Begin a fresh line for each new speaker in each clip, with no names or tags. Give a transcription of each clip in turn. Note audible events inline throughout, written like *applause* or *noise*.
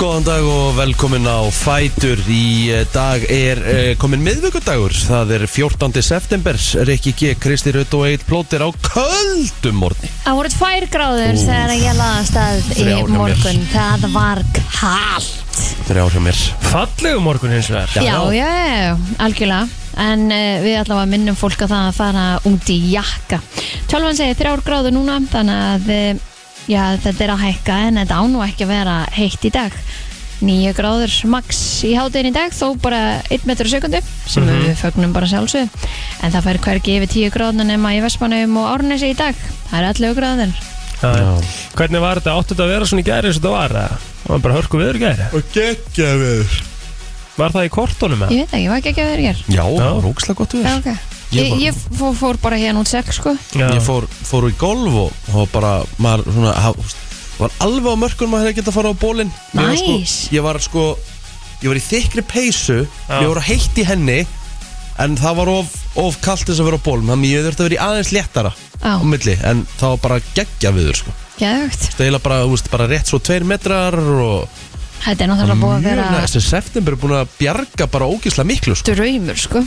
Góðan dag og velkomin á Fætur Í eh, dag er eh, komin miðvikudagur Það er 14. september Rikki G, Kristi Rutt og Egil Plóter á köldum morgni
Það voru tvær gráður
Úff.
þegar ég laði að stað í
Þrjár hjá mér.
morgun Það var kallt
Þrjár hjá mér
Fallegu morgun hins vegar
Já, já, já, já, algjörlega En uh, við allavega minnum fólk að það að fara út í jakka Tölvan segir þrjár gráður núna Þannig að eh, já, þetta er að hækka En þetta án og ekki að vera heitt í dag Nýju gráður max í hátinn í dag Þó bara 1 metr á sekundu Sem
Mhm.
við fögnum bara sjálfsög En það fær hvergi yfir 10 gráður nema í Vestmanum og Árnesi í dag Það er 11 gráður
Já.
Já.
Hvernig var þetta? Áttu þetta að vera svona í gæri eins og þetta var? eða? Það var bara hörku viður gæri
Og geggja við
Var það í kortunum eða?
Ég veit ekki, var ekki ekki að vera hér
Já, það var ógslag gott við
Já, ok.
Ég
Ég,
bara-
ég fór, fór bara hérna út sex, sko.
Ég fór, fór í golf og, og bara maður svona ha, þú veist, var alveg á mörkun maður hefði getað að fara á bólinn Ég var
Nice.
sko, Ég var sko ég var í þykri peysu ég var heitt í henni en það var of, of kalt þess að vera á bólum þannig ég þurfti að vera í aðeins léttara
Já.
á milli en það var bara geggja viður sko
Gæðugt.
það er bara, þú veist, bara rétt svo tveir metrar og
Þetta er náttúrulega búið að vera
þessi september er búin að bjarga bara ógislega miklu sko.
draumur, sko.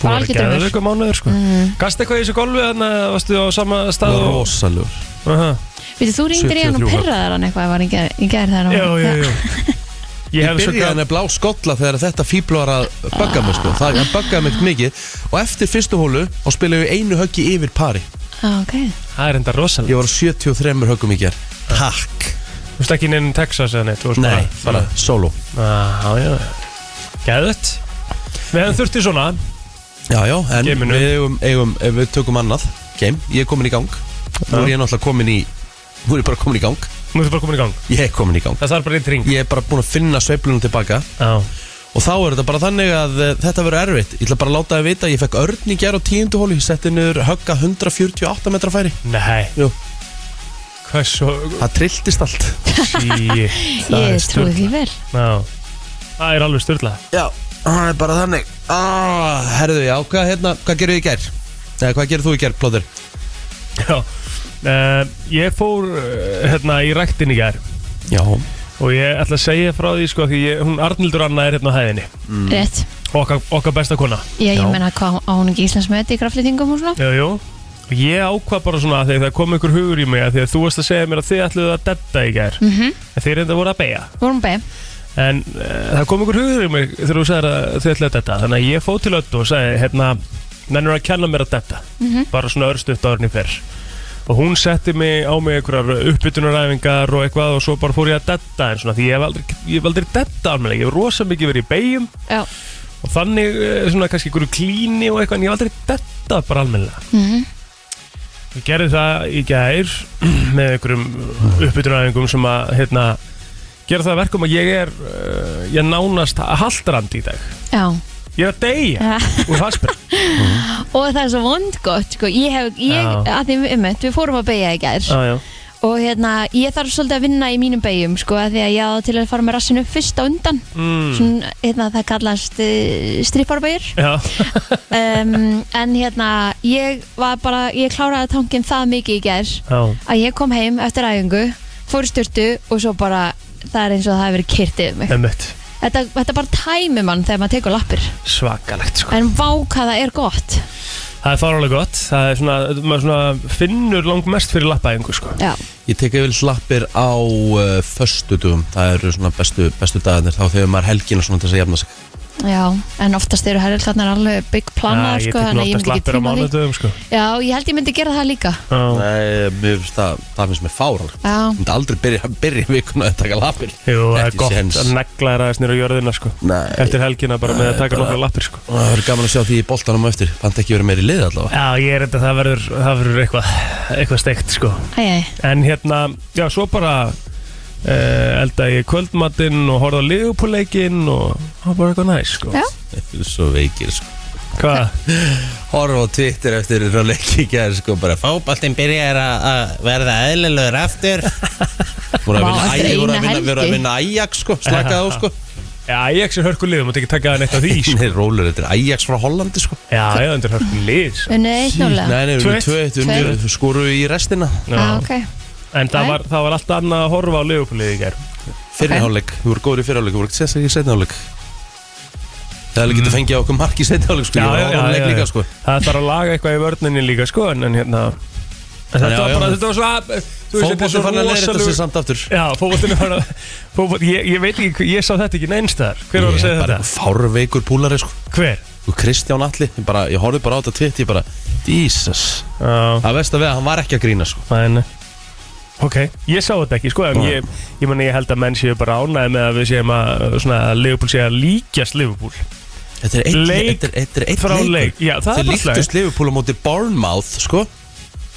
Búin að
algjör Mm.
gera
draumur.
eitthvað mánuður sko Gast eitthvað í þessu golfi þarna Varstu á sama
það
stað
var
og...
rosalegur
Aha.
Vitið, þú ringdir í hann og
73
perraðar hann eitthvað var í gær, í gær þegar hann
Já, já, já Ég
Ég
hef svo
byrjaði
gæri
nefnilega á skolla þegar þetta fíbl var að bugga mig sko. Það hann buggaði mig mikið Og eftir fyrstu hólu og spilaði ég einu höggi yfir pari
Já, ok.
Það er enda
Ég
rosalega
var á 73 höggum í ger Takk
Þú veist ekki neinn Texas eða neitt þú varst
Nei, bara solo
bara Já, já Gæðut Við hefum þurft í svona
Já, já, en
Geiminu.
við, eigum, eigum, ef við tökum annað Game, ég er komin í gang Nú er ég náttúrulega komin í Nú er ég bara komin í gang
Nú ertu bara komin í gang
Ég er komin í gang
Það þarf bara eitt ring
Ég er bara búin að finna sveiflunum tilbaka
Já
Og þá er þetta bara þannig að eh, þetta verður erfitt Ég ætla bara að láta þið vita að Ég fekk örn í ger á tíundu hólu Ég setti niður högga 148 metra færi
Nei
Jú.
Hvað svo
Það trilltist allt
Sí Það er
Ég trúi
sturlað.
því vel.
Já Það er alveg styrla
Já, það er bara þannig ah, Herðu, já, hvað, hérna, hvað gerir þið í gær? Nei, hvað gerir þú í gær, Plóður?
*laughs* Já uh, Ég fór uh, hérna í ræktin í gær
Já
og ég ætla að segja frá því sko því ég, hún Arnildur Anna er hérna á hæðinni
Rétt.
okkar, okkar besta kona
Mm. Já, ég
Já.
menna, hvað á hún ekki Íslands með þetta í kraftlitingum og svona?
Jú, jú Og ég ákvað bara svona að þegar það kom einhver hugur í mig að því að þú varst að segja mér að þið ætluðu að detta í gær mm
Mhm.
-hmm. en þeir enda voru að beja
Vorum beð.
en uh, það kom einhver hugur í mig þegar þú sagði að þið ætluðu að detta þannig að ég fóð til öllu og sagði hérna mennur að kenna mér að detta bara svona örstuft árin í fyrr og hún setti mig á mig einhverjar uppbytunaræfingar og eitthvað og svo bara fór ég að detta en svona því ég hef aldrei, ég hef aldrei detta almenlega, ég hef rosa mikið verið í beigjum
Já.
og þannig eh, svona kannski einhverju klíni og eitthvað en ég hef aldrei detta bara almenlega
Mhm.
ég gerði það í gær *clears throat* með einhverjum uppbytunaræfingum sem að hérna gera það að verkum að ég er uh, ég er nánast haldrand í dag
Já.
ég er að deyja
Ja.
*laughs* úr haspel
Og það er svo vond gott, sko. Ég hef, ég,
Já.
að því, um við fórum að beigja í gær.
ah,
Og hérna, ég þarf svolítið að vinna í mínum beigjum, sko, af því að ég á til að fara með rassinu fyrst á undan.
mm.
svona, hérna, það kallast uh,
*laughs*
stripparbægir
já,
um, en hérna ég var bara, ég kláraði tankinn það mikið í gær
já,
að ég kom heim eftir æfingu fór í styrtu og svo bara það er eins og það hefur verið kyrt yfir mig
emmitt
þetta, þetta bara tæmi mann þegar maður tekur lappir
svakalegt sko
en vá hvað það er gott
það er fárálega gott, það er svona maður svona finnur langmest fyrir lappæðingu sko
já,
Ég tek yfir slappir á uh, föstudum Það eru svona bestu, bestu dagarnir Þá þegar maður helgin og svona til þess að jafna sig
já en oftast eru herrilkarnar alveg big plana
Já, ég
sko,
tek
þannig að
nú
ég
oftast
myndi ekki
lappir á
tíma því
mánudöfum sko
já, ég held ég myndi gera það líka
Já.
Nei, mér finnst það, það finnst mér fáral Ég
já,
myndi aldrei byrja, byrja vikuna að taka lappir
Jú, það er
Ekki
gott
séns.
að negla þér aðeins nýra á jörðina sko
Nei.
Eftir helgina bara með að taka nokkra lappir sko
Og Það verður gaman að sjá því í boltanum á eftir Pant ekki verið meiri lið allavega
Já, ég er þetta, það verður, það verður eitthvað, eitthvað steikt sko
æj, æj,
En hérna, já, svo bara uh, elda ég kvöldmatinn og horfði á liðupúleikin og það var bara eitthvað næs sko
Já.
Þetta er Svo veikir sko
Hvað?
Horfa á Twitter eftir að leikja í gerð sko bara
Fóbaltinn byrjar að að verða eðlilegur
*laughs*
aftur
Voru að
Vá,
vinna
eftir
Aj- voru
eina
að vinna- voru að
helgi.
vinna Ajax sko, slakaði á sko
Já, ég ekki hörku liðum, mátt ekki taka það neitt af því sko
*laughs*
Nei, rólur, þetta er Ajax frá Hollandi sko
Já, já, þetta er hörku lið sko.
unni eitt nálega
Nei, nei, við
Tvö eitt.
erum
Tvö
2-1 Skoru í restina
Já.
já, ok,
En það
Nei.
var, það var alltaf annað að horfa á liðupúleik í gær
Fyrir
Ok.
hálfleik, við vorum góður í fyrir hálfleik Við vorum ekki sérstaklega í setni hálfleik Það er alveg
Mm.
getið að fengja okkur mark í setni hálfleik sko. Ég var á þennan leik líka sko
Það þarf að laga eitthvað í vörninni líka sko En, en hérna en
Já,
Þetta var
já.
bara, þetta var svo þú veist, þetta er
Fókbóttin fann að leira þetta
rosalegur-
sér samt aftur
Já, fótboltinn er bara fótbolt, ég, ég veit ekki, hver- ég sá þetta ekki neinstæðar Hver var að segja
bara
þetta?
fárveikur púlari sko
Hver?
Og Kristján Alli, ég bara, ég horfði bara á þetta tvitt Ég bara, Jesus
Já,
Það veist að við að hann var ekki að grína sko
en Ok, ég sá þetta ekki, sko, en ég, ég meni ég held að menn séu bara ánæði með að við séum að, svona, að Liverpool sé að líkjast Liverpool
Þetta er einn
Leik
þetta er- þetta er einn
frá
leikur.
leik. Já, það er
Þeir
bara
líktust Liverpool á móti Bournemouth sko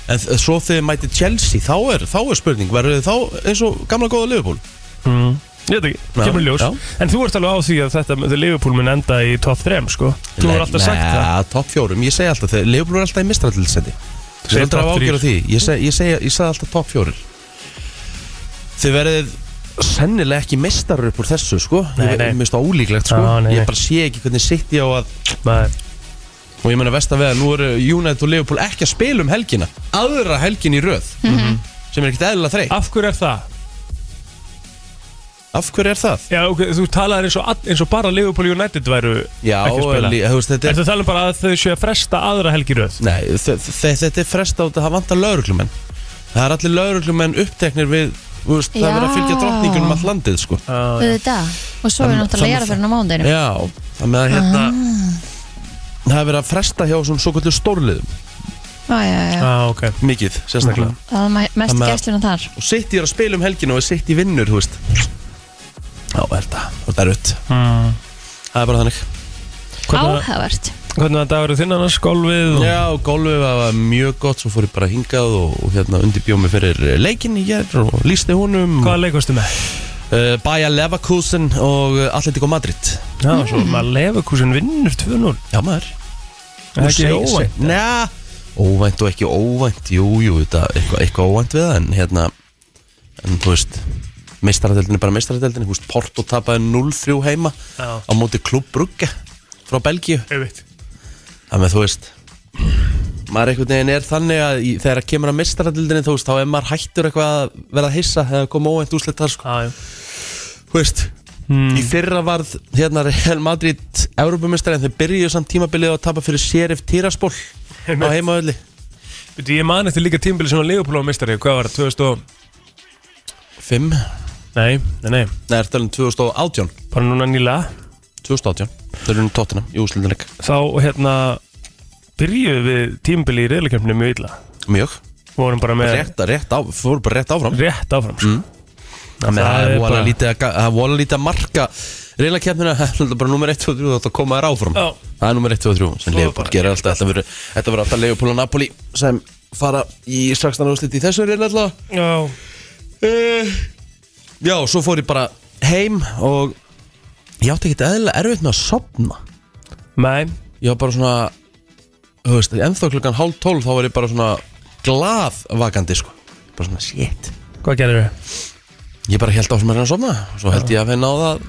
En þ- svo þegar þið mæti Chelsea Þá er, þá er spurning, verður þið þá eins og gamla góða Liverpool
Ég veit ekki,
Já,
kemur í ljós
já.
En þú ert alveg á því að þetta með Liverpool mun enda í top 3, sko Þú
Nei,
hefur alltaf sagt
nei,
það
topp fjórum, ég segi alltaf þegar Leopold er alltaf í mistralilsendi Þú
segir
er aldrei að
topp
ágjöra því
þrír.
Ég segi, ég segi, ég segi alltaf topp fjórir Þið verðið sennilega ekki mistarar upp úr þessu sko
Nei,
Ég-
nei.
Mér finnst það ólíklegt sko
Já, nei, nei.
Ég bara sé ekki hvernig sitt ég á að
Nei.
Og ég menna vest að veða, nú eru United og Leopold ekki að spila um helgina Aðra helgin í röð
Mhm.
Sem er ekkert eðlilega þreytt
Af hverju er það?
Af hverju er það?
Já, ok, þú talaðir eins og, all- eins og bara Liverpool United væru
Já,
ekki að spila
lí- þú veist, þetta er
Ertu að tala um bara að þau séu að fresta aðra helgi í röð?
Nei, þe- þe- þetta er frest á þetta, það vantar lauruglumenn Það er allir lauruglumenn uppteknir við þú veist, Það er verið að fylgja
Já.
drottningunum all landið sko.
Uh,
Auðvitað. Og svo er
Þann-
náttúrulega
þann-
ég að fyrir á mándinu
Já, það með að hérna Það er verið að fresta hjá svona svo kvöldu stórliðum
Það
ah, ok
Mikið, sérstaklega
er mæ- mest
Þannig að-
gæstluna þar
Og sitt ég er að spila um helginu og sitt ég vinnur, þú veist Já, er þetta, þetta er rutt
mm.
Það er bara þannig
Hvernig
Áhævert
hvernig var dagur þinn annars? Golfið? og-
Já, golfið var mjög gott, svo fór ég bara hingað og, og hérna undirbjómi fyrir leikin í hér og lísti honum
Hvaða leikastu með?
uh, Baja Leverkusen og uh, Atletico Madrid
Já, svo maður lefukúsin vinnur 2-0
Já maður
Það er ekki óvænt
Næ, óvænt og ekki óvænt Jú, jú, þetta er eitthvað, eitthvað óvænt við það En hérna, en þú veist Meistaradeldin er bara meistaradeldin Þú veist, Porto tapaði 0-3 heima
Já.
Á móti klubbrugge frá Belgíu
Einmitt.
Það með þú veist Maður einhvern veginn er þannig að í, Þegar að kemur að meistaradeldinni, þú veist Þá er maður hættur eitthvað að vera að hissa Þegar koma óvænt úslit þar, sko
Já, já.
Þú veist,
Hmm.
Í fyrra varð hérna Real Madrid Evrópumestari en þeir byrjuðu samt tímabilið á að tapa fyrir Sheriff Tiraspol á
Einmitt.
heimaöldi
Veitu, Ég man eftir líka tímbili sem að Leopold var mistari Hvað var það? 2000 og...
5 Nei,
Nei, nei, nei
það er talað um 2018
Bara núna nýlega
2018 Þeir eru nú tóttina í úslindarleik
Þá hérna Byrjuðu við tímbili í reyðleikjöfnum mjög illa
Mjög
Vorum bara með
Rétt, rétt á, fóru bara Eh. rétt áfram
rétt áfram sko.
Það er vola
bara-
lítið að ga- það er vola lítið að marka Reila keppnina *laughs* Það er náttúrulega bara nummer 1 og 3 Þetta koma þær áfram
Já.
Það er nummer 1 og 3 Sem
Svo
Leopold
bara-
gerir alltaf Þetta verður- Þetta verður alltaf Leopold og Napoli Sem fara í 16 úrslit í þessu reila alltaf
Já,
Eh, Já, svo fór ég bara heim og ég átti ekkert eðlilega erfitt með að sopna
nei
Ég var bara svona, þú veist, ennþá klukkan hálf tólf þá var ég bara svona glaðvakandi, sko Bara svona, shit
Hvað gerir þau?
Ég bara held áfram að reyna að sopna og svo held ég að finna á það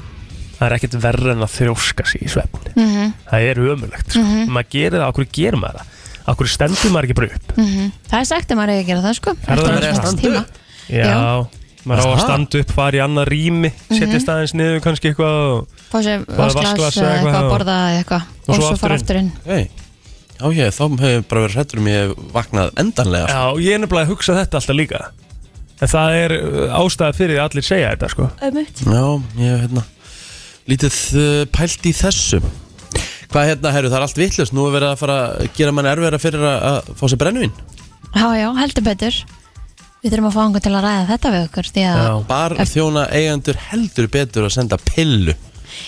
Það er ekkert verra en að þrjóska sig í svefni Það er ömulegt sko. Maður gerir það, okkur gerir maður það Okkur stendur maður ekki bara upp
Það er sagt að maður eigi að gera það sko
það
Eftir
verið að
hans
standa
tíma.
upp?
Já, Mhm.
Já.
maður á að
Aha.
standa upp, fara í annað rými Setjast aðeins niður kannski eitthvað og-
Fá sér
Bara vatnsglas
vasklas
eða
eða eitthvað
eitthvað.
að borða eða eitthvað
Og
Og
svo
svo fara aftur
aftur
inn
Hei, já ég, þá hef ég bara verið hrættur um ég hef vaknað endanlega sko.
Já, ég er nefnilega að hugsa þetta alltaf líka En það er uh, ástæða fyrir því að allir segja þetta sko
Já, ég hef hérna lítið uh, pælt í þessu Hvað hérna, herru, það er allt vittlust Nú er verið að fara að gera mann erfiðara fyrir að, að fá sér brennivín
Já, já, heldur betur Við þurfum að fá einhvern til að ræða þetta við okkur Því að
Já.
barþjóna eigendur heldur betur að senda pillu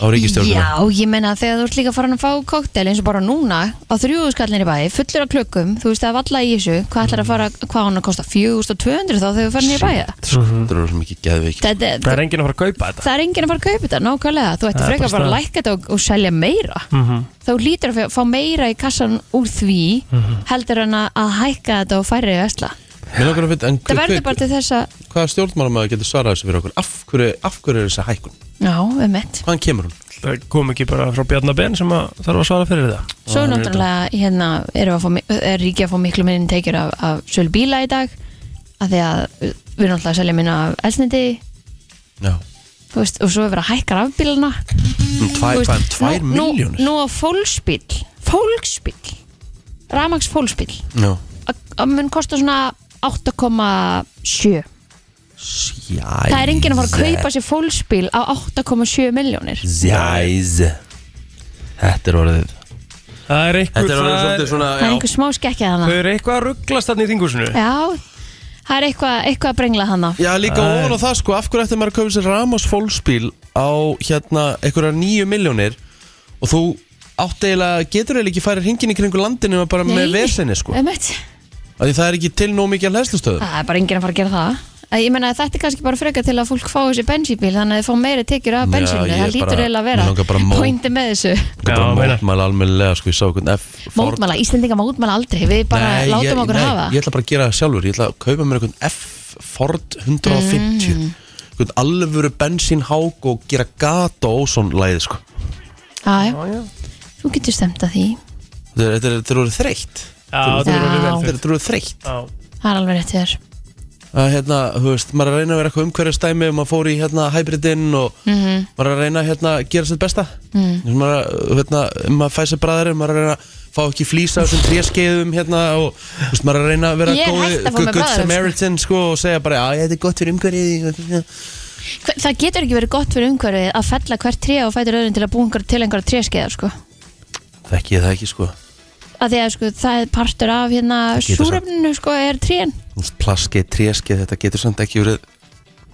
á ríkistjórnuna
Já, ég meina að þegar þú ert líka farin að fá koktel eins og bara núna á þrjúðuskallin í bæi, fullur af klukkum þú veist það valla í þessu, hvað ætlar að fara hvað hann að kosta, 4200 þá þegar þú farin í bæi
það
Mhm.
eru svo mikið geðveik
þetta,
Það er enginn að fara að kaupa þetta
það er enginn að fara að kaupa þetta, nákvæmlega þú ætti
Það er
frekar
bara
bara að
staðan.
lækka þetta og, og selja meira þá lítur að fá- fá meira í kassan úr því heldur en að, að hækka þetta og færi í ösla
Mér langar að vita, en
það
hver-
verður bara til þess að
hver- hvaða stjórnmálamæður getur svarað þessu fyrir okkur af hverju, af hverju er þessi hækkun,
já, um mitt
hvaðan kemur hún
Það kom ekki bara frá Bjarnabenn sem að þarf að svara fyrir það
svo
Já,
náttúrulega hérna erum við að fá, mi- er ríkið að fá miklu minni tekjur af, af sölu bíla í dag af því að við erum náttúrulega að selja minna af elsniti
Já,
þú veist, og svo er verið að hækka rafbíluna
Mm,
Þú
Tvær,
veist,
tvær, tvær
nú- nú-
miljónir
Nú á fólksbíl, fólksbíl Ramags fólksbíl
Já,
að mun kosta svona 8,7 Það er enginn að fara að kaupa sér fólksbíl á 8,7 miljónir
Jæs Þetta er orðið
Það
Þetta er
er eitthvað
orðið svolítið svona
Það er einhver smá skekkja
Þau
þannig
eru eitthvað að rugglast þarna í þinghúsinu
Já, það er eitthvað, eitthvað að brengla þannig
Já, líka ofan á það sko, af hverju ætti maður að kaupa sér Ramos fólksbíl á hérna einhverja nýju miljónir og þú átt eiginlega, getur eiginlega ekki farið hringin í kringu landinu nema bara með vesenni sko Af Því það er ekki til nóg mikið að hlæslustöðum
Það er bara enginn að fara að gera það Eh, Ég meina þetta er kannski bara freka til að fólk fái sér bensínbíl þannig að þið fá meiri tekjur af
Já,
bensínu
ég
það
er
lítur
bara-
eiginlega að
mig langar bara
vera
að mó-
pointi með þessu
Það er bara
Já, meina.
mótmæla almennilega sko, ég sá hvernig F
Mótmæla, Íslendinga mótmæla aldrei Við bara
Nei,
látum
ég-
okkur
nei,
hafa
Ég ætla bara að gera það sjálfur, ég ætla að kaupa mér einhvern F Ford 150 mm. einhvern alvöru bensínhák og gera gata og svona læði sko
Já, já Þú getur stemt að því,
Þetta er- þetta er- þetta eru þreytt
Já, það eru orðið vel
Þetta
fyrir
er- þetta eru þreytt
Já,
það er alveg rétt þér
að hérna, þú veist, maður er að reyna að vera eitthvað umhverjastæmi og maður fór í hérna hybridinn og
Mhm.
maður er að reyna hérna að gera sér besta mm -hmm. maður, er að, hérna, maður fæ sér bræðari, maður er að reyna að fá ekki flýsa á þessum tréskeiðum hérna og þú veist, maður er að reyna að vera
Ég er hætt að fá mér
good
bragðaröf, sko.
Samaritan sko og segja bara, að þetta er gott fyrir umhverjið
Hve- Það getur ekki verið gott fyrir umhverfið að fella hvert tré og fætur öðrun til að búa einhver, til einhverja tréskeiðar sko.
þekki ég það ekki sko
að því að sko, það er partur af hérna
getur samt.
súrefninu sko, er trén
Þú veist, plaskeið, tréskeið, þetta getur samt ekki verið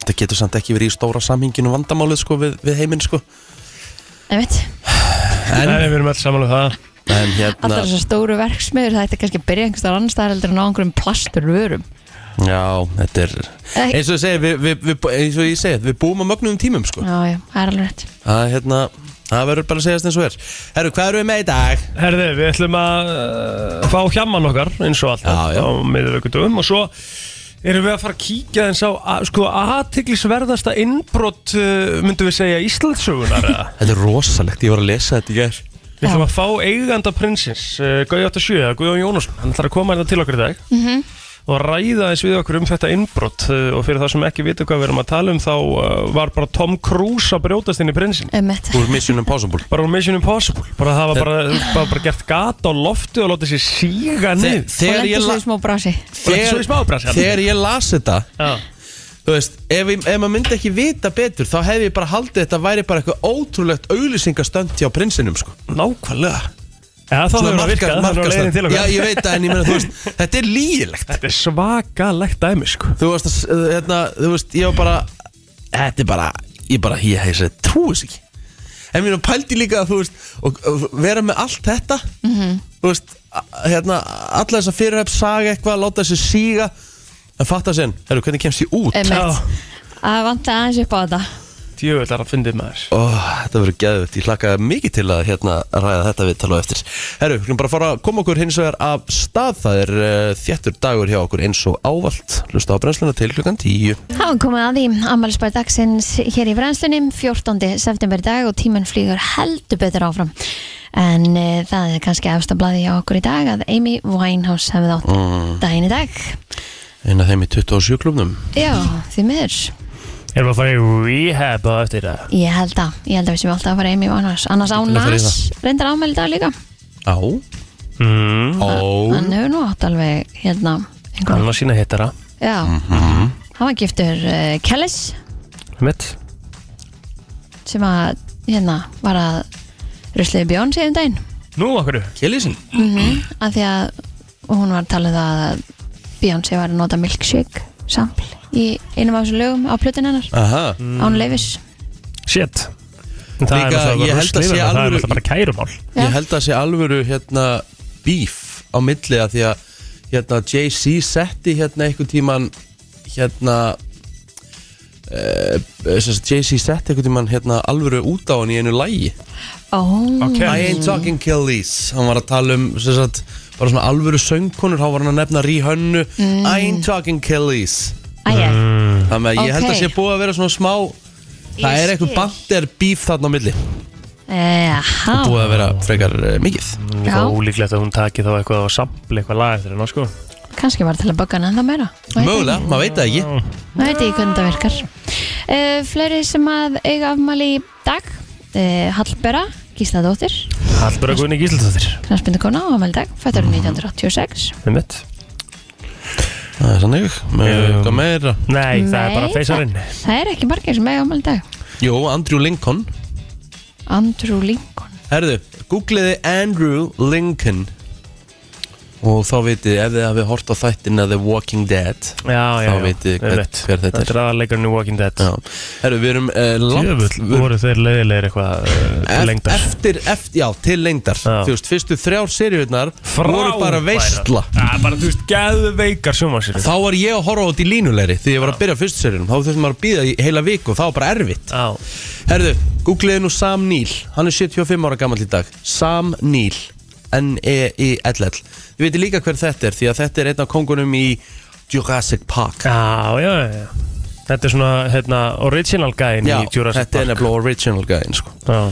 þetta getur samt ekki verið í stóra samhenginu vandamálið sko við, við heiminn sko
Einmitt.
Nei,
en,
við erum alltaf samanlega það
en hérna
allar þessar stóru verksmiður það ætti kannski að byrja einhverstaðar annars staðar heldur en á einhverjum plastur vörum
Já, þetta er
Ek-
eins og ég segi, við, við, við, eins og ég segi við búum á mögnum tímum sko
já, já, það er alveg rétt
Það er hérna, það verður bara að segjast eins og er Herru, hvað eru við með í dag?
Herði, við ætlum að uh, fá hjamman okkar eins og alltaf
Já, já.
á miðvöggudum og svo erum við að fara að kíkja eins á að- sko aðtiklisverðasta innbrott uh, myndum við segja Íslandsögunar
*laughs*
eða?
Þetta er rosalegt, ég var að lesa þetta í gær
Við ætlum
Já.
að fá eiganda prinsins uh, Gauði 87, Guðjón Jónasson hann ætlar að koma hérna til okkur í dag og ræða eins við okkur um þetta innbrott uh, og fyrir það sem ekki vita hvað við erum að tala um þá uh, var bara Tom Cruise að brjótast inn í prinsin
Einmitt.
Úr Mission Impossible
bara úr Mission Impossible bara það var bara, bara, bara gert gata á lofti og látið sér síga niður
og
Þegar
lendur
ég,
svo
la,
í smá brasi
Bara svo í smá brasi, hérna.
þegar ég las þetta
Já.
Þú veist, ef, ég- ef maður myndi ekki vita betur þá hefði ég bara haldið þetta væri bara eitthvað ótrúlegt auglýsingastönd hjá prinsinum sko
Nákvæmlega Já, þá hefur það virkað, þannig að leiðin til
markastönd
okkar
Já, ég veit það, en ég meina, þú veist,
*laughs*
þetta er lígilegt
Þetta er svakalegt dæmi, sko
þú veist, að- uh, hérna, þú veist, ég var bara þetta er bara, ég bara, ég hef þess að trúi þess ekki en mér pældi líka að þú veist og, og vera með allt þetta þú veist, a- hérna alla þess að fyrirhef saga eitthvað, láta þessi síga en fatta sinn, herru, hvernig kemst ég út
Já,
Einmitt. að vanta aðeins upp á þetta
djöfull er að fyndið maður
Ó, þetta verður geðvögt, ég hlakka mikið til að hérna ræða þetta við tala á eftir Herru, við skulum bara fara að koma okkur hins vegar af stað Það er uh, þjættur dagur hjá okkur eins og ávalt Lusta á brennsluna til klukkan 10
Það var komið að því ammælisbær dagsins hér í brennslunni 14. september í dag og tíminn flýgur heldur betur áfram en e, það er kannski efsta blaði hjá okkur í dag að Amy Winehouse hefði átt
Mm.
daginn í dag
Einn af þeim í 27 klubnum
Já, því miður
Erum við að fara í rehab á eftir það?
Ég held að, ég held að við séum alltaf að fara Amy Winehouse annars á
að fara í
Nas, reyndar ámæli í dag líka
Á,
Mm.
á
hann hefur nú átt alveg hérna
Hann
einhver,
var sína hittara
já,
Mhm.
hann var giftur uh, Kellis
Mitt
sem að hérna var að rusliði Björn síðan um daginn
Nú, okkur
Kjellisin
að því að hún var talið að Beyoncé var að nota milkshake sampl í einum af þessum lögum á plötin hennar
Aha,
án leifis
Shit En Það
Líka,
náttúrulega
ég
bara
held að
ruslið,
sé
en Það er
alvöru-
náttúrulega bara kærumál
Já.
ég held að sé alvöru hérna beef á milli að því að hérna Jay-Z setti hérna einhvern tíman hérna uh, Jay-Z setti einhvern tíman hérna alvöru út á hann í einu lægi
oh,
Ok
I ain't talking killies hann var að tala um sem sagt, bara svona alvöru söngkonur, hann var hann að nefna Rihönnu
Mm.
I ain't talking killies
æja,
Mm,
þannig að ég held að
Ok.
sé búið að vera svona smá það
Ég
er
skil.
einhver bandir beef þarna á milli
eha
búið að vera frekar uh, mikið
Líka
Já.
ólíklegt að hún taki þá eitthvað á sampli, eitthvað lag eftir hennar, sko
kannski var til að bugga hann ennþá meira Maður veit
Mögulega, maður veit það ekki
ekki. maður veit ekki hvernig það virkar uh, fleiri sem að eiga afmæli í dag uh, Hallbera, Gísladóttir
Hallbjörg Gunni Gísildóttir
knarspindukona á afmæli í dag fættur 1986
Með mitt
Það er sannig,
Jú.
hvað meira
Nei, það
Nei,
er bara feysarinn
það, það er ekki margir sem eiga afmæli í dag
Jó, Andrew Lincoln
Andrew Lincoln
Herðu, googliði Andrew Lincoln Og þá vitið, ef þið hafið hort á þættina The Walking Dead
Já,
Þá
já, já,
vitið
með
hver-
mitt.
hver þetta er.
Þetta er aðalegurinn í Walking Dead
Já, herðu, við erum uh, langt
Jöfull, voru þeir leiðilegir eitthvað uh,
Eft-
lengdar
Eftir, eftir, já, til lengdar
Já.
Þú veist, fyrstu þrjár seríurnar voru bara veistla
Já, bara, þú veist, geðveikar sjónvarsir
Þá var ég að horfa á þetta í línulegri Því ég var að byrja fyrstu seríunum Þá þurftum maður að býða í heila viku og það var bara erfitt
Já,
Herðu, googliði nú Sam Neill Hann er 75 ára gammal í dag Sam Neill E N-E-I-L-L Þið veitir líka hver þetta er Því að þetta er einn af kongunum í Jurassic Park
já, já, já Þetta er svona, hérna, original gæðin
Já,
í Jurassic
þetta er nefnilega original gæðin sko.
Já.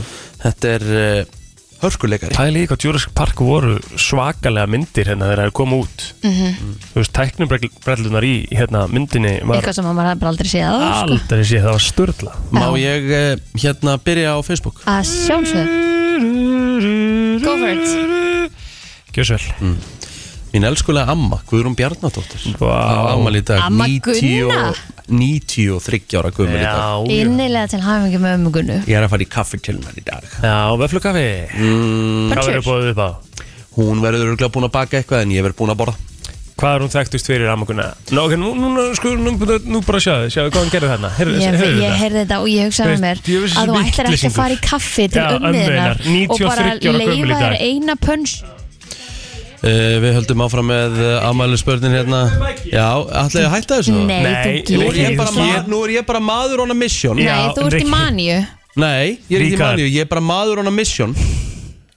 Þetta er uh, hörkuleikari
Pæli í hvað Jurassic Park voru svakalega myndir hérna þegar það kom út Þú veist, tæknumbrellunar í hérna, myndinni var
Mhm. eitthvað sem maður hafði bara aldrei séð á sko.
aldrei séð, það var störla
Má ég uh, hérna byrja á Facebook?
að sjálfsögðu Go for it.
Gjösvel
Mm, Mín elskulega amma, Guðrún Bjarnadóttir
Vá.
Ammali í dag
Amma
90
Gunna.
93 ára guðmur í dag
Já, já.
innilega til hafingi með ömugunu
Ég er að fara í kaffi til hennar í dag
já veflukafi
Mm.
Hvað verður bóðið upp á?
Hún verður örgulega búin að baka eitthvað en ég verður búin að borða
Hvað er hún þekktust fyrir ammaguna? Nó, ok, nú, nú, sko, nú, nú bara sjáðu, sjáðu hvað hann gerði þarna Heyrðu
Ég,
heyrðu
ég
þetta?
heyrði þetta og ég hugsaði með mér
Veist, ég vissi
að þú ætlar
þessi
ekki að
vitleysingur.
fara í kaffi til
Já,
ömmuðinnar
ömmu þinnar,
og bara
93 ára gömul í
leifa þér
dag.
eina pönns
uh, Við höldum áfram með uh, ammali spörnin hérna Já, ætlaði að hætta þessu?
Nei,
Nei,
þú
Nú er,
gerir
ég bara,
það.
ma- nú er ég bara maður on a mission
Já.
Nei, þú ert í
Rikki.
maníu
Nei, ég er ekki
Ríkar.
maður, ég er bara maður on a mission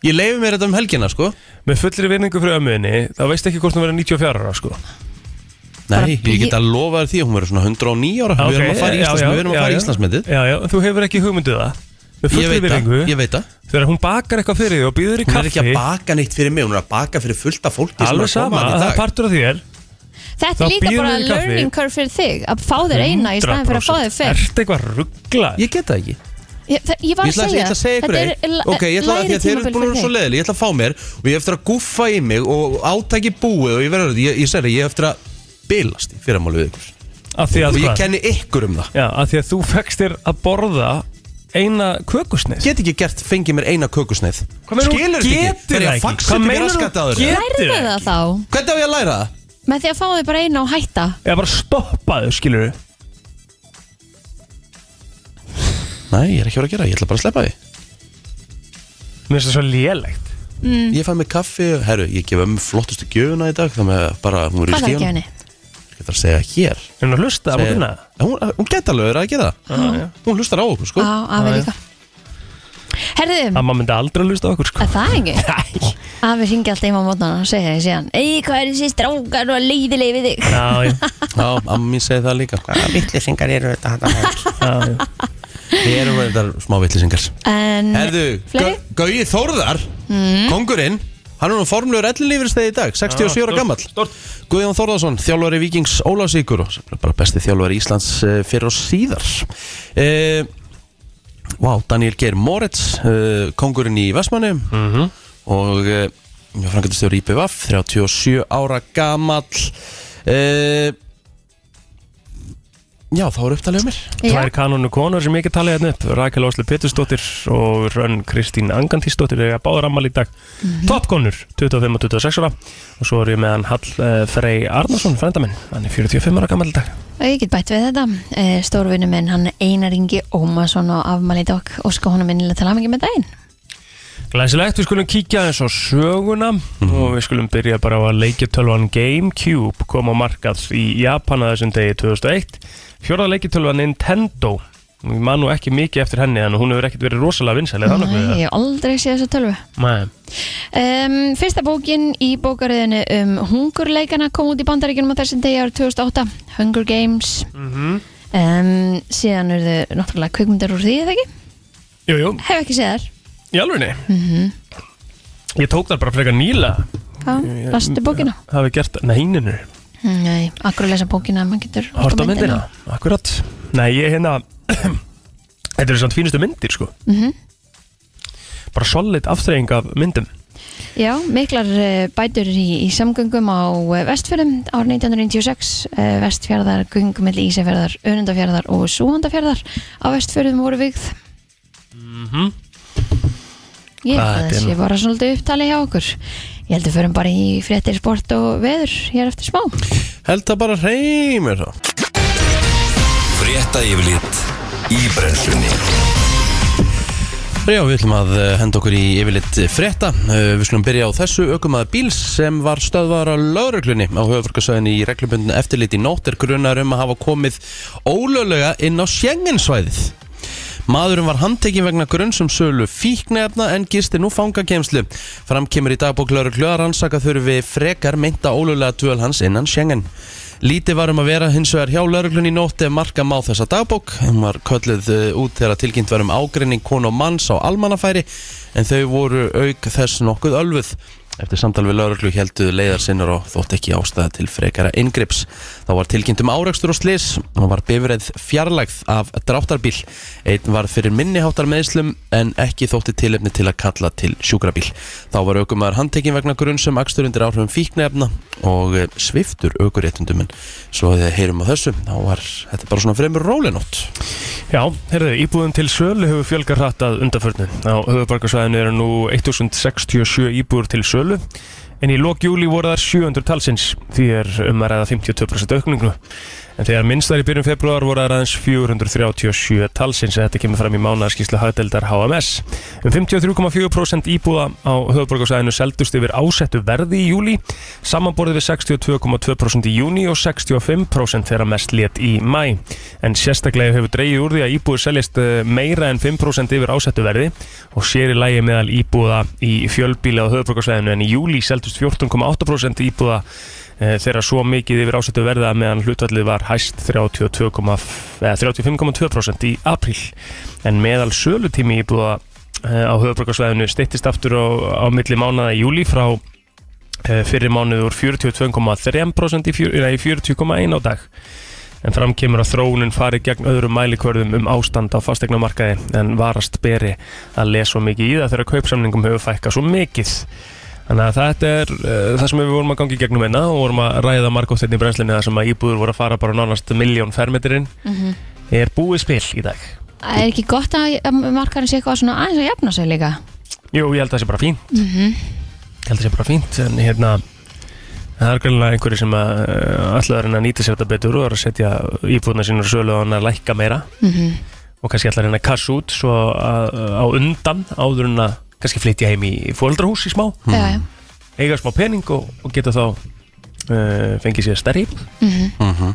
Ég leifi mér þetta um helgina sko
Með fullri vinningu fyrir ömmuðinni, þá veist ekki hvort hún verður 94 ára, sko
Bara
Nei, ég get að lofa þér því að hún verður svona 109 ára Við erum að fara í
já,
Íslands-
já,
við erum að
já,
fara í
já.
Íslandsmetið
Já, já, þú hefur ekki hugmynduð það Með
Ég
fullri
veit
vinningu
það, ég veit það
Þegar hún bakar eitthvað fyrir þig og býður í
Hún
kaffi
er ekki að baka neitt fyrir mig, hún er að baka fyrir fullta fólki sem er
Alveg
að koma
sama,
þarna í
það
dag.
er partur af þér
Þetta
Þá
er líka
býðum
bara
við í kaffi.
learning curve fyrir þig að fá þér eina í staðin fyrir að fá þér fyrr
Ertu eitthvað ruggla?
Ég get það ekki
Ég, það- ég var
Ég
að
ætla, ég
segja,
ætla að segja ykkur
þetta
eitt
er
Ok, ég ætla að því að þeir eru búin að vera svo leiðileg Ég ætla að fá mér og ég eftir að guffa í mig og átaki búið og ég verður Ég, ég segir það, ég eftir að bilast í fyrramáli við ykkur
Af því
Og
að
ég
hvað?
kenni ykkur um það
Já, af því að þú fegst þér að borða eina kökusneið
Get ekki gert, fengið mér eina kökusneið
Hvað meinar þú
Skilur þetta ekki?
getur
Þegar ég
það ekki?
faxið
Hvað
til mér
meinar þú
raskat að þér
getur?
Lærðu það þá
Hvernig á ég að læra það?
með því að fá þér bara eina og hætta
Já, bara stoppaðu, skilur við
Nei, ég er ekki að vera að gera, ég ætla bara að sleppa því
Mér finnst það svo lélegt
Mm.
Ég fæ mig kaffi, herru, ég gef um flottustu gjöfuna í dag Þannig að bara, hún verður í
Hvað það ekki
stíðan
henni?
Ég ætla að segja hér
Er hún að Ah, hlusta á
Segir-
búinna?
Hún, hún geta alveg verið að gera það Hún hlustar á okkur sko
Á, afi
Já, já.
líka Herðu,
Amma myndi aldrei hlusta á okkur, sko
að það ekki?
*laughs* Nei
Afi ringi alltaf heim á mótnana og segir það síðan Ei, hvað er þessi strákar og leiðilegi við þig?
Já, já,
Já, amma mín segi það líka sko.
Vittlisingar eru þetta hann að
já, já
Við erum reyndar smá vitlisingar
En
Herðu,
Mm. fleiri?
Gau- Gaui Þórðar Kongurinn Hann er nú formluður ellilífyrstegi í dag 67 ára
Já, stórt,
gammal
stórt.
Guðjón Þórðarsson, þjálfari Víkings Ólásíkur og sem er bara besti þjálfari Íslands eh, fyrir og síðar eh, Vá, Daniel Geir Moritz eh, Kongurinn í Vestmanni
Mhm.
og eh, frangatistjóri IPVF 37 ára gammal eh, Já, þá er upptalið um mér
Já,
Tvær kanonu konur sem ég ekki talið hérna upp Rakel Ásli Petursdóttir og Rönn Kristín Angantísdóttir er að báða rammal í dag
Mhm.
Toppkonur, 25 og 26 ára og svo er ég með hann Hall uh, Frey Arnason, frændaminn, hann er 45 ára gammal í dag
og ég get bætt við þetta Stórvinni minn, hann Einar Ingi Ómarsson og afmæli í dag og sko honum minnilega til hamingi með daginn
Læsilegt, við skulum kíkja eins á söguna og við skulum byrja bara á að leikjatölvan Gamecube kom á markað í Japan að þessum degi 2001 Fjórða leikjatölvan Nintendo Ég man nú ekki mikið eftir henni en hún hefur ekkert verið rosalega vinsæli
Nei, ég hef aldrei séð þessa tölvu
Nei.
Um, fyrsta bókin í bókariðinu um hungurleikana kom út í bandaríkjunum á þessum degi árið 2008 Hunger Games um, síðan eru þau náttúrulega kvikmyndir úr því, eða ekki?
Jú, jú,
Hef ekki séð þær
Í alvegni? Ég tók þar bara frekar nýla
Já, lastu bókina
Hafi gert, nei, neinu
Nei, akkur að lesa bókina maður getur
Hort á myndina, akkurat Nei, ég hérna *clears throat* Þetta eru samt fínustu myndir sko
Mhm.
Bara solid aftreying af myndum
Já, miklar eh, bætur í, í samgöngum á eh, Vestfjörðum ár 1996 eh, Vestfjörðar, göngum milli Ísafjörðar, Önundafjörðar og Súhandafjörðar á Vestfjörðum voru vigð Ég
Mhm.
held
Hvað
að
þetta er
þessi
nú?
bara svolítið upptalið hjá okkur Ég held að förum bara í fréttir sport og veður hér eftir smá
Held það bara reymir þá
Frétta yfirlit í brennslunni
Já, við ætlum að eh, henda okkur í yfirleitt frétta. Eh, Við skulum byrja á þessu ökumæða bíls sem var stöðvar á lauruglunni á höfurkasöðin í reglubundin eftirlit í nótt er grunar um að hafa komið ólöglega inn á Schengensvæðið. Maðurinn var handtekinn vegna grunnsum sölu fíknefna en gisti nú fangakemslu. Fram kemur í dagbók lauruglu að rannsaka þurfi frekar meinta ólöglega dvöl hans innan Schengen. Lítið var um að vera hins vegar hjá lauruglun í nótt ef marka má þessa dagbók. Hún var kölluð eh, út þegar tilkynnt var um ágreining konu og manns á almannafæri en þau voru auk þess nokkuð ölfuð. Eftir samtal við lauruglu heldu leiðarsinnar og þótt ekki ástæða til frekara inngrips. Þá var tilkynnt um árekstur og slis og var bifræð fjarlægð af dráttarbíl. Einn var fyrir minniháttar meðslum en ekki þótti tilefni til að kalla til sjúkrabíl. Þá var aukumar handtekinn vegna grunn sem akstur undir áhrifum fíknefna og eh, sviptur aukuréttundum en svo að þið heyrum á þessu þá var þetta bara svona fremur rólinótt.
Já, heyrðu, íbúðum til sölu hefur fjölgar hratt að undarförnu Á höfubarkasvæðinu eru nú 1067 íbúður til sölu En í lok júli voru þar 700 talsins Því er um að ræða 52% aukningu En þegar minnstar í byrjun februar voru þar aðeins 437 talsins Þetta kemur fram í mánaðarskíslu hagdeldar HMS Um 53,4% íbúða á höfubarkasvæðinu seldust yfir ásettu verði í júli Samanborðið við 62,2% í júni og 65% þegar mest let í mæ en sérstaklega hefur dreigið úr því að íbúður seljast eh, meira en 5% yfir ásettu verði og sér í lægi meðal íbúða í fjölbíla á höfubrokarsvæðinu en í júli seldust 14,8% íbúða eh, þegar svo mikið yfir ásettu verði að meðan hlutvallið var hæst 32,5 eða 35,2% í apríl en meðal sölutími íbúða eh, á höfubrokarsvæðinu steittist aftur á, á milli mánada í júli frá eh, fyrri mánuð úr 42,3% í, fjör, nei, í 40,1 á dag en fram kemur að þróunin fari gegn öðrum mælikvörðum um ástand á fastegnamarkaði en varast beri að lesa svo mikið í það þegar kaupsamningum hefur fækkað svo mikið. Þannig að þetta er uh, það sem við vorum að gangi gegnum einna og vorum að ræða margótt þetta í brennslinni þar sem að íbúður voru að fara bara nánast miljón fermetirinn er búið spil í dag.
Það er ekki gott að að markarinn sé eitthvað svona aðeins að jafna sig líka
Jú, ég held að það sé bara fínt Ég held að það sé bara fínt En hérna Það er greinlega einhverju sem að uh, ætlaður að reyna að nýta sér þetta betur og er að setja íbúðna sínur sölu og hann að lækka meira
Mhm.
og kannski ætla að reyna að kassa út svo að, á undan áður en að kannski flytja heim í fóldrahús í smá
Já, já,
eiga smá pening og, og geta þá uh, fengið sér stærri íbúð.
Mhm.
Mhm.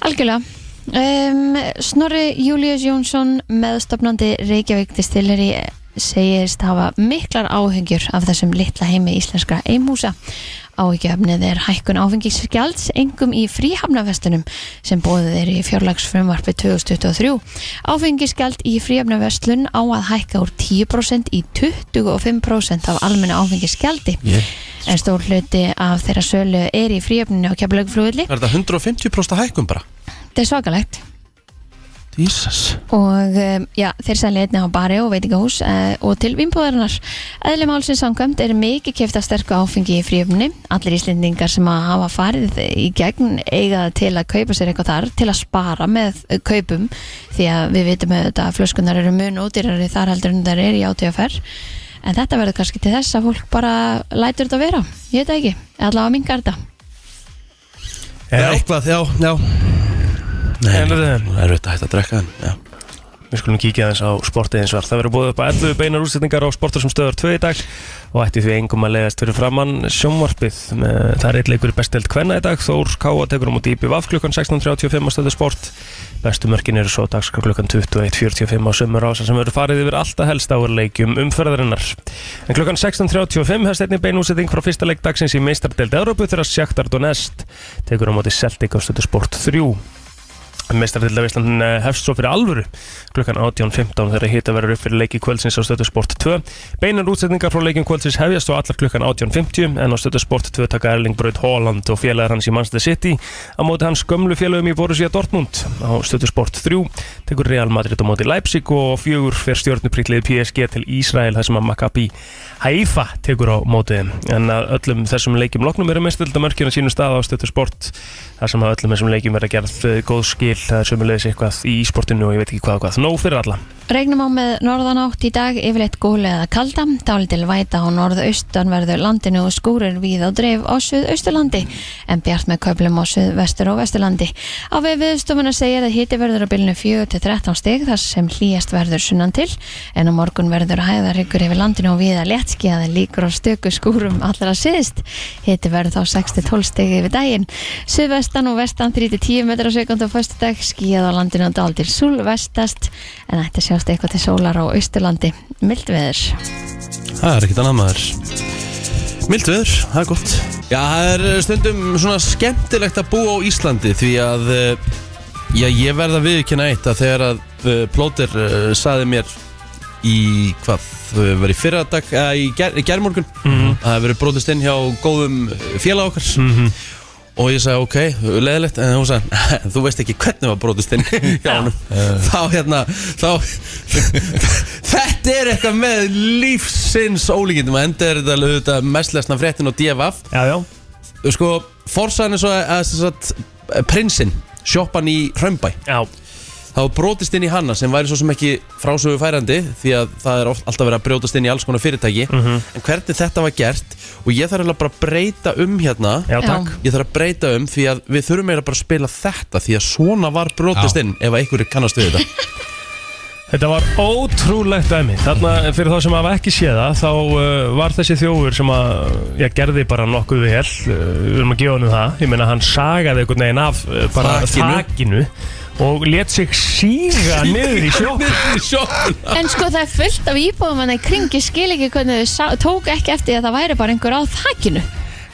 Algjörlega um, Snorri Július Jónsson meðstofnandi Reykjavík distilleri segist hafa miklar áhengjur af þessum litla heimi íslenskra einhúsa Áhyggjöfnið er hækkun áfengisgjalds engum í fríhafnavestunum sem bóðið er í fjárlagsfrumvarpi 2023. Áfengisgjald í fríhafnavestlun á að hækka úr 10% í 25% af almennu áfengisgjaldi.
Yeah.
En stór hluti af þeirra sölu er í fríhafninu á Keflavíkflugulli.
Er þetta 150% hækkum bara?
Þetta er svakalegt.
Jesus.
og um, já, þeir selja einnig á bari og veitingahús uh, og til vinnbúðarinnar. Eðli málsins samkvæmt er mikið keft að sterku áfengi í fríöfni. Allir íslendingar sem að hafa farið í gegn eiga til að kaupa sér eitthvað þar til að spara með eh, kaupum því að við vitum auðvitað að flöskunar eru mun ódýrari þar heldur en þar er í átíðaferð. En þetta verður kannski til þess að fólk bara lætur þetta vera. Ég veit það ekki. Allavega mingar þetta.
Já,
Nei,
eitthvað, já, já. Nei,
En,
það
eh,
er auðvitað hægt að drekka en, já.
Við skulum kíkja aðeins á sportið eins og var. Það verður búið upp að 11 beinar útsetningar á sportur sem stöður 2 í dag og ætti því engum að leiðast fyrir framann sjónvarpið. Eh, Það er eitt leikur í bestdelt kvenna í dag. Þór Káa tekur um út í BVF klukkan 16.35 á stöðu sport. Bestu mörkin eru svo dagskar klukkan 21.45 á sömur ásan sem verður farið yfir alltaf helst áur leikjum umferðarinnar. En klukkan 16.35 hefst einnig bein útsetning frá fyrsta leik dagsins í meistardelt Európu þegar Sjaktar Donest tekur á móti Celtic á stöðu sport 3. Mestarfylgda Ísland eh, hefst svo fyrir alvöru klukkan 18.15 þegar hita verður upp fyrir leiki kvöldsins á stöðu Sport 2. Beinar útsendingar frá leikin kvöldsins hefjast svo allar klukkan 18.50 en á stöðu Sport 2 taka Erling Braut Haaland og félagar hans í Manchester City á móti hans gömlu félagum í Borussia Dortmund á stöðu Sport 3 tekur Real Madrid á móti Leipzig og fjögur fyrir stjórnupriklið PSG til Ísrael þar sem að Maccabi Haifa tekur á móti þeim. en að öllum þessum leikjum loknum eru mestarfylgda mörkina sínum stað á stöðu Sport þar sem að öllum þessum leikjum verða gerð eh, góð skil, það er sömulegis eitthvað í sportinu og ég veit ekki hvað og hvað, nóg fyrir alla
Regnum á með norðanátt í dag, yfirleitt góli eða kalda, dálítil væta á norðaustanverðu landinu og skúrir víð og dreif á suðausturlandi, en bjart með köflum á suðvestur og vesturlandi. Á við viðstofuna segir að hiti verður á bylnu 4-13 stig þar sem hlýjast verður sunnan til, en á morgun verður hæðar ykkur yfir landinu og viða léttski að líkur á stöku skúrum allra síðst. Hiti verður þá 6-12 stig yfir daginn. Suðvestan og vestan 3-10 metrar á sekund á föstudag, skíðað á landinu og dálítil súlvestast, en ætti að sjást eitthvað til sólar á Austurlandi mild veður
Það er ekkert annað maður Milt viður, það er gott Já, það er eh, stundum svona skemmtilegt að búa á Íslandi Því að eh, Já, ég verð að viðkynna eitt að þegar að eh, Plóter eh, saði mér í hvað eh, var í fyrra dag, eða í ger, germorgun mm -hmm. að það verið brotist inn hjá góðum félag okkar og ég sagði ok, leðilegt en hún sagði, þú veist ekki hvernig var brotist inn hjá honum þá hérna þá, *laughs* þetta er eitthvað með lífsins ólíkindum að enda er þetta auðvitað mestlesna fréttin og DFF
Já, já,
sko, forsaðan er svo að, að, sem sagt, prinsinn, sjoppan í Hrömbæ
já,
þá brotist inn í hanna sem væri svo sem ekki frásögu færandi því að það er oft, alltaf verið að brjótast inn í alls konar fyrirtæki en hvernig þetta var gert og ég þarf eiginlega bara að breyta um hérna
já, takk
ég þarf að breyta um því að við þurfum eiginlega bara að spila þetta því að svona var brotist
Já.
inn ef að einhverju kannast við þetta *laughs*
Þetta var ótrúlegt dæmi Þarna eh, fyrir þá sem hafa ekki séð það þá uh, var þessi þjófur sem að ég gerði bara nokkuð vel uh, við erum að gefa hennu það, ég meina hann sagaði einhvern veginn af uh, bara
Þakinu.
þakinu og let sig síga niður í sjók *laughs*
En sko það er fullt af íbúðum en það kringi skil ekki hvernig þau sá- tóku ekki eftir því að það væri bara einhver á þakinu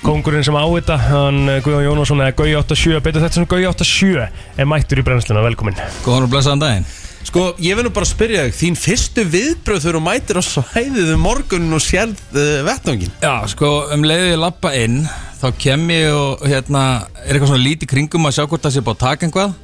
Kongurinn sem á þetta, hann uh, Guðjón Jónasson eða Gauji 87, betur þetta sem Gauji 87 er mættur í brennsluna, velkomin
Góðan og blessaðan daginn
sko, ég vil nú bara spyrja þig þín fyrstu viðbröð þegar þú mætir á svæðið um morgunin og sérð uh, vettvangin
Já, sko, um leiðið ég lappa inn þá kem ég og hérna er eitthvað svona lítið kringum að sjá hvort það sé búið að taka einhvað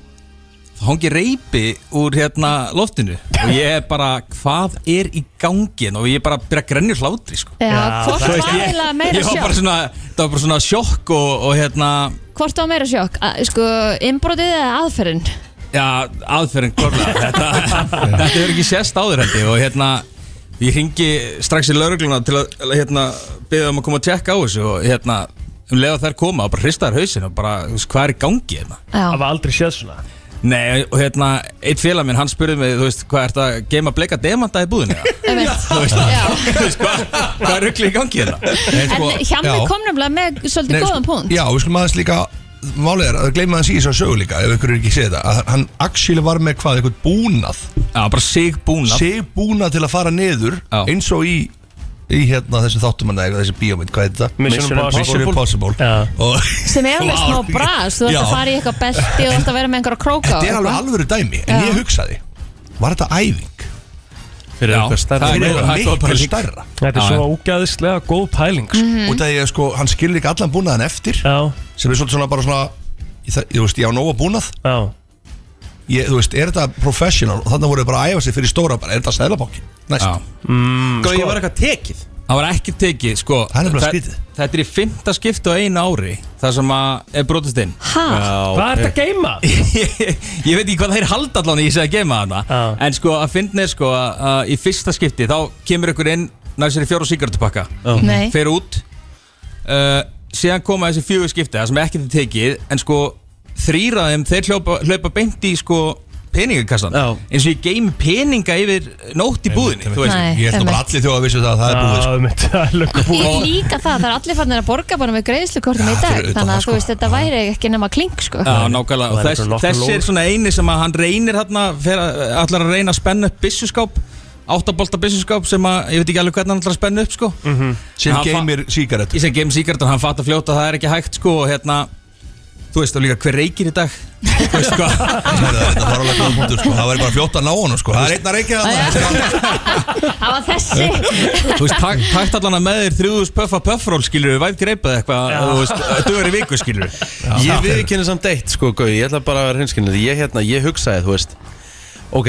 þá hangi reypi úr hérna loftinu og ég er bara, hvað er í gangin og ég er bara að byrja að grenja úr hlátri sko.
Já,
Já,
hvort
það-
var
*laughs*
eiginlega meira
ég var bara
sjokk?
svona, það var bara svona sjokk og, og hérna,
Hvort var meira sjokk? Að, sko, innbrotið eða aðferðin?
já, aðferðin klárlega, þetta, *laughs* þetta er ekki sérst áður held ég og hérna ég ringi strax í laurugluna til að hérna, beða um að koma að tjekka á þessu og hérna, um leiða þær koma og bara hristaðar hausin og bara, þú veist, hvað er í gangi hérna?
Það
Já,
var aldrei séð svona
Nei, og hérna, eitt félag minn, hann spurði mig, þú veist, hvað er þetta að geima bleika demanta í búðinu? eða?"
um
Þú veist,
Já,
*laughs* þú veist, hvað, hvað er ruggli í gangi hérna?
en hjá
sko, já.
mig kom nefnilega með
Nei,
svolítið góðan
sko-
punkt
Já, við skulum aðeins líka Málið er að gleyma hans í þessu sögu líka Ef ykkur er ekki séð þetta að Hann actually var með hvað, eitthvað búnað
Já, bara sig búna
Seg búnað til að fara niður
Já.
Eins og í, í hérna þessum þáttum hann Þessi bíómynd, hvað heitir það?
Mission Impossible.
Mission Impossible
Já.
Og *laughs*
sem er alveg smá bras, þú ætti
Já.
að fara í eitthvað belti og þú ætti að vera með einhverja króka
þetta er alveg alvöru dæmi En
Já.
ég hugsaði, var þetta æfing?
fyrir
Já,
eitthvað stærra
það er-
Fyrir
það er
eitthvað
bara
miklu
líka-
stærra
Þetta er
Já,
svo ógæðislega góð pæling sko.
Mhm.
Út af því að sko, hann skilur ekki allan búnaðan eftir
Já,
Sem er svolítið svona bara svona Ég, þa- ég veist, ég á nóga búnað
já
ég, Þú veist, er þetta professional Og þannig voru þau bara að æfa sig fyrir stóra bara, Er þetta stælabokki? Næst
Já,
sko, ég var eitthvað tekið
Mm, það var ekki tekið, sko
Það er nefnilega
þe-
skrítið.
Þetta er í fymta skipti á einu ári Það sem að er brotist inn
Hæ?
Hvað er þetta að geima?
Ég veit ekki hvað þeir halda allan í þessi að geima þarna
Já.
En sko, að fyndin er sko að, að í fyrsta skipti Þá kemur ykkur inn, næður sér í fjóra sigartupakka
Nei,
Fer út uh, Síðan koma þessi fjögur skipti Það sem er ekkert tekið En sko, þrýra þeim, þeir hlaupa, hlaupa beint í sko peningakassan
Já.
eins og ég geimi peninga yfir nótt í búðinni þú veist.
Nei,
Ég held nú bara
einmitt.
allir þjóða að vissu það að það er búið sko.
Já, mitt, það er löngu búið
Ég líka það, það er allir farnir að borga bara með greiðslukortum
Já,
í dag
fyrir utan
Þannig
það,
að þú
sko.
veist þetta væri ekki nema klink sko
Já, nákvæmlega, og
Það er
þess,
eitthvað lokk og
þessi er
lór.
svona eini sem að hann reynir hérna, allar að reyna að spenna upp byssuskáp, áttabolta byssuskáp sem að, ég veit ekki alveg hvernig hann allar að spenna upp sko,
Sem
Mhm.
Hann fa-
geymir síkarettu
í sem geim síkartan, hann fattar fljóta að það er ekki hægt sko og hérna, þú veist, og líka hver reykir í dag þú veist hvað
Heyrðu, þetta var alveg góð punktur sko. það væri bara fljótt að ná honum sko. það er einn að reykja það
*laughs* Það var
*laughs*
þessi
þú veist, tak, takt allan að með þér þrjúðus pöffa pöffról skilur við væp greipað eitthvað þú veist, dugur í viku skilur
Ég viðkynna samt eitt sko Gauði, ég ætla bara að vera hinskynna Ég, hérna, ég hugsaði, þú veist Ok,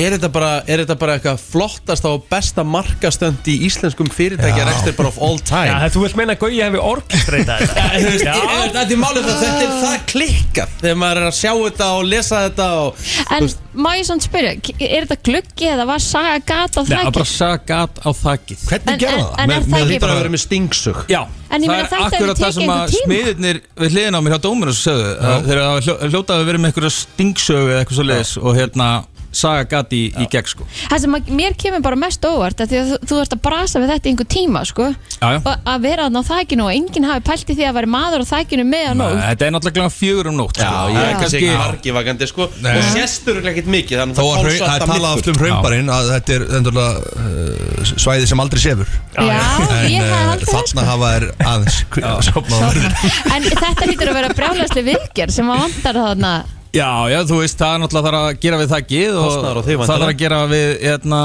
er þetta bara, er þetta bara eitthvað flottasta og besta markastönd í íslenskum fyrirtækja rekstur bara of all
Já,
time
það- þú vilt meina að Gauja hefði orkestreita þetta
Þú veist,
Já.
ég- ég- Þetta er málið það, þetta er það klikka Þegar maður er að sjá þetta og lesa þetta og
En má ég svona spyrja, er þetta gluggi eða var saga gata á
Nei, að
þræki?
bara sagat á þakið
En-
hvernig gerða
en-
það?
en er
Með-
það
með-
Það er bara að
bara-
vera með stingsug
En
Já,
ég
það
meina,
er
þetta hefur
akkurat það
tekið
sem
einhvern
að
tíma.
smiðirnir við hliðin á mér hjá dóminu sögðu, að þegar það var hljó- hljótað að vera með einhverja stingsögu eða eitthvað svo leiðis og hérna saga gati í, í gegn sko
Það sem að- mér kemur bara mest óvart að því að þú, þú ert að brasa við þetta í einhver tíma sko,
Já, já.
og að vera þarna á þækinu og enginn hafi pælt í því að vera maður á þækinu með hann og
Þetta er náttúrulega klukkan fjögur um nótt sko.
Já,
Ég er
ég kannski
kannski
ekki margivagandi sko
Nei.
Og sestur ekkert mikið Þannig
Þó að hraun-
hálfsvart
það er
af
talað
myrkur.
sko.
oft um hraunbarinn að þetta er endurlega uh, svæði sem aldrei sefur
Já, ég
en
hafði
uh,
haldið það sko.
þarna hafa þær aðeins kvi- sofnað á verðinni.
En þetta hýttur að vera brjálæsli viðgerð sem að vantar þarna
Já, já, þú veist, það er náttúrulega þarf að gera við þakkið og
Kostnaður á því,
það þarf
væntanlega.
að gera við hérna,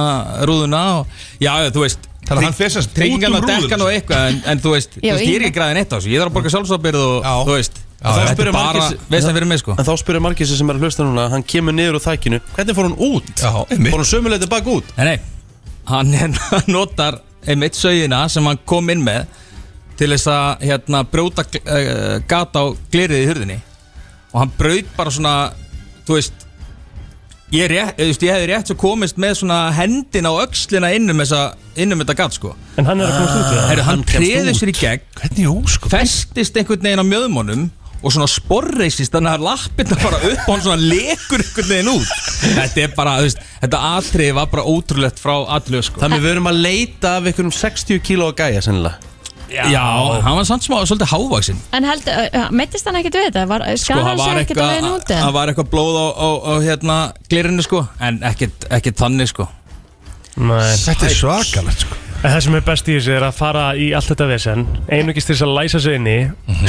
rúðuna og, Já, já, þú veist
Þannig að hann fer sem sagt út
Tryggingan
um
og
rúður.
dekkan og eitthvað en, en þú veist,
Já,
þú veist ég er
ég-
ekki græðin eitt á þessu Ég þarf að borga sjálfsvapirð og
Já.
þú veist
Já,
Þetta
spyrja
er bara
margir-
vestan fyrir mig sko
En þá spyrir Markis sem er að hlusta núna Hann kemur niður úr þækinu Hvernig fór hann út?
Já, einmitt.
fór hann sömuleiti bak út?
Nei, nei, *laughs* hann hérna notar einmitt sögina sem hann kom inn með til þess að hérna brjóta gl- eh, gat á glirið í hurðinni og hann braut bara svona þú veist ég, er rétt, ég, veist, ég hefði rétt svo komist með svona hendin á öxlina innum, þessa, innum þetta gat sko
En hann er að komast út við það
Heru, hann
hann kemst
treður
út.
sér í gegn
hvernig óskum
festist einhvern veginn á mjöðmónum og svona sporreisist þannig að lappirna bara upp og hann svona lekur einhvern veginn út þetta er bara, þú veist, þetta atriði var bara ótrúlegt frá allu sko.
Þannig við erum að leita af einhverjum 60 kíló að gæja sennilega
já, hann var samt smá, svolítið hávaksinn
En held, uh, mettist hann ekkert við þetta? Var,
sko,
skar hann
var
sér ekkert að leiðin út?
það
eða?
var eitthvað blóð á, á, á hérna glirinu sko, en ekkert, ekkert þannig sko
Nei.
þetta er svakalegt sko.
En það sem er best í þessu er að fara í allt þetta vesen Einungist til þess að læsa sig inni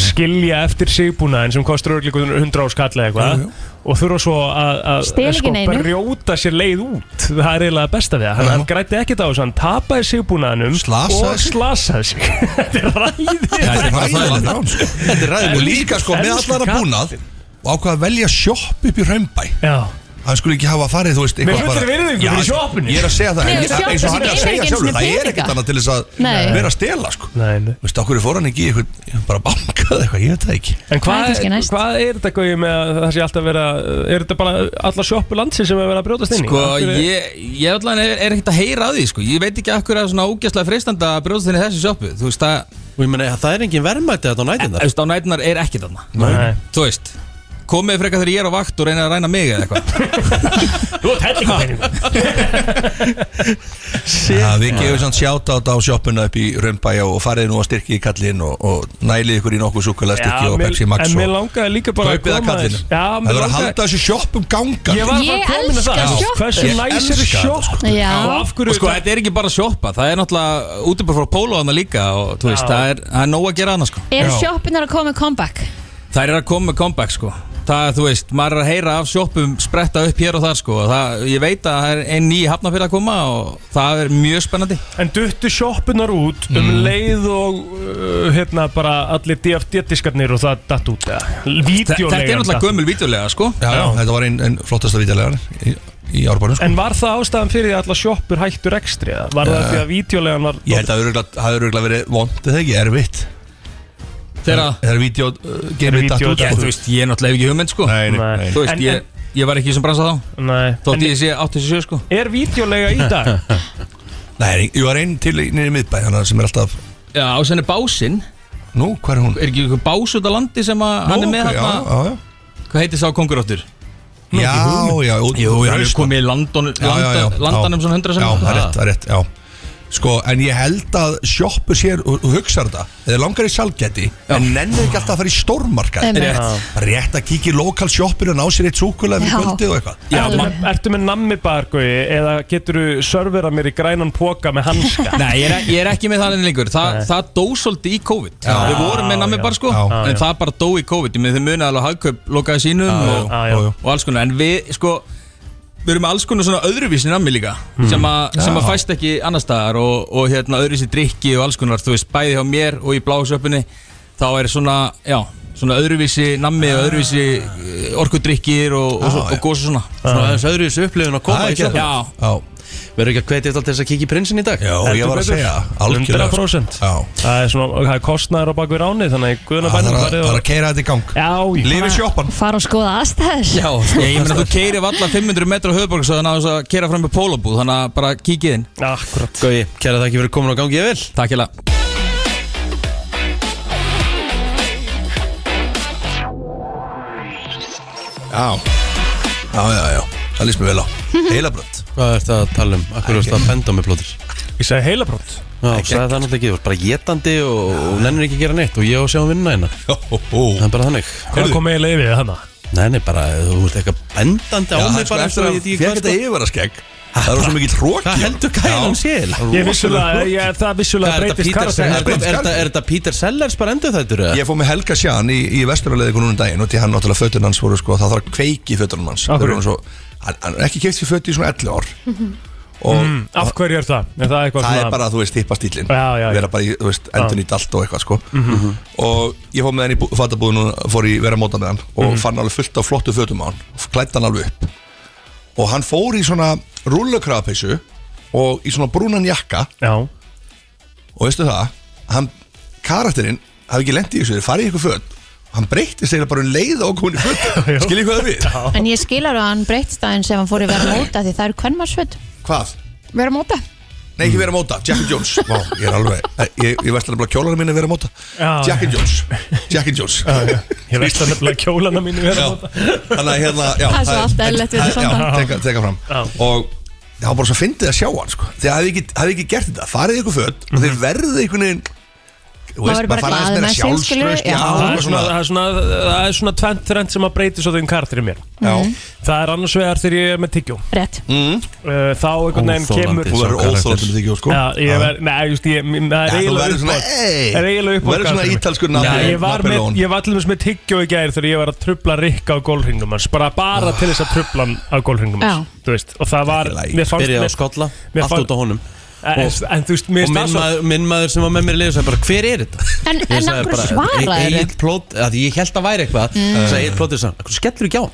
Skilja eftir sigbúnaðin sem kostur örglíku 100 á skall eða eitthvað Og þurfa svo að- að
Stela
að
ekki
sko,
neinu.
brjóta sér leið út Það er eiginlega besta við það Hann, hann grætti ekkert á þessu, hann tapaði sigbúnaðinum
Slasaði
Og
sig.
slasaði sig *laughs* Þetta er ræðið
Þetta er hræðilegt rán sko.
Þetta er
og
ræðið
líka sko með
Elsku
allara
kall.
búnað og ákvað að velja sjopp upp í hraunbæ
Já
hann skulle ekki hafa farið þú veist
Með
eitthvað
fullri virðingu
Já,
fyrir sjoppinu.
ég er að segja það
Nei,
en-
sjopp
eins og hann er
sem
að
geymir
segja
ekki
sjálfur
einu sinni
það er ekkert
peninga.
annað til þess
Nei.
að vera að stela sko
Nei, nei.
Þú veist, okkur fór hann ekki í eitthvað, ég bara bankaði eitthvað, ég veit það ekki.
En
Það er
hvað,
kannski næst.
hvað er þetta gauði með að það sé alltaf vera Er þetta bara alla sjoppu landsins sem er verið að brjótast inn í?
Sko,
Af hverju-
ég, ég allan er, er ekkert að heyra að því sko. Ég veit ekki af hverju það er svona ógæslega freistanda að brjóðast þinn í þessu sjoppu Þú veist, það,
Og ég meina, það er engin verðmætti þetta á
þú
nætinnar
veist, á nætunar er ekki þarna
Nei.
Þú veist, komið frekar þegar ég er á vakt og reyna að ræna mig eða eitthvað
Þú ert hellingu peningum
Ja, við gefum samt sjátt á sjoppuna upp í Römbæja og farið nú að styrki í kallinn og, og nælið ykkur í nokkuð súkulega styrki og Pepsi Max
En mér
og
langaði líka bara
kaupið að kallinu.
Já,
Það
mér
verður að
langaði
halda þessu um sjoppum ganga.
Ég var bara
Ég
komin að
elska
það
sjoppu.
Hversu
Ég
næs
elska
eru
þetta, sko.
sjopp
Já.
Og *laughs* af
Og
hverju
sko, þetta er ekki bara sjoppa, það er náttúrulega útibur frá pólóðana líka og þú veist,
Já.
það er, það er nóg að gera annað sko
Er
Já.
sjoppinar að koma með comeback?
Það er að koma með comeback sko Það, þú veist, maður er að heyra af sjoppum spretta upp hér og þar sko og það, Ég veit að það er einn ný hafna að koma og það er mjög spennandi
En duttu sjoppunar út um
Mm.
leið og uh, hérna bara allir DFD-diskarnir og það datt út eða?
Þe- Þetta er
Vídeóleigan
náttúrulega
datt út.
gömul vídeolega sko
Já, já, þetta var einn ein flottasta vítjalegar í, í árbærum sko.
En var það ástæðan fyrir því að alla sjoppur hættu rekstri? eða? Var það því að vídeólegan var
Ég held að það hafi öruglega verið vond, þetta er ekki erfitt.
Þegar
Það er vítjó, uh,
Er
geimið datt
vídeó
út.
datt
Ég, þú veist, ég er náttúrulega hef ekki hugmynd sko
Nei, nei,
Nei.
nei.
Þú veist,
En- en-
ég, ég var ekki sem bransa þá
Nei
Þótt
En
ég sé 87 sko
er vídeólega í
*laughs*
dag?
Nei, ég var einn til í nýri miðbæ, þannig að sem er alltaf,
Já, og sen er básinn
nú, hvað er hún?
Er ekki einhver bás út á landi sem að hann er
Nú,
með
ok, já,
hérna
já, já.
Hvað heitir sá konguróttur?
Já, já, út-
Jú, hann er
Rausnum.
komið í London,
sko- Já, já, já.
London, Landanum svona hundra sem
Já, það er rétt, það er rétt, já Sko, en ég held að sjoppu sér og, og hugsar þetta, eða langar í salgæti en nennir ekki alltaf að fara í stórmarkað
Einmitt. Já.
rétt að kíkja í lokal sjoppur og ná sér eitt súkulega
Já.
við kvöldið og eitthvað
Já,
Alveg.
ma- ertu með nammibargui eða getur þú servera mér í grænan póka með hanska?
Nei, ég er, e- ég er ekki með það enn lengur Þa, Það dó svolítið í COVID Við vorum með nammi
já.
bara sko
Já.
En
Já, já.
það bara dó í COVID Ég með þeim munið alveg að hagkaup lokaði sínum og,
Ah, já, já.
og, og alls konar En við sko Við erum með alls konar svona öðruvísi nammi líka
Mm.
sem, að, sem að fæst ekki annar staðar og, og hérna öðruvísi drikki og alls konar Þú veist bæði hjá mér og í blásöpunni Þá er svona, já Svona öðruvísi nammi og öðruvísi eh, orkudrykkir og, og, og,
Já, já.
og gósa svona
Svona aðeins
*laughs*
öðru þessu upplifun að koma
Það
í
er ekki
sjoppuna
Já,
Já,
Verður ekki að hvetja þetta til þess að kíkja í prinsin í dag?
já og ég var að segja algjörlega sko.
100%
Já,
Það er svona, það er kostnæður á bakvið ráni þannig guðna
það
um
bænum
er að, það er að keira þetta í gang
Já,
Lifi sjoppan
Fara og skoða aðstæður
Já, ég meina þú keirir valla 500 metra höfuborgsöðan á þess að keira fram með pólabúð þannig að bara kíkið inn
akkurat
Gói, kæra þakki fyrir komin á gangi ég vil
Takk hella
Já, já, já, já Það líst mér vel á Heilabrönd
Hvað er það að tala um? Akkur er það að benda á mig blóður?
Ég segi heilabrótt
Já, sagði það náttúrulega ekki, þú varst bara getandi og, og nennir ekki að gera neitt og ég á að sjá um vinna hérna Það er bara þannig
Hvað kom ég leiðið hana?
Nei, nei, bara, þú ert eitthvað bendandi á
Já,
mig
sko,
bara
eftir að
eftir ég veit
ég
ekki
fekk
hvað
þetta
sko
yfirvaraskegg Það var svo mikið hróki
Hvað heldur um kælan sél?
Ég vissulega, ég, það vissulega
Hvað er þetta Peter Sellers? Er
breytist karakter sko.
er þetta- er þetta Peter Sellers bara endur þættur? eða?
Ég fór með Helga Sján í, í vesturarleðingu núna um daginn og því hann náttúrulega fötun hans voru sko, það þarf að kveiki fötunum hans
Af
Þeir
hverju?
eru svo, hann, hann er ekki keift sér fötu í svona 11 ár
Mhm.
og
Af hverju er það? Er það eitthvað
það er
svona
bara, þú veist, hippa stílin
Já, já, Mhm. já.
vera bara, í, þú veist, endun í dalt og eitthvað sko. og ég fór með hann í fattabúðun og fór í vera móta með hann og
Mhm.
fann alveg fullt af flottu fötum á hann og klætt hann alveg upp og hann fór í svona rúllukrafapeysu og í svona brúnan jakka
Já,
og veistu það, hann karakterinn hafi ekki lendið í þessu, þeir farið í eitthvað föt og hann breytist þeirra bara um leið og komin í
*laughs*
föt skiljið hvað það við?
En ég skilar að hann breytist aðeins ef hann fór í vera móta því það eru kvennmarsföt
Hvað?
Vera móta
Nei, ekki vera móta, Jack and Jones Vá, ég er alveg, ég, ég veist alveg kjólarinn minni vera móta
Já.
Jack and Jones Jack and Jones
ég veist það nefnilega kjólana mínu vera
Já,
móta
þannig að hérna já,
Það er svo allt eðlilegt við þetta
Já,
samband.
teka- teka fram
Já.
og það var bara svo fyndið að sjá hann sko. því að hafi ekki, hafi ekki gert þetta, farið í ykkur föt og
Mhm.
þeir verðið einhvern veginn þú
Maður er bara
fara aðeins
glaður
meira
með sig, skilur við,
sjálfstraust,
já.
já,
Það
og
er svona,
svona-
það er svona, það er svona tvent þrend sem að breyti svo þeim karakter í mér
já.
Það er annars vegar þegar ég er með tyggjó
Rétt
Uh, Þá einhvern veginn
Óþolandi.
kemur
Þú verður
Sá karakter.
óþólandi með þig, Jósko
sko. Já, ég verð, nei, just, ég, mér- það er
Þú
eiginlega
verður svona,
uppáhalds-
ei
Það er
Þú
eiginlega
verður svona
uppáhalds karakterinn minn.
ítalskur
Já, ég var, með,
Napoleon
ég var allir með tyggjó í gæðir þegar ég var að trubla Rikka á gólhringnum hans bara,
Ah.
bara til þess að trubla hann á gólhringnum hans
Já.
Þú veist, og það var
Þetta er í lagi.
mér fannst,
Byrjaði á
mér,
skolla,
mér
allt
fann-
út á honum
en, en þú veist, mér
Og minn
finnst það svo
maður, minn maður sem var með mér í liðu sagði bara Hver er þetta?
En,
Ég
en
sagði
akkur
bara,
svaraði
Egill
þeir Mm.
plót- að Ég held að væri eitthvað Það sagði eitt plótið sann Akkur skellur ekki á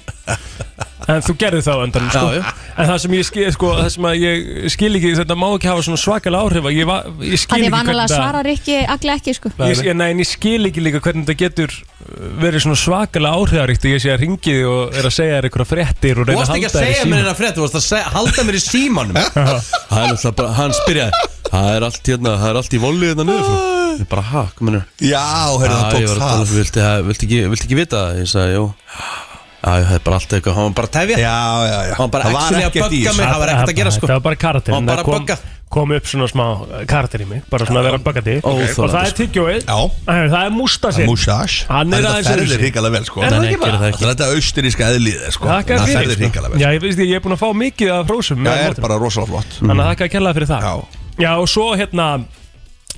hann
en þú gerði það á endanum sko.
Já, já.
en það sem ég skil, sko, það sem að ég skil ekki þetta má ekki hafa svona svakalega áhrif að ég, va, ég skil
Hann
ekki
er vanalega að
það-
svara Rikki allir ekki sko
Ég, ég, nei, en ég skil ekki líka hvernig þetta getur uh, verið svona svakalega áhrifaríkt og ég sé að ringi þig og er að segja þér einhverja fréttir
Þú
og reyna að
varst ekki
halda
að
þér í
segja mér
síma
hérna frétt Þú varst að segja, halda mér í
*laughs*
símanum Það er náttúrulega bara, hann spyrjaði Það er allt hérna, það er allt í volið hérna niður frá." Ég bara, ha, hvað mennur
Já, heyrðu,
Já,
það
ég
tók
var að
það
tala um, viltu, ha- viltu, ekki, viltu ekki vita það? Ég sagði, jú Já, ég hafði bara allt eitthvað, hann var bara að tefja
Já, já, já
Hann var bara actually að bögga mig, það var ekkert að gera sko
Það var bara karakter
Hann var bara að
kom,
bögga.
kom upp svona smá eh, karakter í mig Bara svona að vera að bögga þig
Óþolandi,
Og það er
sko.
tyggjóið
Já.
Það er mústasinn
Músasj
Hann er aðeins
Það
öðruvísi.
ferðir hrigalega vel, sko
Er það
Nei,
ekki
gera
bara?
það
Það
ekki
er þetta austuríska eðlið, sko
Þakka
Það
fyrir
ferðir
sko.
hrigalega vel
Já, ég Mm. veist ég, ég er búin að fá mikið af hrósum
Já,
með
er
mótum.
bara rosalega flott
Þannig að þakka að kella fyrir það
Já
Já, og svo hérna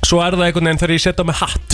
Svo er það einhvern veginn þegar ég setja á mig hatt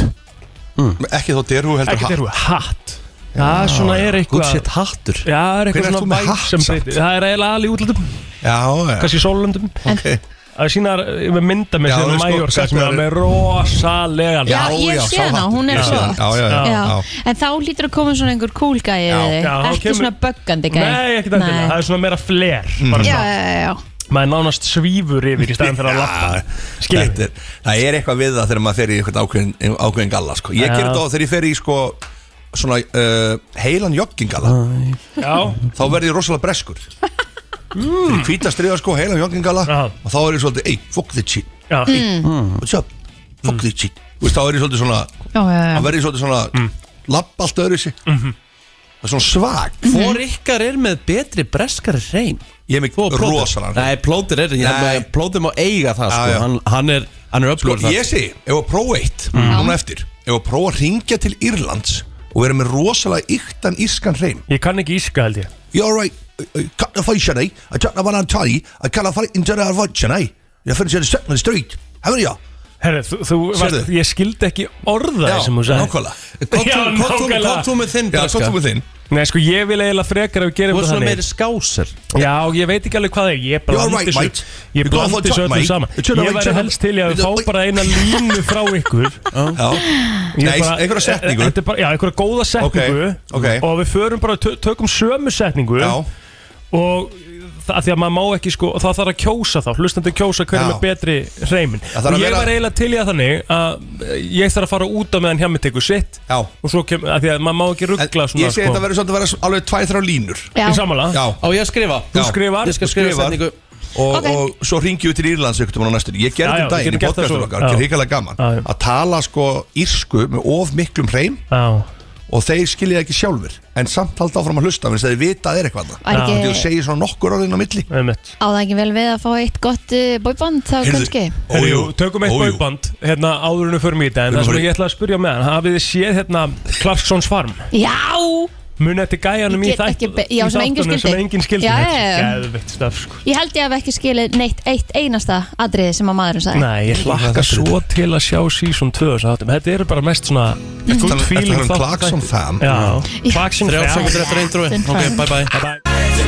Ekki þó derhú heldur
Ekki
hatt.
þegar þú, hatt Já, svona er
Good
eitthvað
shit hattur
Já, það
Hver
er eitthvað
ert þú
svona
með
væg
hatt
sem
samt?
breytir Það er eiginlega alveg útlöndum,
Já, já
kannski sólöndum
Ok
Það sínar með mynda með
Já, það
sér á
er sko-
Mallorca sem er
setnaður-
með rosalega
Já, ég
já,
sé
sá
hana,
hattinn.
hún er
Ég sé
flott.
hana, Já, já, já
Já,
já.
en þá lítur að koma svona einhver cool gæi
Já.
yfir þig.
Já, þá
Ekki
kemur-
svona böggandi gæi
Nei, ekkert endilega, það er svona meira fler bara
Já, já,
svona,
já, já
maður er nánast svífur yfir í staðan fyrir að lappa Skiljum.
Þetta er- Það er eitthvað við það þegar maður fer í eitthvað ákveðin, ákveðin galla sko. Ég
Já.
ger þetta á þegar ég fer í sko, svona uh, heilan
Ah.
joggingalla
Já,
þá verð ég rosalega breskur mm. hvítastriða sko, heilan joggingalla
Já.
og þá er ég svolítið, ey, fuck that shit
já,
Hmm.
what's up, fuck that shit Þú veist, þá er ég svolítið svona,
Já, já, já.
þá verð ég svolítið svona mm. lapp allt öðru sig mm það er svona svag
Hvor ykkar er með betri breskar reym?
Ég er með rosalega
Nei, plóter er, ég er
Nei.
með, plóter má eiga
Já,
það sko.
já.
hann, hann er, hann er
Sko,
öflugur það
ég segi, ef að prófa eitt núna eftir, ef að prófa að ringja til Írlands og vera með rosalega yktan ískan hreim
Ég kann ekki íska held ég
You're right, uh, cut the fish today I cut the one on tie, I cut the fight into the watch and I, I finished the second street haven't you?
Herre, þú, þú varst,
Sérðu?
ég skildi ekki orða það sem þú sagði
nákvæmlega
Hvað
Já,
þú- hvað þú-
nákvæmlega.
Hvað þú með þinn
Já, sko. svo
breska?
tókum við þinn
Nei, sko, ég vil eiginlega frekar að við gerum
Þú er
þetta
svona
þannig
meiri skáser
Já, ég veit ekki alveg hvað það er
You're
Ég blandi
right,
svo
mate.
Ég
You go for a
blandi svo
jog,
öllum
mate.
saman
You turn
Ég
away,
væri
turn away.
helst til í að við
You
fá
don't-
bara eina línu frá
*laughs*
ykkur Ég
Nei,
bara- Eh,
einhverja setningu.
Þetta er bara, já, einhverja góða setningu
Ok, ok.
Og við förum bara, tö- tökum sömu setningu
Já,
og það, af því að maður má ekki sko og það þarf að kjósa þá, hlustandi kjósa hverjum
Já.
er betri hreimin
Það þarf
og
að
ég
vera-
var eiginlega til í að þannig að eh, ég þarf að fara út á meðan hjá mig tekur sitt
Já.
og svo kem, af því að maður má ekki
en
ruggla svona sko. Ah.
ég segi þetta verður svolítið að vera s- alveg tvær, þrjá línur
Já,
í samanlega
Já,
Á ég að
Já.
skrifa
þú skrifar
Ég skal
Þú
skrifa
skrifar.
setningu
og,
Ok.
og svo ringjum við til Írlands ykkur tímann á næstunni Ég
Já,
gerði þetta
já,
um
við
daginn
getum
í
gert það
podcastum
svo.
okkar,
Já.
ekki ríkilega gaman
Já, já.
að tala sko írsku með of miklum hreim
Já.
og þeir skilja það ekki sjálfur en samt halda áfram að hlusta þannig að þeir vita að það er eitthvað
Var
þarna.
ekki-
Þegar þú segir svona nokkur orðin á milli
einmitt.
á það ekki vel við að fá eitt gott uh, bóiband þá
Heyrðu,
kannski
ójú,
Herru, tökum eitt
ójú.
bóiband hérna áður en við förum í þetta en það
Tökum
sem
bara í-
ég ætlaði að spyrja á meðan hafið þið séð hérna Clarksons Farm
Já,
munið eftir gæjanum í
Ég get
þætt
ekki be- já,
í
sem enginn
þáttunum
skildi.
sem engin skildi
Já,
þetta
já, já.
er geðveikt stöf sko
ég held ég hef ekki skilið neitt eitt einasta atriði sem að maðurinn sagði
Nei, ég hlakka svo til að sjá season 2 þessum þáttum. Þetta eru bara mest svona
Ertu
good
að- ertu að
feeling
tala um
þátt- sko.
Clarkson Fam?
Já, Clarkson
Þrjár
Fam
sekundur eftir eindrúi Ok,
Fine.
bye bye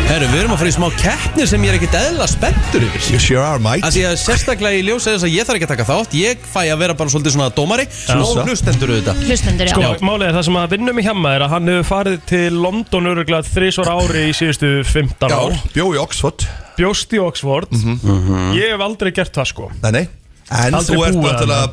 Herru, við erum að fara í smá keppni sem ég er ekkit eðla spenntur yfir
You sure are mate
Af því að sérstaklega í ljósa þess að ég þarf ekki að taka þátt Ég fæ að vera bara svolítið svona dómari Og hlustendur auðvitað
Hlustendur, já
Sko, málið er það sem að vinnum í hjemma er að hann hefur farið til London öruglega þrísvar ári í síðustu 15
Já,
ár
bjó í Oxford
Bjóst í Oxford Ég hef aldrei gert það sko
Nei, nei En
Aldrei
þú ert
búið
náttúrulega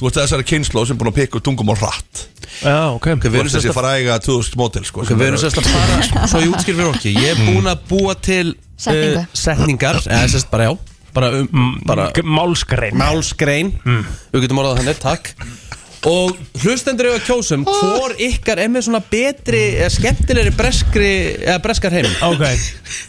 Þú ert þessari kynnslóð sem er búin að pikka upp tungumál hratt
Já, ok
Þú
Við
ert
erum
þessi
sérstaklega
fræga 2000 mótil sko
Ok, við erum sérst að fara sko, Svo ég útskýr fyrir okkur Ég er búinn að búa til
Setningu.
eh, Setningar Eða sérst bara já Bara, um, bara
G- Málskrein
málsgrein Við getum orðað þannig, takk Og hlustendur eru að kjósum Hvor ykkar er með svona betri Eða skemmtilegri breskri Eða breskar heim
Ok,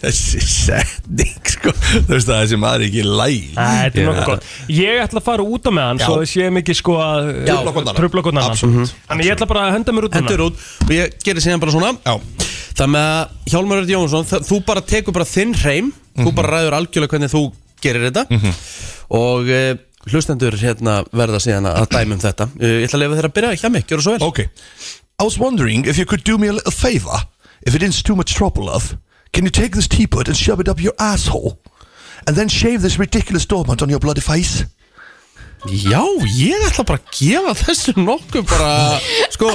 Þessi setning sko Þú veist að þessi maður er ekki læg
Æ, þetta er nokkuð gott Ég ætla að fara út á með hann
Já.
svo þess ég mikið sko að
Já.
trubla okkur annan
Absolutt.
Þannig ég ætla bara að henda mér út
Hendur út Og ég gerir síðan bara svona
Já.
Það með að Hjálmar Örd Jónsson þa- Þú bara tekur bara þinn hreim Þú bara ræður algjörlega hvernig þú gerir þetta Og uh, hlustendur hérna verða síðan að dæmi um þetta uh, Ég ætla að lefa þér að byrja hjá mig, gjörðu svo vel
Okay. I was wondering if you could do me a little favor. If it isn't too much trouble, love, can you take this teapot and shove it up your asshole? And then shave this ridiculous dormant on your bloody face?
Já, ég ætla bara að gefa þessu nokkuð bara Sko,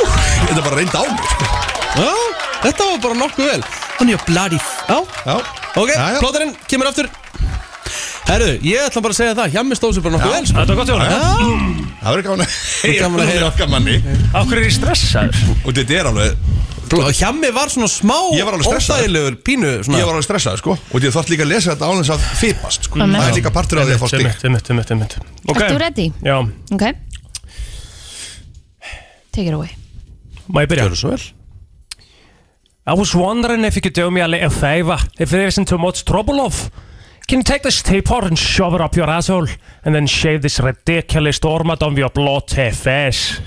Þetta er bara reynd á mig. sko.
já, þetta var bara nokkuð vel Hann er bloody f- Já,
Já.
ok,
Já, já.
plóterinn kemur aftur Herðu, ég ætla bara að segja það Hjá mig stóð sér bara nokkuð vel sko.
Þetta var gott hjá hann
Já,
Það verður gaman að
Gaman að heyra.
okkar manni.
Akkur er ég stressaður
Og þetta er alveg,
Hjammi var svona smá
Ég var alveg stressaður.
óþægilegur pínu svona.
ég var alveg stressað, sko. Og ég þarf líka að lesa þetta án þess að fipast, sko.
Amen.
Það er líka partur af því að fá stík.
Einmitt, einmitt, einmitt, einmitt Ok.
Ertu ready?
Já,
Ok Take it away
má ég byrja?
Gjörðu svo vel
I was wondering if you could do me a little favor. If there isn't too much trouble, love. Can you take this teapot and shove it up your asshole and then shave this ridiculous dormat on your bloody face?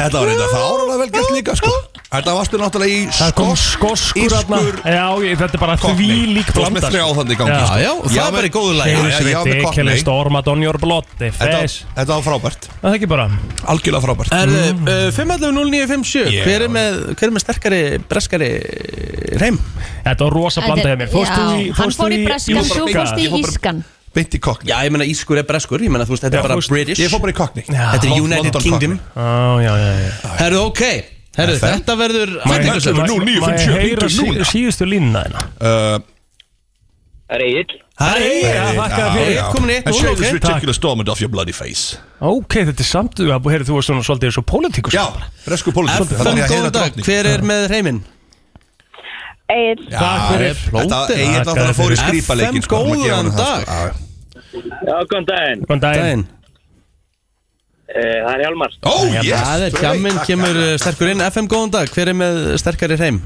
Þetta var reynda fáralega vel gert líka, sko. Þetta varstu náttúrulega í
Það kom
skos,
skoskur
írskur
þarna. Já, ég, þetta er bara því lík
Þú varst með þrjá
blandar.
þannig í gangi,
Já.
sko.
Já, já, og það
Já,
er bara
men-
í góðu
Já,
lagi
já,
Shave
já,
this
ég var með
ridiculous
Cockney.
dormat on your bloody face.
Þetta, þetta var frábært,
Er Það er ekki bara.
algjörlega frábært
Herðu, uh, 5.11.09.57
Yeah.
hver, er með- hver er með sterkari breskari hreim?
Þetta var rosa blandað hjá mér. Fórstu
Já,
í...
Hann
fórstu
fór í breskan, þú
Íska?
fórst í
Ég fór bara-
ískan
Beint í kokni
Já, ég meina ískur er breskur, ég meina þú veist, þetta
Já,
er bara
þú veist,
British
Ég fór bara í kokni
Þetta er United
London
Kingdom
Cockney.
Á, já, já, já.
Herðu, ok, herðu,
FM.
þetta verður
Má ég-
Þetta er-
má-
09,
má ég
57,
heyra
hringdu núna.
sí- síðustu línuna þína?
uh, eh,
Það er
Nei,
eiginlega
já, þakka
Ég
þér fyrir.
er komin í eitt
And
núna,
shave this
ok.
ridiculous dormant off your bloody face
Ok, þetta er samt, þú heyrðu, þú varst svona svolítið eins og pólitíkus
Já, resku pólitík
FM, góðan dag, hver er með hreiminn?
Egil,
Takk fyrir
Þetta
Plóter.
eigin að það fór í sko,
FM,
skrýpaleikin
góðan dag.
Já, góðan daginn.
Góðan daginn
Daginn
Eh, Það er Hjalmar
Ó,
Það
Oh, yes,
er tjamminn kemur eh, sterkur inn FM góðan dag, hver er með sterkari hreim?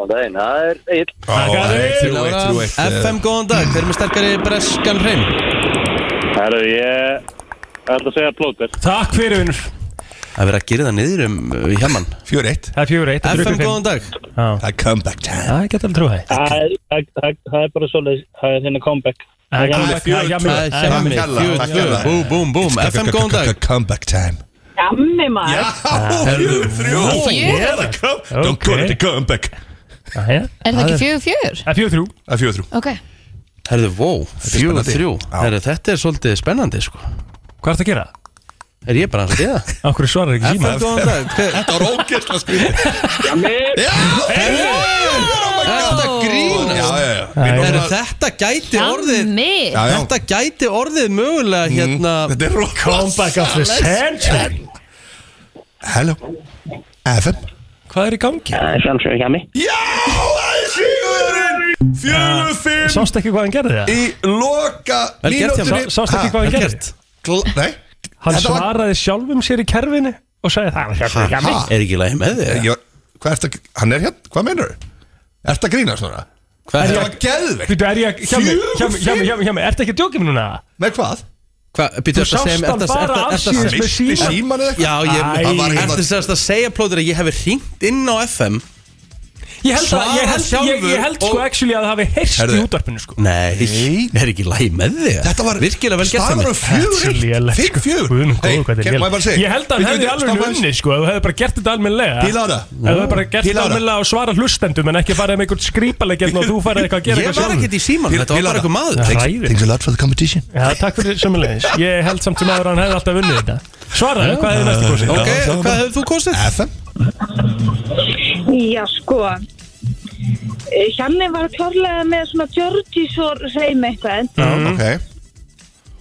Og það er, það er Egil
Oh,
Lára,
eh,
FM góðan dag, hver er með sterkari breskan hreim?
Það er ég Það er að segja plóter
Takk fyrir vinnur
Það er verið að gera það niður um uh, hjaman
Fjör eitt
Það er fjögur eitt
FM góðan dag
dag
Það er comeback time
Það geta alveg trúið það
Það er bara svolítið Það er hérna comeback
Það er comeback, það er
Það er
hjá mig.
hjammi,
Kjalla,
fjögur,
takk
tvö,
kjalla.
bú, búm, búm FM góðan dag
Comeback time oh,
Gammi maður
Fjör, þrjú
Fjögur.
Það er come- Oh, Don't call it a comeback
Já, já.
Er það ekki fjögur fjögur?
Það er fjögur þrjú
Það er fjör, þrjú
Ok,
Herðu, wow, fjögur,
spennandi.
þrjú
Já.
Herðu, þetta er svolítið spennandi, sko
Hvað ertu að gera?
Er ég bara að segja það?
Akkur svarar ekki síma
FM góðan dag, hver,
Þetta var ógæsla skrítið Já, oh
þetta
já,
grínast
já, já Við
Herðu,
núna-
þetta gæti orðið
gammi
Já, já.
Þetta gæti orðið mögulega hérna
Þetta er Mm. rock Comeback
Back of the century
Hello FM
Hvað er í gangi?
*laughs* Það er sjálfsögur hjá mig
Já, það er sigurinn Fjögur, fimm
Sást ekki hvað hann gerði það?
Í loka
Vel gert hjá
Sá-
mér.
mínútunni
Sást
Ha,
ekki hvað hann
vel
gerði?
gert.
gl- Nei
Hann
Þetta var-
svaraði sjálfum sér í kerfinu og sagði það var sjálfsögur hjá mig
Ha?
Er ekki læg með þig?
Ég- Hvað ert að Hann er hérna Hvað meinar þau? Ert að grína svona?
Hvað
Þetta
er
var geðveikt
Býttu, er ég hjá mig, hjá mig, hjá mig, hjá mig, hjá mig Ertu ekki að djóka mér núna?
Með hvað?
Hvað, býttu
Þú
ertu að segja
sást
mér-
hann
ertu að-
bara
ertu- ertu að-
afsíðis með
Misti
síma
síman eða
Já,
eitthvað?
ég
Það var
Ertu
hérna
sem sagt að segja plóður að ég hef hringt inn á FM
Ég held að, ég held, ég, ég held sko
Svarar
actually að það hafi heyrst í
Herðu.
útvarpinu sko
Nei, er ekki læg með þig?
Þetta var
virkilega vel gert hjá
Staðan
mér.
var fjögur
Þetta er
eitt.
lélegt,
Fikk
sko.
fjögur
Guð minn
Hey,
góður, hvað þetta er
Má ég
lélegt.
bara segja
Ég held að hann hefði alveg nunni sko Ef þú hefði bara gert þetta almennilega Ef
Píla á það
þú hefði bara gert
Píla á
þetta
það.
almennilega og svara hlustendum En ekki farið með einhvern skrípalegjörn og þú farið eitthvað að
Ég
gera
var
eitthvað
ekkert í síman,
Píl-
þetta var bara
pílaða.
eitthvað maður
sjálfur.
Þegar-
Hræðilegt.
Thanks a lot for the competition
Já, takk fyrir sömulegis. Ég held samt sem aður að hann hefði alltaf vunnið þetta. Svaraði, hvað hefði næstu kosið?
það
Ok,
var
hvað
bara-
hefur þú kostið?
FM
Já sko Eh, Hjalli var klárlega með svona Georgies og reym eitthvað
Ok
en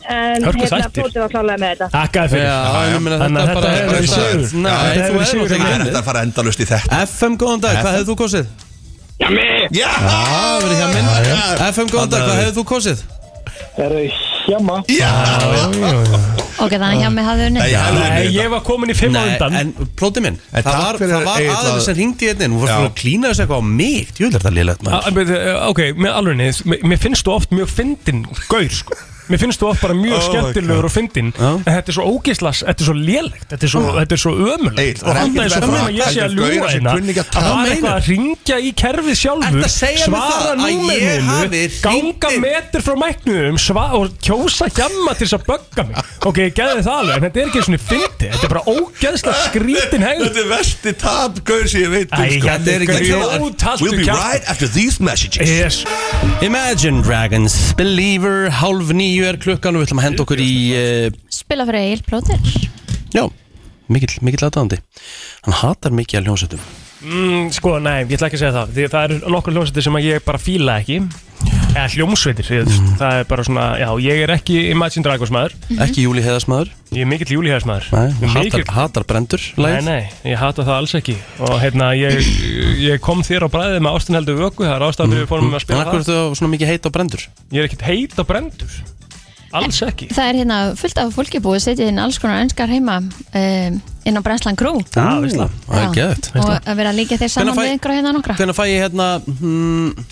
Mm. Hörku
hérna
sættir.
Plóti var klárlega með þetta
Takkaði
Já,
fyrir.
ég meina
Þannig
þetta
að
er
þetta
bara
hefur verið sigur.
Nei, þú
Þetta hefur verið
hefur
sigur
náttúrulega
hjá
ekki
Það er
unnið.
þetta að fara endalust í þetta
FM, góðan dag, hvað hefur þú kostið?
Já
Það hefur verið hjá minn FM, góðan dag, hvað hefur þú kostið?
Ok, þannig að hjá mig hafði unni
Nei, ég hefði
Nei,
unnið þetta.
ég var komin í fimm á
Nei,
undan.
en plóti minn
En
Það
takk
var,
fyrir
það var
Egill
aðeins
að-
sem hringdi hérna inn Hún var
Já.
fyrir að klína þessu eitthvað á mig Jú, þetta er lélegt
A-
maður
en byrju, eh, Ok, með alveg niður, mér finnst þú oft mjög fyndin gaur, sko. Mér finnst þú oft
*laughs*
bara mjög
Oh my
skemmtilegur og fyndin,
Já. Ah.
en þetta er svo ógislas, þetta er svo lélegt, þetta er svo, þetta er svo ömulegt.
Egill,
Og
það er
hann er
ekkert
svo
verra
fram að ég sé að
heldur gaurar
ljúa
sem
hérna,
kunni ekki að
að
tala.
það
Hvað
er eitthvað að ringja í kerfið
Ertu
sjálfur,
að segja mér það að ég
svara
hafi
númerinu,
hringt
ganga
inn?
metur frá mæknum sva- og kjósa hjamma til þess að bögga mig. Ok, ég geði það alveg, en þetta er ekki svona fyndið, þetta er bara ógeðsla skrítin hegð.
Þetta er versti tab Gaur sem ég veit um,
Æ,
sko.
hérna er
Þetta er-
grjóthaltur
We'll be
kjaftur.
right after these messages
Yes.
Imagine Dragons, Believer, hálf nýju er klukkan og við ætlum að henda okkur í eh,
Spila fyrir Egil Plóter
Já, mikill, mikill aðdáðandi Hann hatar mikið að hljómsveitum
Mm, sko, nei, ég ætla ekki að segja það Því að það eru nokkur hljómsveitir sem að ég bara fíla ekki Eða hljómsveitir, ég, mm. það er bara svona Já, ég er ekki Imagine Dragons maður
Ekki Júli Heiðarsmaður
Ég er mikill júlíhæðis maður
Nei,
Ég er
hatar, hatar brendur
Nei, nei, ég hata það alls ekki Og hérna, ég, ég kom þér á bræðið með Ástin heldur vöku Það er ástæðan fyrir við fórum að
En
spila
akkur
það
þú svona mikið heit á brendur
Ég er ekkert heit á brendur Alls ekki
Það er hérna fullt af fólki búið að setja inn alls konar enskar heima um, inn á Brenslan Crew
Já, veist það
Það er gett
Og að vera að líka þér saman
Hvenær fæ-
við einhverja hérna nokkra
Hvernig fæ ég hérna hmm,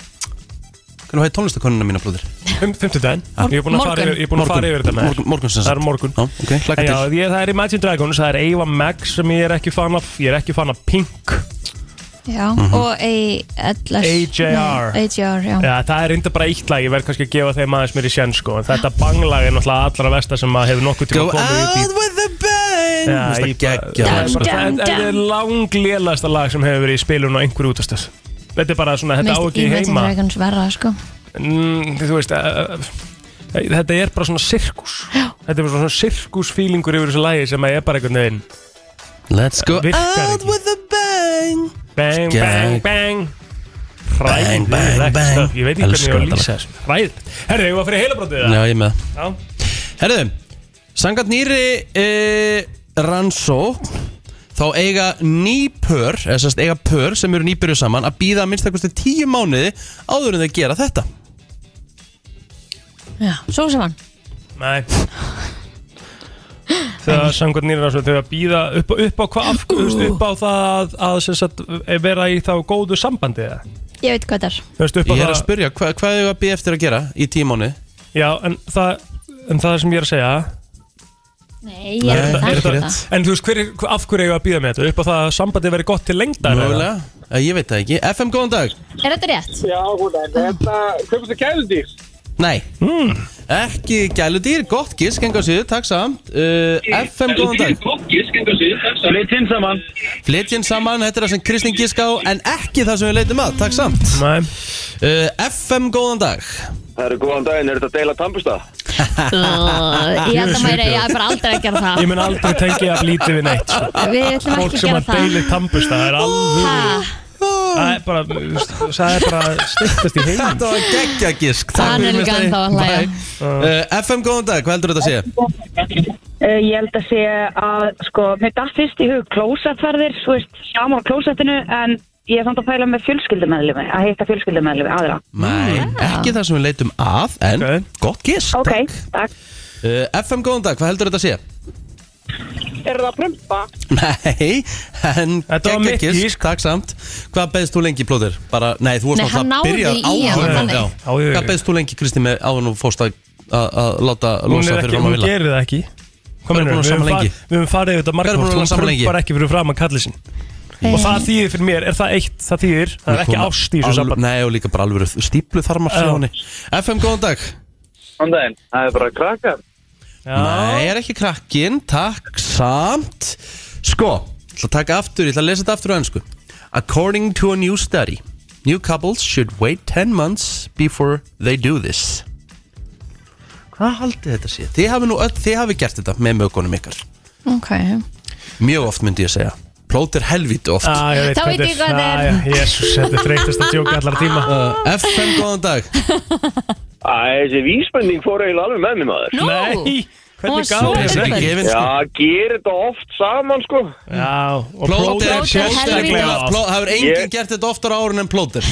Hvernig fæ ég tónlistakonuna mína blóðir?
Fymtudaginn, ég er búin að
Morgun.
fara yfir- ég er búin að fara yfir þetta með þér.
Morgun, morgun sem
Það er morgun
Já, ok,
En
hlaka
Já,
til
ég, það er Imagine Dragons, það er Eva Max sem ég er ekki fan af, ég er ekki fan af Pink
Já, og ALS
AJR.
Nei, AJR, já
Já, það er reynda bara eitt lag, ég verð kannski að gefa þeim aðeins mér í sjön sko, en þetta banglag er náttúrulega allra versta sem að hefur nokkuð
Go
tíma komið út í
out with a bang
Já,
Þú veist
í
að
bara-
geggja
Það er
Dum,
bara-
dum,
Þetta er langlélasta lag sem hefur verið í spilun á einhverju útastöð Þetta er bara svona, þetta á
Mér finnst
ekki heima
Imagine Dragons verra, sko
mm, Þú veist, uh, þetta er bara svona sirkus Þetta er bara svona sirkusfílingur yfir þessu lagi sem að er bara einhvern veginn
Let's go
Virkar
out
ekki.
with a bang
Bang, bang,
Skæk.
bang
Bang,
Hræðilegt
bang, bang.
stöf. Ég veit ekki hvernig ég
Elskar
var að
þetta
lýsa þessu Hræðilegt Herri, ég var fyrir heilabrótið
Já, ég með það.
Já.
Herðu, sangat nýri e, rannsó þá eiga ný pör eða sérst eiga pör sem eru nýbyrju saman að býða að minnstakosti tíu mánuði áður en þau gera þetta
Já, svo sem hann
Nei þegar samkvæmt nýra rásum þegar að býða upp, á- upp á hvað af, þú veist, upp á það að, að sem sagt, e, vera í þá góðu sambandi eða?
Ég veit hvað það er
Þú veist, upp á
Ég er
það-
að spyrja, hva, hvað hefur að býja eftir að gera í tímónu?
Já, en það, en það sem ég er að segja
Nei, ég er ekki það
rétt.
það.
En þú veist, hver, er- af hverju eigum við að býða með þetta? Upp á það að sambandi verið gott til lengdar eða?
Mögulega, Eh, ég veit það ekki FM, góðan dag
Er þetta rétt?
Já, hún er þetta, hvernig þetta gæludýr?
Nei, ekki gæludýr, gott gisk, enga síðu, takk samt uh, FM, góðan dag
Flytinn saman
Flytjinn saman, þetta er það sem Kristín gisk á En ekki það sem við leitum að, takk samt
Nei,
uh, FM, góðan dag
Það eru góðan daginn, er þetta að deila tampusta?
Uh, Ég held að maður eigi að bara aldrei að gera það
ég mun aldrei tengja að blíti við neitt sko.
Við ætlum
Fólk
ekki að
sem
gera
að
það
deili tambust, það er alveg
Ha,
Það er bara, þú veist, það er bara styrtast í heim
Þetta var geggja gisk takk
Hann er
fyrir,
líka
meistari.
ennþá að hlæja.
Bye. Eh, FM, góðan dag, hvað heldur þetta að segja?
Uh, ég held að segja að, sko, mér datt fyrst í hug klósettferðir, þú veist, sjáma á klósettinu, en ég er samt að pæla með fjölskyldumæðlumi, að hitta fjölskyldumæðlumi, aðra.
Nei, ekki það sem við leitum að En
Ok.
gott gisk
Ok, takk.
uh, FM, góðan dag, hvað heldur þetta að segja?
Er það prumpa?
*laughs* Nei, en
Þetta var
geggjað
mitt gísk.
Takk samt Hvað beðst þú lengi, plóðir? Bara, nei, þú varst
Nei, hann
náttúrulega byrjar
náði í
á
hann,
honum,
þannig.
já.
Já, já, já.
Hvað beðst þú lengi, Kristi, með áðan og fórst að að- að láta
Hún
losa
er
fyrir
ekki,
fram að
hún
vilja
gerir það ekki Hvað
Hvað er
meinar,
búin að
við höfum
saman
far-
lengi?
við höfum farið þetta
Hvað er búin að
margótt Hún
saman lengi?
prumpar ekki fyrir fram að kalli sín Og það þýðir fyrir mér, er það eitt, það þýðir Það er ekki ást í þessu samband
Nei, og líka bara alveg stíplu þarmar
Já.
frá henni FM, góðan dag
Góðan daginn Það er bara krakkar
Nei, er ekki krakkin, takk samt Sko, ég ætla að taka aftur, ég ætla að lesa þetta aftur á ennsku According to a new study New couples should wait 10 months before they do this Hvað haldið þetta sé? Þið hafi nú öll, þið hafi gert þetta með mögunum ykkar
Ok
Mjög oft myndi ég segja Plóter helvíti oft
Ah, ég veit
Þá veit ég hvað það er.
Ah, já, Jesús, þetta er þreytast að djóka allar tíma
FM, góðan dag
Æ, þessi vísbending fór eiginlega alveg með mér maður
Nú,
Nei,
Hún var
hvernig gáði
svo
Þessi
þetta
ekki
ekki?
gefin
Já,
sko
gerir þetta oft saman sko
Já, og
Plóter,
plóter
Plóter
sérstaklega
helvíti
plóter,
oft.
plóter, hefur enginn
Ég-
gert þetta oftar á árun en plóter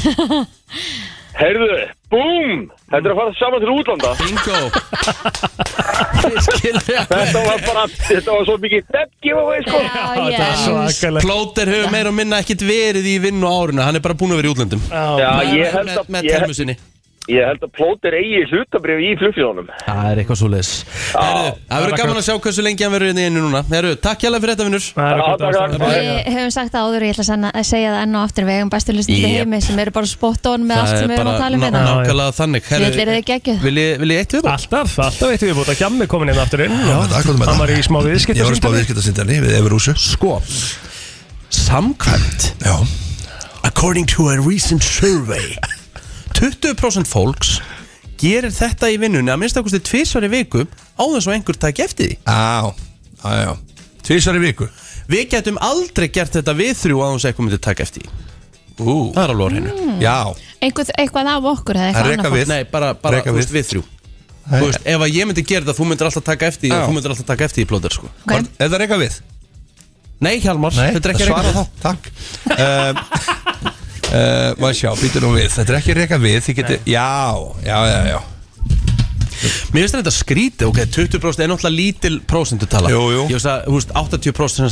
Heyrðu, búm Þetta er að fara saman til útlanda
Bingo *laughs* Ég skil þér
Þetta var bara, þetta var svo mikið dead giveaway sko
já,
Já, þetta
já
er svakalegt
Plóter hefur meira og minna ekkit verið í vinnu á árinu Hann er bara búin að vera í útlöndum
Já,
Já,
ég held
Með,
að,
með
ég,
termu sinni
ég held að plótir eigi hlutabrif í flugfjónum
Það er eitthvað svo leis Það verður gaman að sjá hversu lengi hann verður inn í einu núna Heru, Takk hérlega fyrir þetta vinnur
Það er
Já,
gott
takk,
ástæðan.
takk.
Við höfum sagt það áður, ég ætla að sanna- að segja það enn og aftur Við eigum bestu listið yep.
Yep.
heimi sem eru bara spot on með allt sem við erum að tala um
ná-
hérna
nákvæmlega þannig
Ég vil eru þið geggjuð
vil ég, vil ég eitt við það?
Alltaf, alltaf veitum við búin að gjammi komin inn aftur inn
Já, þetta er gott með
Hann
það.
var í smá viðskipt
Ég var að spá viðskiptasindjarni við Everúsu
Sko Samkvæmt
Já
According to a recent survey 20% fólks gerir þetta í vinnunni að minnst ákusti tvisvar í viku á þess að einhver takk eftir því
Já, já, já Tvísar í viku
Við getum aldrei gert þetta við þrjú á þess að einhver myndi takk eftir því
Ú,
Ah.
Það er alveg á hreinu
já
Einhver, Eitthvað af okkur
Það
eða eitthvað
reka
annað
við
Nei, bara, bara
Reka
þú veist,
við.
við þrjú Þú veist, ef að ég myndi gera þetta, þú myndir alltaf taka eftir því
Já.
og Þú myndir alltaf taka eftir því plóter, sko
Ok.
Er það reyka við?
Nei, Hjalmar, þetta er ekki
svara þá, takk um, uh, Maður sjá, býtu nú við Þetta er ekki reyka við, þið getur Já, já, já, já
Mér finnst þetta skríti, ok, 20% er náttúrulega lítil prósendutala
Jú, jú.
Ég veist að, þú veist,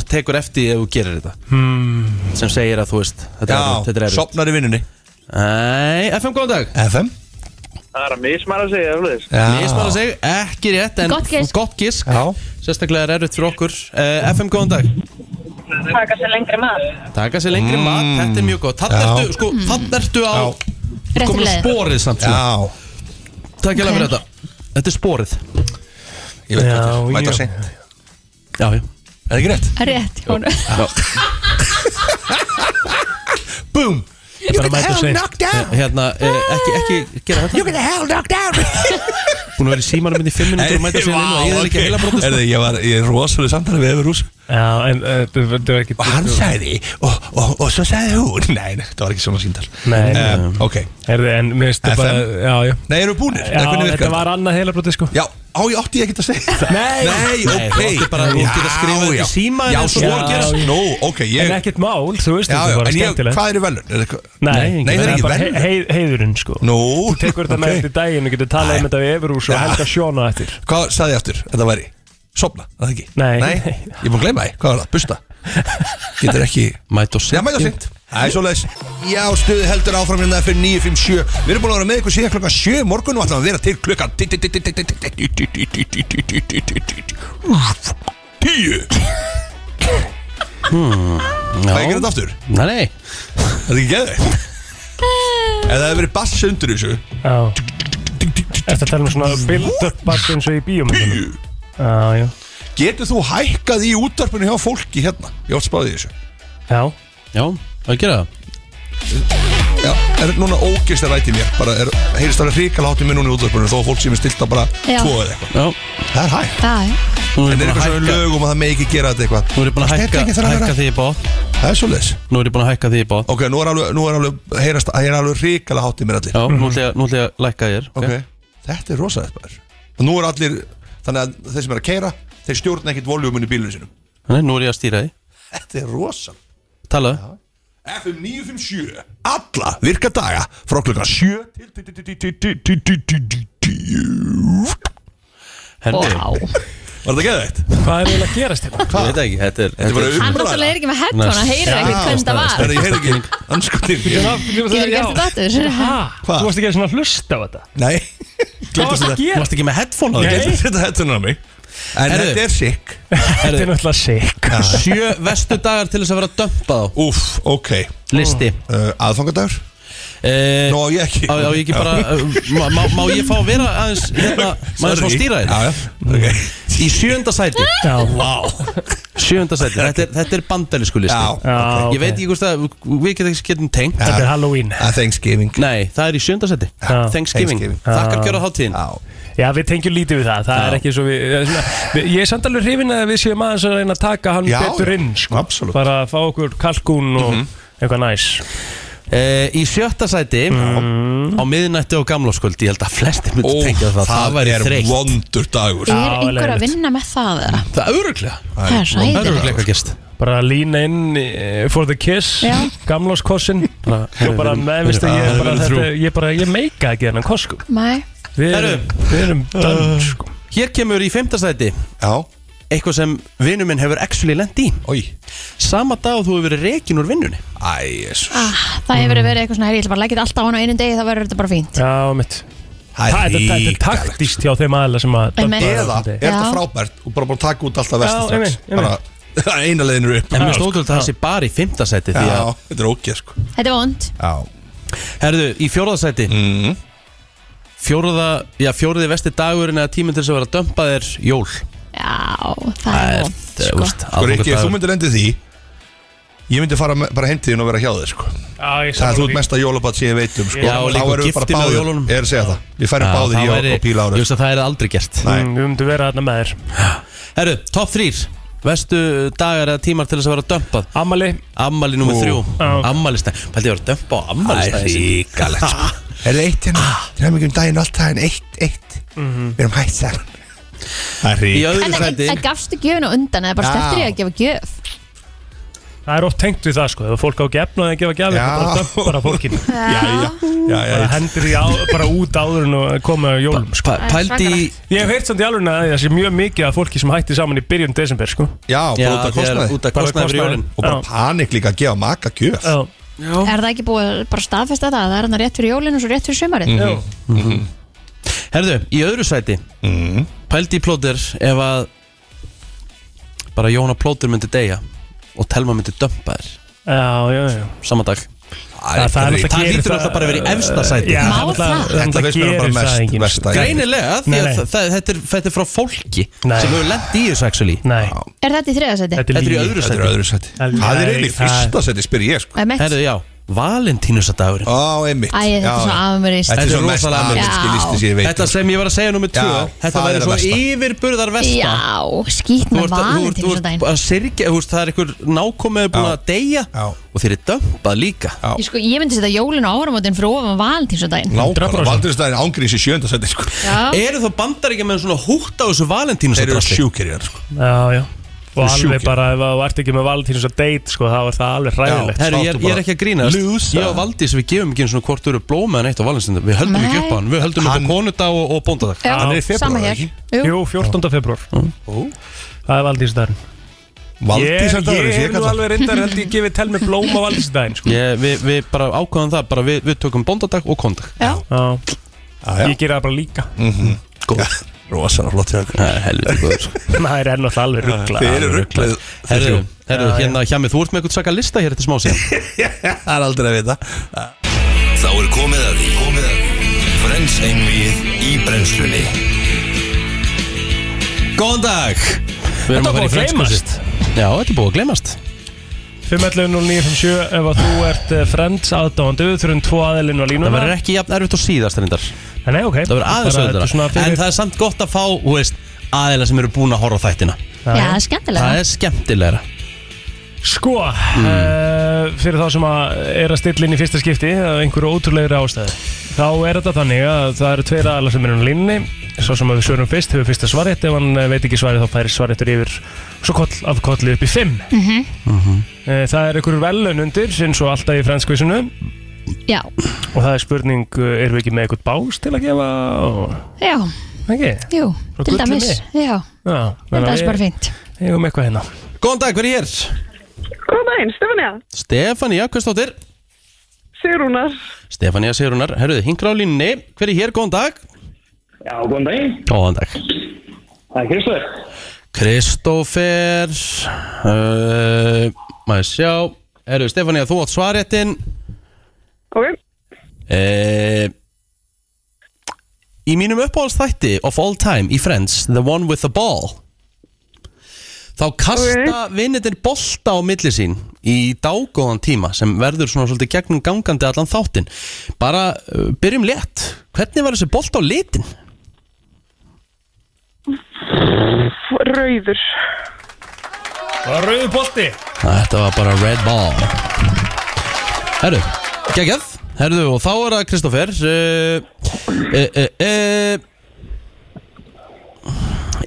80% sem tekur eftir því ef þú gerir þetta hmm. Sem segir að, þú veist, þetta er erfitt,
Já,
þetta er erfitt
sopnar í vinnunni
Nei, FM, góðan dag
FM
Það er að mismæra sig, eflaðis
Ég smála að segja, ekki rétt, en
Gott gisk.
gott gisk.
Já.
Sérstaklega er erfitt fyrir okkur uh, FM, góðan dag
Taka sér lengri maður.
Taka sér lengri mat, þetta er mjög gott Þann
Mm. Já.
ertu, sko, þann ertu á
Já.
Mm. Réttu
Komin á
leið.
sporið samt svona
Já,
Takk hérlega
Ok.
fyrir þetta Þetta er sporið
ég veit
Já,
hvað þetta er Mæta
já.
seint Er
Já, já
það ekki rétt?
Rétt, Jón
Boom
Ég bara mæta seint
Hérna, eh, ekki, ekki gera þetta You get the hell knocked out *laughs* Búin að vera í símanum minn í fimm minútur og mæta sér inn og ég er ekki heila brotus
Erðu, ég var í rosalega samtali við Everús
Já, en uh, þetta þetta var ekki
Og hann sagði, og, og, og svo sagði hún Nei, nei, það var ekki svona síntal
Nei.
um, Ok,
Herði, en mér finnst þetta bara
FM?
Já, já
nei, eru búnir?
Já,
Nei, hvernig virkar
þetta var annað heila brotið sko
Já, á, ég átti ég ekki að segja það
Nei.
Nei,
Nei,
ok
þú átti bara- þú átti að skrifa þetta í
Já,
síma
Já,
eins og
svo
þú
gerast
gerir.
Nú, ok, ég
En ekkert mál, þú veist
Já,
þetta
já,
var
en ég,
skemmtilegt
hvað eru velun? Er eitthvað-
Nei,
nei, það er ekki
bara
verðlaun.
hei- hei- Heiðurinn sko
Nú
Þú tekur þetta með
ok.
eftir daginn og getur talað um
Nei.
þetta við Everús og
Já.
Helga Sjóna eftir
Hvað sagði ég aftur? Þetta væri sopna, að það ekki
Nei.
ég er búin að gleyma því, hvað var það, busta getur ekki
Mætt og
Já, mæta sýnt Það er svo leiðis Já, stuði heldur áfram hérna fyrir 9.57 Við erum búin að vera með ykkur síðan klokkan 7 í morgun og ætlum að vera til klukkan 10 Það er ekki þetta aftur
Nei, nei
Það er ekki geðið Ef það hefur verið bass undir þessu
Já Þetta tala um svona build-up bass eins og í bíómyndunum Já, já
Getur þú hækkað í útvarpinu hjá fólki hérna? Ég átt spáði þessu
Já,
Já, það gera það
Já, er núna ógeist að ræti mér bara er, heyrist alveg hrikala hátt í mér núna í útvarpinu þó að fólk sem er stilt að bara
Já.
tvo eða eitthvað
Já,
Það er hægt
Það er
nú
En
er
það er
ég búin að
eitthvað svo
hækka
lögum að það megi ekki gera þetta eitthvað
Nú er ég búin
Það
að
stendur ekki
hækka,
þar að vera.
hækka því í bóð
Það er svo leiðis
Nú er ég búin að hækka því í bóð
Ok, nú er alveg, nú er alveg heyrast, Það er alveg hrikalega hátt í mér allir
Já, nú ætla ég- nú ætla ég að lækka þér
Ok, þetta er rosalegt bara Og nú er allir, þannig að þeir sem er að keira Þeir stjórna ekkert voljumun í bílunum sinum
Þannig, nú er ég að stýra því
*laughs* Þetta er rosal
Talaðu
FM 957 Alla virka daga Frá klukkan 7 til
Herðu,
Vá
Var þetta geðveitt?
hvað er eiginlega að gerast hérna?
ég veit það ekki, þetta er
Þetta er bara
Hann
umræða
náttúrulega er ekki með headphone Hann heyrir ekkert hvernig það var
Þetta ég heyr ekki Anskotin
Getur við gert þetta aftur?
Hæ?
Hvað?
Þú varst ekki að svona hlusta á þetta?
Nei
Hvað varst að gera?
Mást ekki með headphone á
Nei.
þér?
Þetta hættu á mig En
Herðu.
þetta er sick
Þetta er náttúrulega sick
Sjö vestu dagar til þess að vera dömpað á
Úff, ok
Listi
uh, Aðfangadagur?
Eh,
Nó, ég ekki
Á, á ég ekki bara, uh, má, má, má ég fá að vera aðeins hérna, maður svo stýra þér
Já, já, ok
Í sjönda sæti,
Já,
sjönda sæti Þetta er, þetta er bandarísku listi
Já,
já
Ég veit ekki hvort að, við getum ekki getum tengt
Já.
Þetta er Halloween
að Thanksgiving
Nei, það er í sjönda sæti
Já.
Thanksgiving,
Thanksgiving.
þakkar gjöra hátíðin
Já,
Já, við tengjum lítið við það, það er ekki svo við, það er svona, við Ég er samt alveg hrifin að við séum aðeins að reyna að taka hann
Já,
betur
já, Mhm.
inn sko.
absolutt.
Bara að fá okkur kalkún og eitthvað næs
Eh, Í sjötta sæti
Mhm.
á miðnætti og gamláskvöldi ég held að flestir myndi tengja það það væri
er
þreytt
vondur dagur
Er einhver að
leiðilegt.
vinna með það eða?
Það er öruglega
Það er
Það er öruglega
ræðilegt
eitthvað gerst
Bara að lína inn eh, for the kiss
Já.
Gamláskossin
*laughs*
Bara,
Og bara,
heyrðu,
með, veistu, ég,
Já,
er bara,
við erum
þetta, ég bara, ég meika ekki hennan koss sko
Nei
Við
Herru.
erum, við erum
Ah.
dönn sko
Hér kemur í femta sæti
Já,
eitthvað sem vinnu minn hefur actually lent í
oi
Sama dag og þú hefur verið rekin úr vinnunni
Æ, jésús
Ah, Það hefur verið eitthvað svona "Herri, Ég ætla bara að leggja þetta alltaf á hann á einu degi Það verður þetta bara fínt
Já, mitt Það er- þetta er taktíst hjá þeim aðla sem að
Einmitt.
Eða, er
Já.
þetta frábært og bara búin að taka út alltaf
Já,
vestið strax
einmitt,
Bara, *laughs* eina leiðin eru upp
En
Já,
mér stóður þetta þessi bara í fymta sæti Því að,
þetta er ógeð sko
Þetta er vond
Já,
herðu, í fjórða sæti
Mm. Mhm.
Fjórða, já, fjórði vesti dagurinn eða tíminn til þess að vera að dömpa er jól
Já, það er vond
Þú
sko.
veist,
sko Rikki, ef þú
aðfangadagur.
myndir lendið því Ég myndi fara me- bara heimtíðin og vera hjá þér sko
Já,
Það er þú
ég
ert
sammála því.
mesta jólabat sem ég veit um sko
Já, og
Þá
líka
erum við bara
giftin á
báðir-
jólunum.
Ég er að segja það, við færum
Já,
báðið
það
í og-
væri-
og píla
Ég
árið
veist að það er aldrei gert
Nei.
Mm, Við myndum vera þarna með þér
Herru, topp þrýr Vestu dagar eða tímar til þess að vera dömpað
Amali
Ammali nummer
Ú.
þrjú
Já.
Ammalisdag Pældi ég að vera að dömpa á ammalisdag
ríkalegt sko.
*laughs*
Er það eitt hérna?
Ah.
Það er mikið um daginn alltaf en eitt, eitt
Mhm.
Við erum hægt saman Það er
Í
rík
öðru
En, en,
sæti
en gafstu gjöfuna undan eða bara
Já.
steftir ég að gefa gjöf
Það er oft tengt við það sko Ef fólk á ekki efna að gefa gjafir
Já.
þá bara dömp bara *laughs* fólkin
Já, já, já, já
bara
ég-
hendur því á, bara út áður en að koma á jólum sko.
Pæ- Pældi í
Ég hef heyrt samt í alveg að það sé mjög mikið af fólki sem hætti saman í byrjun desember sko.
Já, bara út
Já,
að
því að
kostnaði
út að
Bara
kostnaði fyrir
kostnaði.
jólinn
Og bara
Já.
panik líka að gefa maka gjöf
Já,
Er það ekki búið að bara staðfesta það? Það er hann rétt fyrir jólinn og svo rétt fyrir sumarið
Mm.
já.
Herðu, í öðru sæti
Mhm.
Pældi í plóter ef að bara Jóna plóter myndi deyja og Telma myndi dömpa þér
já, já, já.
sama dag
Það, það er
Það
gerir
hlýtur alltaf bara að vera í efsta sæti.
Já,
Má
náttúrulega-
það?
náttúrulega
Þetta veist mér
gerir
bara
það
mest
enginn, sko.
versta
Greinilega, því
Nei,
að
nei.
það- það- þetta er- þetta er frá fólki
Nei.
sem hefur lent í þessu actually
Nei,
Er þetta í þriðasæti?
þetta
Þetta er í
lygi.
öðru
Þetta er
sæti
öðru sæti
Nei,
Það er eiginlega í
það-
fyrsta sæti, spyr ég sko
Það er mitt
Herðu, já, Valentínusadagurinn
Á, einmitt
Æ, þetta er
Já,
svo
já.
afmörist
Þetta er svo
Þetta er
mest
rosalega
ameríski
Já.
listi sem ég veit
Þetta
um.
sem ég var að segja nummið
Já,
2 Þetta
það er
væri
að
svo
versta.
yfirburðar versta
Já, skýt
Þú
með
ert að- þú ert- þú ert
valentínusdæn
að sirkja, þú veist, það er einhver nákomið búin
Já.
að deyja
Já.
og þeir eru dömpað líka
Já.
Ég, sko, ég myndi setja jólinn á áramótin fyrir ofan valentínusdæn
Nákvæmlega,
100%.
Valdurinstæðin ángriðs í sjönda sæti sko
Já,
Eru þá bandaríkja með svona hútt á
Þeir
þessu
eru
valentínusadrasli?
sjúkir í hann sko
Já, já Og alveg
sjúkir.
bara, ef þú ert ekki með Valentínus að date, sko, þá er það alveg hræðilegt sko.
Herri, ég, er- ég er ekki að grínast
Loser.
Ég og Valdís, við gefum ekki einu svona hvort eru blóma en eitt á valensindum Við höldum ekki
Nei.
upp á hann Við höldum upp á konudag og, og bóndadag
Já,
Hann er í
febrúar,
sama hér
ekki?
Jú.
Jú, 14. februar Það er Valdísdagurinn Ég,
Valdísar dagur, ég
ég er nú
kalla
alveg reyndar held ég gefið tel með blóm á Valdísdaginn sko.
ég, við, við bara ákvaðum það bara við, við tökum bóndadag og
*laughs*
konudag
Já,
það
Ég gera það bara líka
Rósana flott hjá ykkur
Helviti góður
Það er ennátt alveg ruggla
Þið eru rugglið
Herru, herru, hérna hjá mig, þú ert með eitthvað svaka lista hér eftir smá síðan
*laughs* Það er aldrei að vita
Þá er komið að því Komið að því Frens einvið í brennslunni
Góðan dag Við erum
Þetta
að fara
var
í frendskúsið
gleymast
Já, þetta er búið að gleymast
5.11.09.57 Ef að þú ert eh, Friends aðdáðandu Þurfum tvo aðilinn á
Það
línuna
verður ekki jafn erfitt og síðast reyndar
Nei, ok
Það verður aðeins auðvitað En það er samt gott að fá, þú veist, aðeila sem eru búin að horfa á þættina
Já, það er skemmtilega
Það er skemmtilegra
Sko, mm. fyrir þá sem að er að stilla inn í fyrsta skipti af einhverju ótrúlegri ástæði þá er þetta þannig að það eru tveir aðalar sem eru á línni svo sem að við svörum fyrst hefur fyrsta svarið ef hann eh, veit ekki svarið þá færi svarið yfir svo koll af kolli upp í fimm mm
Mhm.
Það er einhverju velun undir eins og alltaf í franskvísinu
Já,
og það er spurning, eh, erum við ekki með eitthvað bás til að gefa og...
já,
ekki?
jú,
Frá
til
gullinu?
dæmis Já,
Já,
þetta er
þannig að
bara fínt
við eigum eitthvað hérna
Góðan dag, hver er hér?
Góð daginn, Stefania,
Stefania, hvað stóttir?
Sigrúnar
Stefania Sigrunar, herruðu, hingra á línni Hver er hér, góðan dag?
Já, góðan daginn.
Góðan dag
Það er Kristofur.
Kristófer uh, Maður sjá Herruðu, Stefania, þú átt svaréttin
Ok,
uh, Í mínum uppáhaldsþætti of all time í Friends The One With The Ball Þá kasta okay. vinnitin bolta á milli sín í dágóðan tíma sem verður svona svolítið gegnum gangandi allan þáttinn. Bara uh, byrjum létt. Hvernig var þessi bolta á litin?
rauður
Það er rauðu bolti
Þetta var bara red ball Herru, geggjað Herru, og þá er það Kristoffer uh, uh, uh, uh,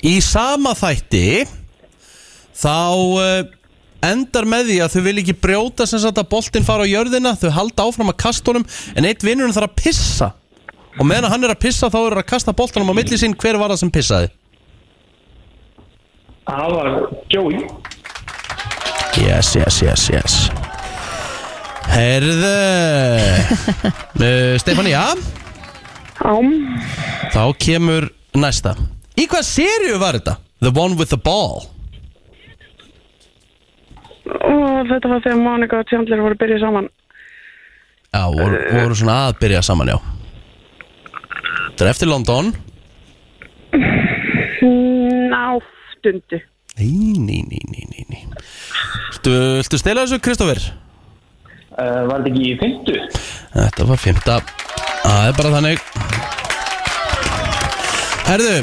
Í sama þætti Þá uh, endar með því að þau vil ekki brjóta sem sagt að boltinn fara á jörðina Þau halda áfram að kasta honum En eitt vinnurinn þarf að pissa Og meðan hann er að pissa þá er að kasta boltanum á milli sín Hver var það sem pissaði?
Það var Joey.
Yes, yes, yes, yes Herðu uh, Stefani, já
Ám,
Þá kemur næsta Í hvað sériu var þetta? The one with the ball
og þetta var þegar Monika og Chandler voru að byrja saman
Já, voru, voru svona að byrja saman, já Þetta er eftir London
Náttundu
Nei, nei, nei, nei, nei, nei Viltu, viltu stela þessu, Kristoffer?
Uh, var þetta ekki í fymtu?
Þetta var fymta Það er bara þannig Herðu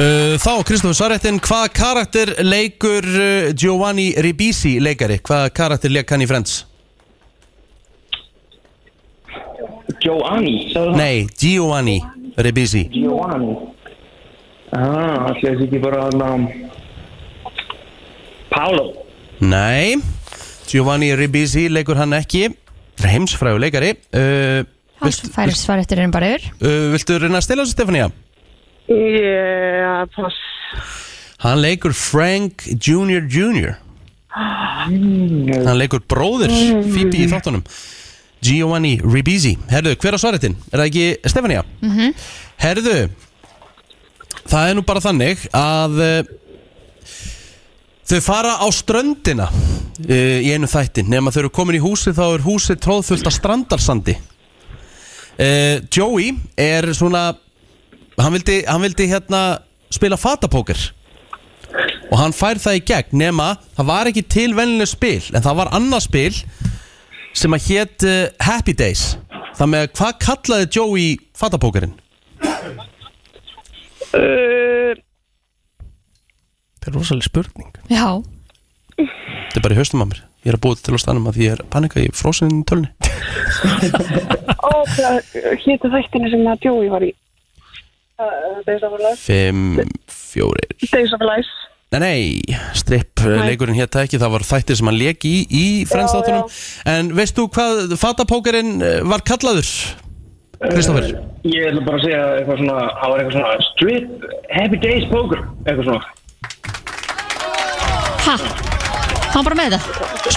uh, Þá, Kristofur Svarrettin Hvaða karakter leikur uh, Giovanni Ribisi leikari? Hvaða karakter leik hann í Friends?
Joanny, sagðu það?
Nei, Giovanni Ribisi
Joanny. Ah, allir þessi ekki bara um, hann að... Pálo.
Nei, Giovanni Ribisi leikur hann ekki Þetta er Heimsfræðu leikari uh,
Allt færir svar eftir einu bara yfir
uh, Viltu reyna að stela þessu, Stefania?
Yeah, pass
Hann leikur Frank Jr. Jr. Hann leikur bróðir Phoebe í þáttunum Giovanni Ribisi Herðu, hver á svaretin? Er það ekki Stefania? Mm -hmm. Herðu Það er nú bara þannig að uh, Þau fara á ströndina uh, Í einu þætti Nefn að þau eru komin í húsi Þá er húsi tróðfullt af strandarsandi uh, Joey er svona Hann vildi, hann vildi hérna Spila fatapóker og hann fær það í gegn nema það var ekki til vennileg spil en það var annað spil sem að hétt uh, Happy Days það með hvað kallaði Joey fatapókerinn?
uh,
Þetta er rosalega spurning
Já,
Þetta er bara í haustum að mér ég er að búið til á stanum að því ég er að panika í frósinni tölni
Ó, hvað hétu þættinu sem að Joey var í? Uh, Days Eh, of Our Life
5, 4
Days of Our Life
Nei, nei, stripp nei. leikurinn hér ekki, það var þættir sem hann leik í í frensdáttunum En veist þú hvað fatapókarinn eh, var kallaður? Kristoffer
Ég ætla bara að segja eitthvað svona, það var eitthvað svona Strip Happy Days Poker, eitthvað svona
Ha? Hann var bara með þetta?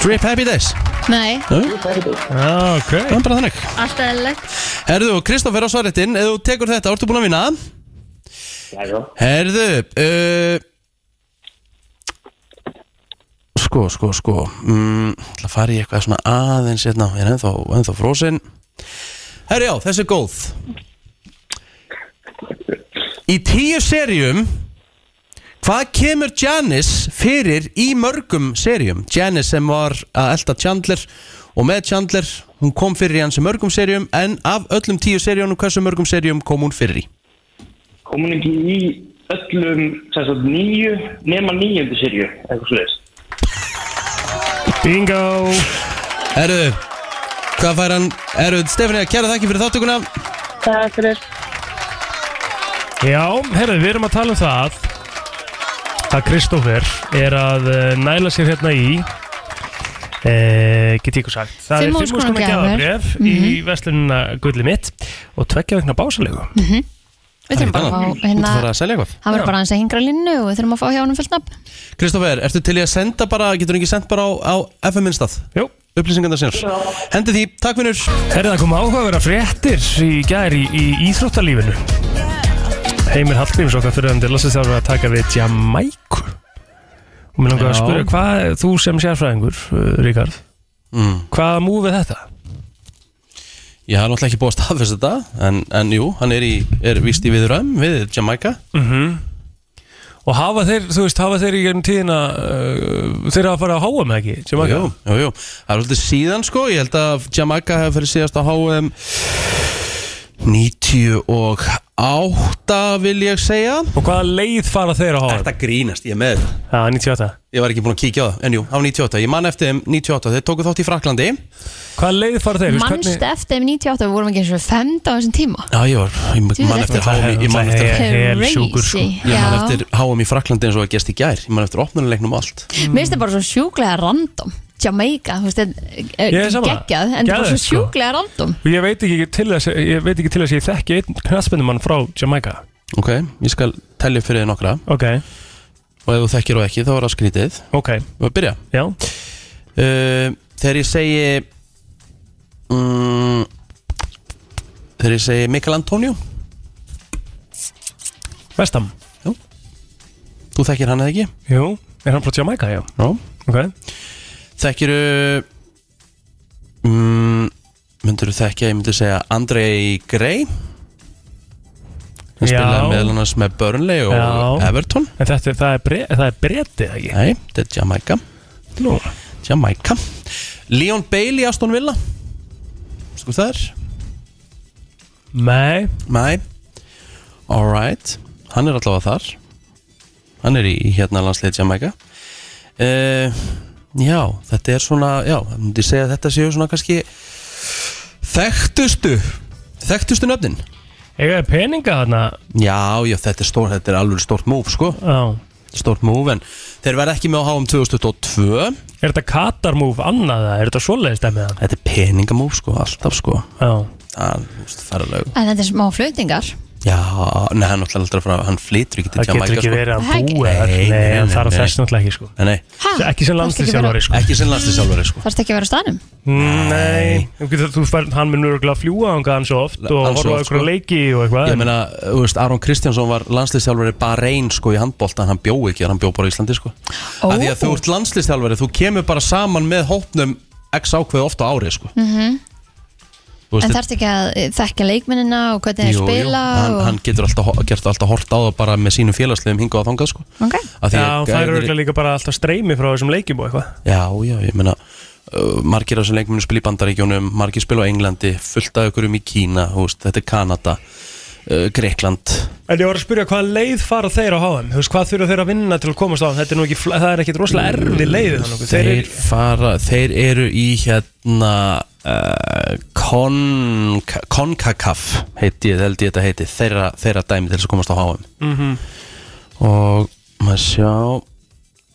Strip Happy Days
Nei,
Já, ok
Það er bara þannig
alltaf eðlilegt
Herðu, Kristoffer á svarréttin, ef þú tekur þetta, ertu búin að vinna?
Jæja
Herðu uh, Sko, sko, sko mm, Það fari ég eitthvað svona aðeins hérna, Ég er ennþá, ennþá frósin Herru já, þessi er góð Í tíu seríum Hvað kemur Janice fyrir í mörgum seríum? Janice sem var að elda Chandler og með Chandler, hún kom fyrir í hans mörgum seríum en af öllum tíu seríunum, hversu mörgum seríum kom hún fyrir í?
Kom hún ekki í öllum, sem sagt, nýju, nema nýjöndu sirju, eitthvað svona
Bingo
Herru, hvað fær hann? Herru, Stefania, kæra þakki fyrir þáttökuna
Takk fyrir
Já, herðu, við erum að tala um það að Kristófer er að eh, næla sér hérna í e, get ég ykkur sagt það
Fimm Mhm.
er
þúsund króna gjafir.
gjafabref í verslunina gullið mitt og tveggja vegna básalegu
Við þurfum bara að fá hérna
Þú þarf að selja eitthvað
Hann verður bara aðeins að hingra línu og við þurfum að fá hjá honum fullt nafn
Kristófer, ertu til í að senda bara, getur þú ekki sendt bara á, á FM innstað?
Jú,
Upplýsingarnar sinnar Hendi því, takk vinnur
herðu það kom áhuga að vera fréttir í gær í, í íþróttalífinu Heimir Hallgríms okkar fyrir þannig lasið þarf að taka við Jamaiku og mér langar að
Já.
spyrja hvað þú sem sérfræðingur, eh, Ríkard
mm.
hvað múfið þetta?
Ég haf náttúrulega ekki búið að staðfesta þetta en, en jú, hann er, í, er víst í viðuræm við Jamaica
Og hafa þeir, þú veist, hafa þeir í gegnum tíðina uh, þeir hafa farið að háa með ekki sem
Jú, jú, jú Það er alltaf síðan sko, ég held að Jamaica hefur fyrir síðast á HM 98 vil ég segja
Og hvaða leið fara þeir að háa?
Þetta grínast, ég er með þetta
Já, 98
Ég var ekki búinn að kíkja á það, en jú, á 98 Ég man eftir þeim 98, þeir tóku þátt í Fraklandi Já,
Hvaða leið fara þeir?
Manst eftir um 98 við vorum ekki eins og femta á þessum tíma
ég var, ég man eftir HM í- Ég man eftir,
Hel sjúkur sko
Crazy.
ég man
Já.
eftir HM í Fraklandi eins og að gest í gær Ég man eftir opnunuleiknum og allt
Mm.
Mér finnst það bara svo sjúklega random Jamaica, þú veist, þetta
Ég er
er
sammála.
geggjað en það er bara
Geðveikt,
svo
sko.
sjúklega random
Og ég veit ekki til þess, ég veit ekki til þess að ég þekki einn knastbindumann frá Jamaica
Ok, ég skal tellja upp fyrir þið nokkra
Ok,
Og ef þú þekkir og ekki, þá er það skrítið
ok,
Við að byrja
já
uh, Þegar ég segi um, Þegar ég segi Mikael Antonio
Vestam,
Þú þekkir hann eða ekki?
jú, er hann frá Jamaica, já
Já
Ok,
Þekkiru mm, Myndur þú þekkja, ég myndi segja Andrei Grey Hann
Já.
spilaði meðal annars með Burnley og
Já.
Everton
en þetta er, það er, bre, það er bretið ekki
Nei, þetta er Jamaica
Nú,
Jamaica Leon Bailey, Aston Villa Sko það er
nei,
Nei Alright Hann er allavega þar Hann er í í hérna landslið Jamaica uh, Já, þetta er svona Já, ég myndi segja að þetta séu svona kannski Þekktustu Þekktustu nöfnin
eiga er peninga þarna
Já, já, þetta er stórt, þetta er alveg stórt múf, sko
Já,
Stórt múf, en þeir verða ekki með á HM 2022
er þetta Katarmúf annað það? Er þetta svoleiðist það með hann?
Þetta er peningamúf, sko, alltaf, sko
Já
Það, þú veist, það er alveg
en þetta er smá flötingar
Já, neða, hann náttúrulega aldrei að fara Hann flytur ekki til
Það
Jamaica,
getur ekki
sko
verið að
Það
hann
ekki-
búi þar.
Nei,
Nei,
nei,
hann
nei,
þarf
nei.
þess náttúrulega ekki sko
Nei, nei,
ha,
Ekki sem landslýsjálfari sko
ekki sem landslýsjálfari, sko
þarfst ekki að vera á staðnum
Nei, þú getur, þú fær, hann mun örgulega að fljúa hann hann svo oft og
Hann svo oft,
horfa okkur
sko.
leiki og eitthvað
Ég meina, þú veist, Aron Kristjánsson var landslýstjálfari bara einn sko í handbólta en hann bjó ekki, hann bjó bara í Íslandi sko
Ó.
Af því að þú ert landslýstjálfari, þú kemur bara saman með hópnum x ákveð ofta ári sko mm
Mhm. en þarfst ekki að eh, þekkja leikmennina og hvernig þeir spila
hann,
og...
hann getur alltaf, ho- gert alltaf hort á það bara með sínum félagslegum hingað og þangað sko
Ok.
Af því
Já,
að
hann fær
gæðir-
örgulega líka bara alltaf streymi frá þessum leikjum og eitthvað
Já, já, ég meina uh, margir af þessum leikminu spila í Bandaríkjónum margir spila á Englandi, fullt af ykkur um í Kína þú veist, þetta er Kanada uh, Grekland
En ég var að spyrja hvaða leið fara þeir á HM Þú veist, hvað þurfa þeir að vinna til að komast á hann Þetta er nú ekki, fl- það er ekkit rosalega erfið leið hann okkur Þeir
þeir,
eru
fara, þeir eru í hérna uh, Con- CONCACAF heiti, ég- held ég þetta
Mhm.
heiti þeirra, þeirra dæmi til þess að komast á HM -hmm. og maður sjá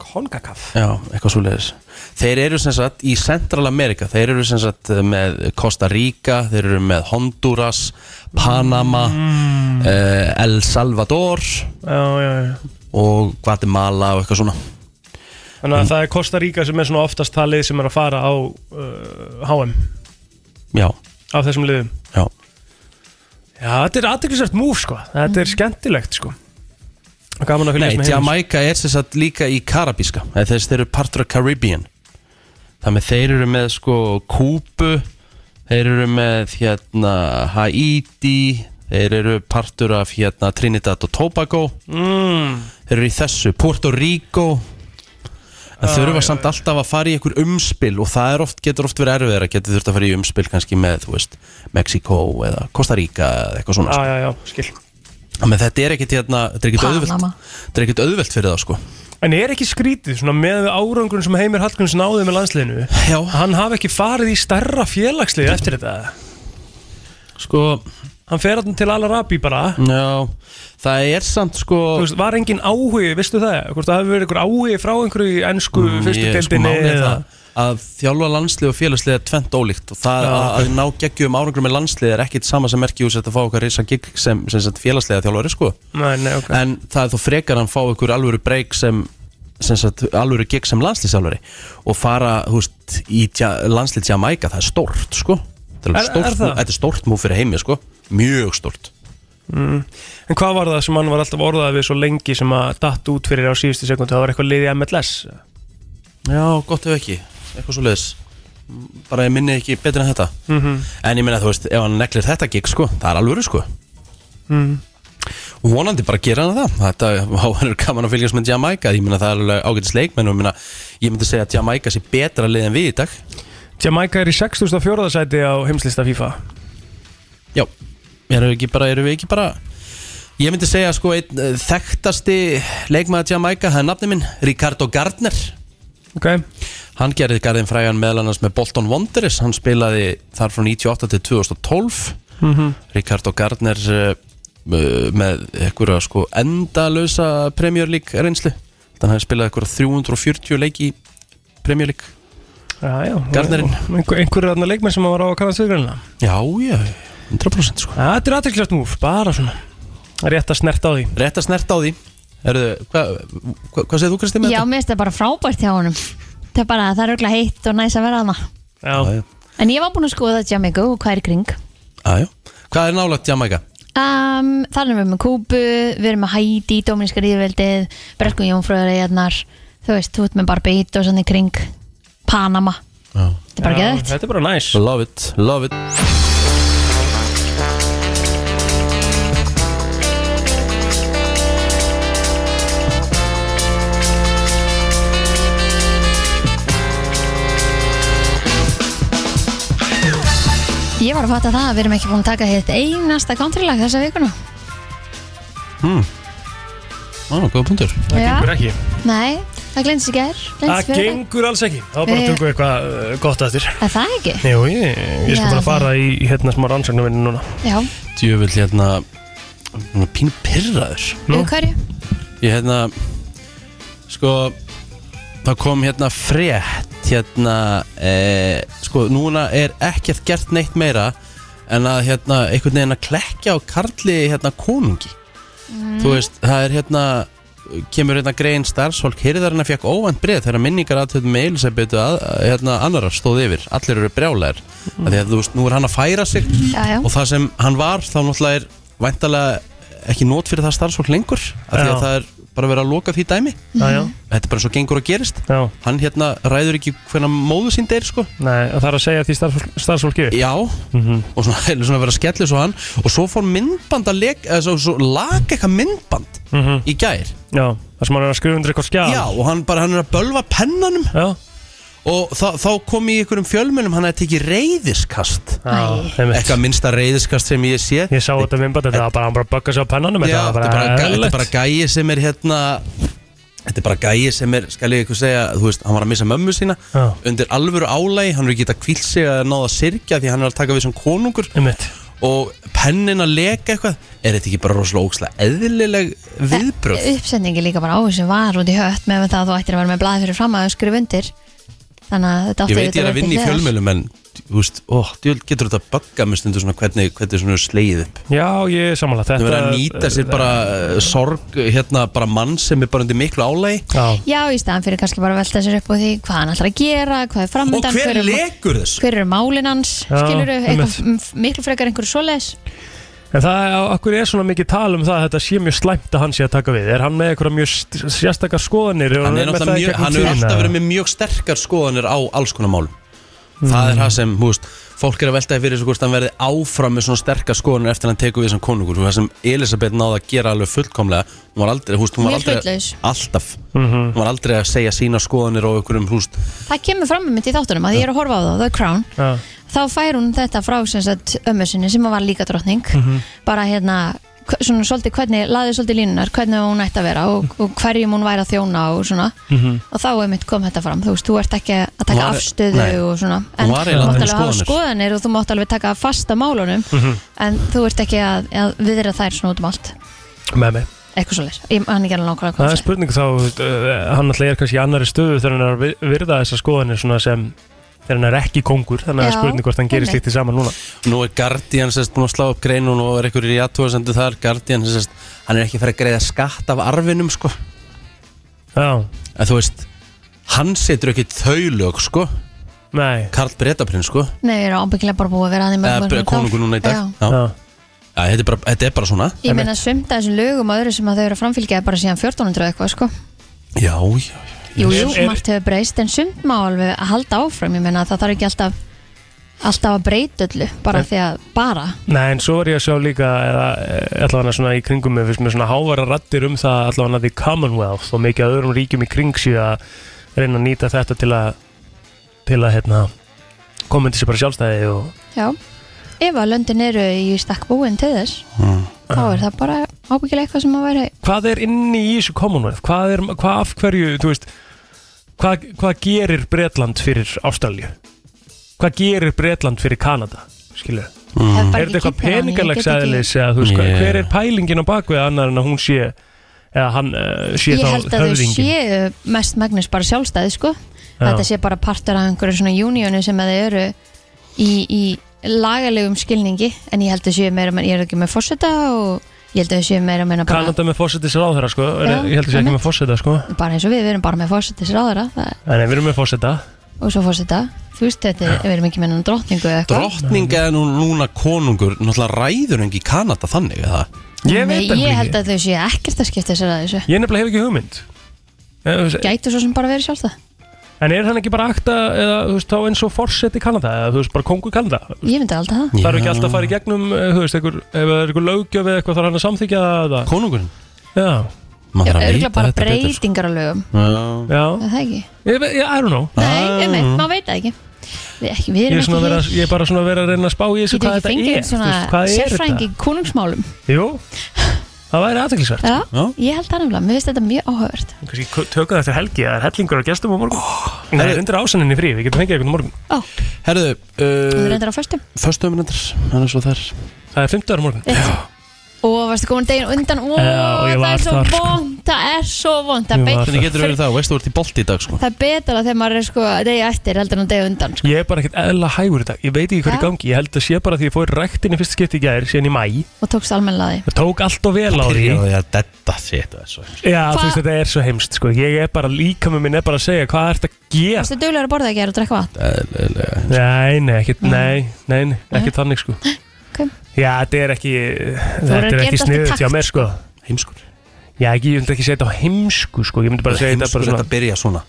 Konkakaf
Já, eitthvað svoleiðis Þeir eru sem sagt í Central America Þeir eru sem sagt með Costa Rica Þeir eru með Honduras Panama
Mm.
eh, El Salvador
Já, já, já
og Guatemala og eitthvað svona
Þannig að það er Costa Rica sem er svona oftast það lið sem er að fara á uh, HM
Já,
Af þessum liðum
já
Já, þetta er aðteklisvært múf sko Þetta er skemmtilegt sko Gaman
Nei,
að fylgjast með heimins.
Jamaica er sem sagt líka í Karabíska eða þess þeir eru partur af Caribbean Þannig að þeir eru með sko Kúbu Þeir eru með hérna Haiti Þeir eru partur af hérna Trinidad og Tobago
mm,
Þeir eru í þessu, Puerto Rico En þau eru samt alltaf að fara í einhver umspil og það er oft, getur oft verið erfiðar að getur þurft að fara í umspil kannski með, þú veist, Mexiko eða Costa Rica eða eitthvað svona
Já,
sko.
já, já, skil
Þannig að þetta er ekkit, hérna, þetta er ekkit auðvelt
Panama.
Þetta er ekkit auðvelt fyrir það, sko
En er ekki skrítið, svona með árangrun sem Heimir Hallgríms náði með landsliðinu
Já.
Hann hafi ekki farið í stærra félagslið eftir þetta
Sko,
Hann fer hann til Al-Arabi bara
já, það er samt, sko
Þú veist, var engin áhugi, veistu það? Hvort það hefur verið einhver áhugi frá einhverju í ennsku fyrstu
ég- sko,
deildinni
málið er það Að þjálfa landslið og félagslið er tvent ólíkt og það
Já.
að, að ná geggjum árangur með landslið er ekkit sama sem merki úr þetta að fá okkar risa gig sem, sem, sem félagslega þjálfari, sko
Nei, nei, ok
en það er þó frekar að hann fá ykkur alvöru breyk sem, sem sagt, alvöru gig sem landslýsálfari og fara þú veist, í landslýt Jamaica það er stórt sko Þetta er, alveg
Er-
stórt,
er það?
move- þetta er stórt múf fyrir heimi sko mjög stórt
En hvað var það sem hann var alltaf orðað við svo lengi sem að datt út fyrir á síðustu sekundu Það var eitthvað liðið MLS
já gott ef ekki eitthvað svo leiðis bara ég minni ekki betur en þetta en ég minna þú veist ef hann neglir þetta gig sko það er alvöru sko Mhm. og vonandi bara gera hann það þetta hann er gaman að fylgjast með Jamaica ég minna það er alveg ágætis leikmenn og ég meina, ég myndi segja að Jamaica sé betra lið en við í dag
Jamaica er í 6004. sæti á heimslista FIFA
Já, erum við ekki bara, erum við ekki bara Ég myndi segja sko einn eh, þekktasti leikmaður Jamaica, það er nafni minn Ricardo Gardner
Ok,
Hann gerði garðin frægan meðal annars með Bolton Wanderers Hann spilaði þar frá 98 til 2012 Mhm. Ricardo Gardner eh, eh, með einhverja sko endalösa Premier League reynslu Þannig að hann spilaði einhverja 340 leiki í Premier League
já, já
Gardnerinn.
Einhver, Einhverju þarna leikmenn sem var á að kanna sig greinlega
Já, já, 100% sko
Ja, Þetta er aðteklisvært múf, bara svona Rétt að snerta á því
Rétt að snerta á því Herðu, hva, hva, Hvað segir þú Kristi með
Já, mér finnst það bara frábært hjá honum Það er bara, það er auðvitað heitt og næs að vera hana
Já, já.
Já,
En ég var búin að skoða Jamaica og hvað er í kring
Aðjó. Hvað er nálægt Jamaica?
um, Þar erum við með Kúbu, við erum með Haiti, Dominíska ríðveldið Breskum Jónfröðureigarnar Þú veist, þú ert með Barbados og í kring Panama
Já.
Þetta er bara geðvægt
þetta er bara næs
Love it, love it
Ég var að fatta það að við erum ekki búin að taka heitt einasta countrylag þessa vikuna
Ó, góða punktur
Það
Gengur ekki
Nei, það glendis í gær gleymdist
Það
í fyrradag.
gengur alls ekki Þá bara
Nei.
tökum við eitthvað uh, gott að þér
Er það ekki?
Jú, ég, ég skal
Já,
bara
það-
fara í hérna smá rannsagnavinni núna
Já,
Djöfull hérna hún er Pínu pyrraður
Nú?
við hverju?
Ég hérna Sko Það kom hérna frétt Hérna e, Sko núna er ekkert gert neitt meira En að hérna einhvern veginn að klekja á karli hérna konungi Þú veist, það er hérna kemur hérna grein starfsfólk hirðarinn að fekk óvænt breið þegar minningar aðtöðum með Elisabethu að, hérna, annara stóð yfir allir eru brjálæðir mm. því að þú veist, nú er hann að færa sig
Já, já.
og það sem hann var þá náttúrulega er væntalega ekki nót fyrir það starfsfólk lengur af því
Já.
að það er bara verið að loka því dæmi
Já, já,
þetta er bara svo gengur og gerist
já
hann hérna ræður ekki hvernig móðu sínd er sko
Nei, og það er að segja því starfsfólk- starfsfólki upp
já og svona, *laughs* er svona verið að skellu svo hann og svo fór myndband að leik eða svo, svo lag eitthvað myndband
Mhm.
í gær
Já, það sem hann er að skrifa undir eitthvað skjál
já og hann bara hann er að bölva pennanum
Já,
og þá, þá kom í einhverjum fjölmjölum hann að tekið reyðiskast
já einmitt.
eitthvað minnsta reyðiskast sem ég sé
Ég sá þetta minnbætt Þetta var bara hann bara að bögga sig á pennanum
Já,
Þetta
þetta
var
er bara, þetta er
eðlilegt.
bara gæi sem er hérna Þetta er bara gæi sem er, skal ég ykkur segja, þú veist, hann var að missa mömmu sína
Já.
Undir alvöru álægi, hann er ekki að kvíl sig að náða að sirkja Því hann er að taka við sem konungur
Einmitt.
og pennin að leka eitthvað er þetta ekki bara rosalega ókslega eðlileg viðbröð
Uppsetningi líka bara á þessu var út í hött með það að þú ættir að vera með blaði fyrir fram að skrifa undir Þannig að þetta átti
ég veit ég
auðvitað
er að
vera
vinna í
til hliðar.
fjölmjölum en þú veist, ó, djöld getur þetta að bagga með stundu svona hvernig, hvernig svona slegið upp
Já, ég er samanlega
það
þetta
verður að nýta sér bara uh, sorg, hérna bara mann sem er bara undir miklu álægi
Já,
Já, í staðan fyrir kannski bara að velta sér upp á því hvað hann ætlar að gera, hvað er
og
framöndan
hver lekur þessu?
hver eru málin hans,
Já,
skilur
einmitt.
miklu frekar einhverju svoleiðis
en það er, okkur er svona mikið tal um það að þetta sé mjög slæmt að hann sé að taka við Er hann með eitthvað mjög st- sérstakar skoðanir
hann er náttúrulega mjög, hann hefur alltaf verið með mjög sterkar skoðanir á alls konar málum það er það sem, þú veist, fólk er að veltaði fyrir þessu hvort hann verði áfram með svona sterkar skoðanir eftir að hann tekur við sem konungur það sem Elisabeth náði að gera alveg fullkomlega hún var aldrei, þú veist, hún var
Mjög
aldrei
hlutlaus.
alltaf, hún var aldrei að segja sína skoðanir á einhverjum, þú veist
það kemur fram með mitt í þáttunum að ég er að horfa á það, The Crown
Já.
þá fær hún þetta frá sem sagt, ömmu sinni sem var líka drottning
Mhm.
bara hérna hv- svona svolítið hvernig, laðið svolítið línunar hvernig hún ætti að vera og,
Mhm.
og hverjum hún væri að þjóna og svona og þá einmitt kom þetta fram, þú veist, þú ert ekki að taka
Hún Mhm. var-
afstöðu
nei.
og svona
Hún
en þú
var eiginlega með
mátt alveg hafa
skoðanir. Mhm.
skoðanir og þú mátt alveg taka fasta málunum en þú ert ekki að, að viðra þær svona út um allt
með mig
eitthvað svoleiðis, ég hann ekki alveg nákvæmlega hvað hún
Það er
sagði.
spurning þá, uh, hann alltaf er kannski í annari stöðu þegar hann er að vi- virða þessar skoðanir svona sem þegar hann er ekki kóngur þannig að
Já,
það er spurning hvort hann gerir
einmitt.
slíkt í saman núna
Nú er Guardian sérst búin að slá upp grein og nú er einhverjir í aðtóðasendu þar Guardian sérst, hann er ekki að fara að greiða skatt af arfinum sko
Já,
en þú veist, hann setur ekki þau lög sko,
nei
Karl Bretaprins sko
Nei, ég er ábyggilega bara búið að vera að því mörg,
eða
mörg, mörg
konungur
ár.
núna í dag
Já.
Já.
Já.
Já, þetta, er bara, þetta er bara svona
Ég meina sumt að þessum lögum og öðru sem að þau eru að framfylgja er bara síðan 1400 og eitthvað sko
Já, já,
Jú, jú,
Er- er-
margt hefur breyst en sumt má alveg að halda áfram Ég meina það þarf ekki alltaf alltaf að breyta öllu bara því að bara
Nei, en svo er ég að sjá líka eða, eh, allavega svona í kringum með, með svona hávara rattir um það allavega því Commonwealth og mikið af öðrum ríkjum í kring síðan að reyna að nýta þetta til að til að hérna koma til sér bara sjálfstæði og
Já, ef að löndin eru í stakk búin til þess
Mm.
þá er það bara ábyggilega eitthvað sem að vera
hvað er inni í þessu Commonwealth hvað, er, hvað af hverju, þú veist hvað, hvað gerir Bretland fyrir Ástralju hvað gerir Bretland fyrir Kanada skilur,
mm.
er þetta eitthvað peningalegs aðlis eða þú veist,
Yeah.
yeah. hver er pælingin á bakvið annar en að hún sé eða hann uh, sé
Ég
þá
held að þau
höfðingin
séu mest magnus bara sjálfstæði sko
Já.
Þetta sé bara partur af einhverju svona júníónu sem að þau eru í, í lagalegum skilningi en ég held að þau séu meira menn, ég er ekki með fórseta og ég held að þau séu meira menna bara,
Kanada með fósettis ráðherra sko er,
Já,
ég held að sé ekki
einmitt.
með fósetta sko
bara eins og við, við erum bara með fórsetis ráðara
en nei, við erum með fósetta
og svo fórseta, þú veist þetta, er- við erum ekki með nennan drottningu eða eitthvað
drottning eða nú, núna konungur náttúrulega ræður engi Kanada þannig eða
ég
Nei,
veit það
ég
ekki,
held að þau séu ekkert að skipta sér að þessu
ég nefnilega hef ekki hugmynd Eh, þú veist,
Gætu svo sem bara verið sjálfstæð
En er hann ekki bara akta eða þú veist þá eins og forsett í Kanada eða þú veist bara kongur Kanada
Ég myndi alltaf það
Það eru ekki alltaf að fara í gegnum eh, þú veist, einhver, ef það er einhver löggjöf eða eitthvað þarf hann að samþykja það
konungurinn
Já,
maður þarf að
Örgulega
vita
bara
þetta betur, sko.
breytingar á lögum,
Já.
já,
er það ekki?
ég, ve- ég, I don't know
Nei, um eitt, maður veit það ekki Við, ekki, við
Ah. Ég
erum
er,
ekki
svona að vera,
hér
ég er bara svona að vera að reyna að spá í þessu
Getum
hvað
ekki
þetta
fengið
er
einn
þú veist,
svona
Hvað er
sérfræðing í
þetta?
konungsmálum
Jú, það væri aðteklisvert
Já,
Já.
ég held það nefnilega, mér finnst þetta mjög áhugavert
Kanski kö- tökum það eftir helgi að það er hellingur á gestum á morgun Nei, Oh, Það er undir ásanninni frí, við getum fengið eitthvað á morgun
Ó,
herðu,
við
uh,
reyndar á förstum
föstum minnendur hann er svo þar
Það er 50 á morgun
Eh. Ó, varstu komin deginn undan, ó,
Já, ég
það
var
er svo
þar, sko.
vond Það er svo vond, það
Ég var
beitur
hvernig getur verið það, veistu, þú ert í bolti í dag sko
Það er betra þegar maður er sko degi eftir heldur en degi undan sko.
Ég er bara ekkert eðla hægur í dag, ég veit ekki hvað er í
Já.
gangi Ég held að sé bara því ég fór ræktin í fyrsta skipti í gær síðan í mæ
og tókst almennlega því
Það tók allt og vel á því
því að detta sétt já,
Já,
Hva-
þú veist þetta er svo heimst sko. Ég er bara líka með minn er bara að segja hvað ert að gera
Varstu duglegur að borða ekki og drekka vatn?
Nei, nei, ekkert, nei, nei, nei, ekkert þannig sko
Ok.
Já, þetta er ekki,
verður
þetta
að
er
gera
ekki
þetta allt í
sniðut hjá
takt,
mér sko
heimskur
Já, ekki, ég myndi ekki segja þetta á heimsku sko Ég myndi bara segja þetta
heimskur
bara
þetta
svona
að byrja svona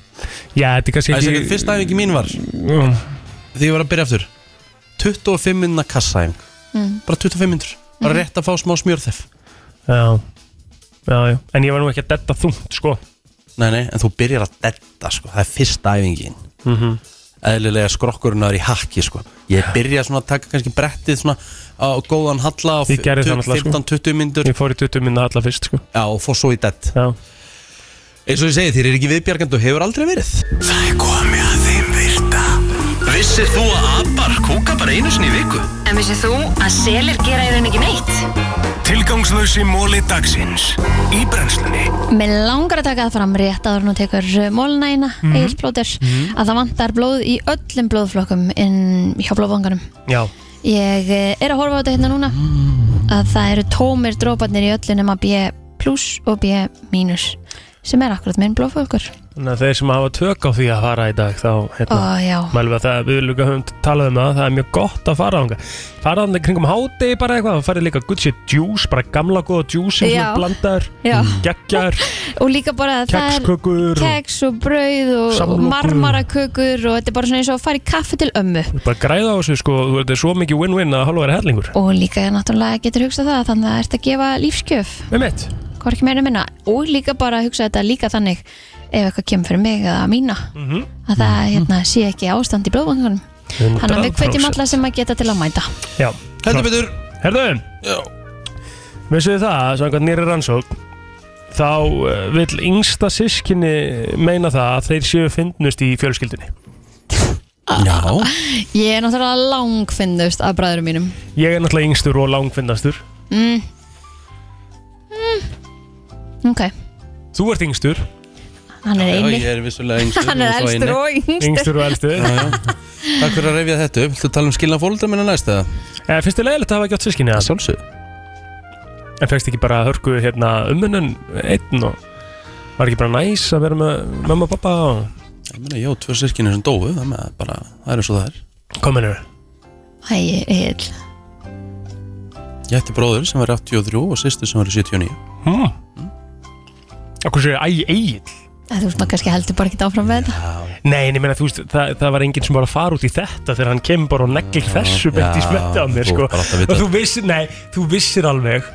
Já, þetta er kannski
það er
ekki
sér fyrsta æfingi mín var því
Mm.
ég var að byrja aftur 25 minna kassaæfing bara 25 minnur bara rétt að fá smá smjörþef
Já, já, já En ég var nú ekki að detta þungt sko
Nei, nei, en þú byrjar að detta sko. Það er fyrsta æfingin mm
Mhm.
Eðlilega skrokkurinn er í hakki sko. Ég byrja svona að taka kannski brettið svona á góðan halla á
Ég gerði það náttúrulega, sko.
15-20 myndur
Ég fór í 20 minna alla fyrst sko
Já, og fór svo í dett
Já,
Eins og ég segi, þér er ekki viðbjargandi og hefur aldrei verið
Það er komið að þeim virta Vissir þú að abar kúka bara einu sinni í viku?
En vissið þú að selir gera í raun ekki neitt?
Tilgangslösi móli dagsins Í brennslunni
Mér langar að taka það fram rétt áður nú tekur mólnægina, mm
Mhm.
-hmm. að það vantar blóð í öllum blóðflokkum inn hjá blóðvanganum.
Já,
Ég eh, er að horfa á þetta hérna núna að það eru tómir dróparnir í öllu nema B plus og B mínus sem er akkurat minn blóðflokkur.
þannig að þeir sem hafa tök á því að fara í dag þá hérna,
Ó, já.
mælum við að það, við líka höfum talað um það, það er mjög gott að fara ánga fara þannig kringum hádegi bara eitthvað þá farið líka good shit juice, bara gamla góða juice sem
Já.
svona blandaður,
Já.
geggjar
Og líka bara að *laughs* það er
kekskökur og
keks og brauð og
Samlokur.
marmarakökur og þetta er bara svona eins og að fara í kaffi til ömmu.
bara græða á þessu sko, þú veit, þetta er svo mikið win-win að hálfa er hellingur
Og líka náttúrulega getur hugsað það þannig að það ert að gefa lífskjöf.
með mitt,
hvorki meira minna og líka bara að hugsa þetta líka þannig ef eitthvað kemur fyrir mig eða mína
Mhm.
að það hérna, sé ekki ástand í blóðvangunum þannig að við hvetjum alla sem að geta til að mæta
já,
Heldur betur
herðu
Já
Vissu þið það, samkvæmt nýri rannsók þá eh, vill yngsta sískinni meina það að þeir séu fyndnust í fjölskyldunni
Já
ég er náttúrulega langfinnust af bræðurum mínum
Ég er náttúrulega yngstur og langfyndastur
mm. Mm. ok,
Þú ert yngstur,
hann er
Já, ég
einnig
er vissulega yngstur
*laughs* hann er
og svo
elstur
eini.
og yngstur
yngstur og eldstur
Já, já. Takk fyrir að reyfja þetta upp Viltu tala um skilna fólkdra minna næst eða?
eh, Finnst þið leiðilegt að hafa ekki átt sískinni það?
Sjálfsög
En fegst ekki bara hörku hérna umunum einn og var ekki bara næs að vera með mamma og pappa og
Ég meina, ég á tvö sirkinni sem dóu Það með bara, það er eins og það er
kominu
Æ, ég, ég,
Ég ætti bróður sem var 83 og sýstu sem var 79
hmm. Akkur séu, æ, eigin
að þú veist maður kannski heldur bara ekki áfram með þetta
Nei, en ég meina, þú veist, það, það var enginn sem var að fara út í þetta þegar hann kemur bara og neglir þessu beint í
já,
smetti á mér,
þú
sko
bara átt að vita
og þú vissir, nei, þú vissir alveg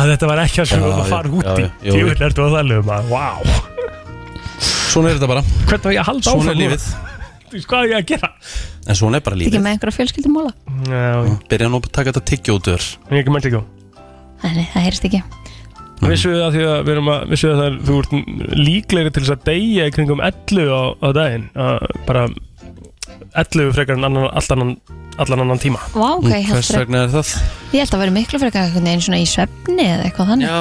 að þetta var ekki að sem
Já,
við varum
já,
að fara út
já,
í
já, jú.
Jú, er þú að það lögum að, vá
Svona er þetta bara,
Hvernig var ég að halda
svona
áfram?
er lífið
Þú veist, Hvað er ég að gera?
En svona er bara
ekki
lífið
með einhverja fjölskyldumóla
Já,
Byrja nú að taka þetta tyggjóður
ég er ekki mælt ekki á
þannig, það heyrst ekki
Vissuðu það því að við erum að Vissuðu það að þú ert líklegri til þess að deyja í kringum 11 á, á daginn að bara 11 frekar en annan, allt annan, allan annan tíma
Vá, ok, ég held,
Hvers
frekar-
vegna er það?
ég held að vera miklu frekar einhvern veginn svona í svefni eða eitthvað þannig
Já,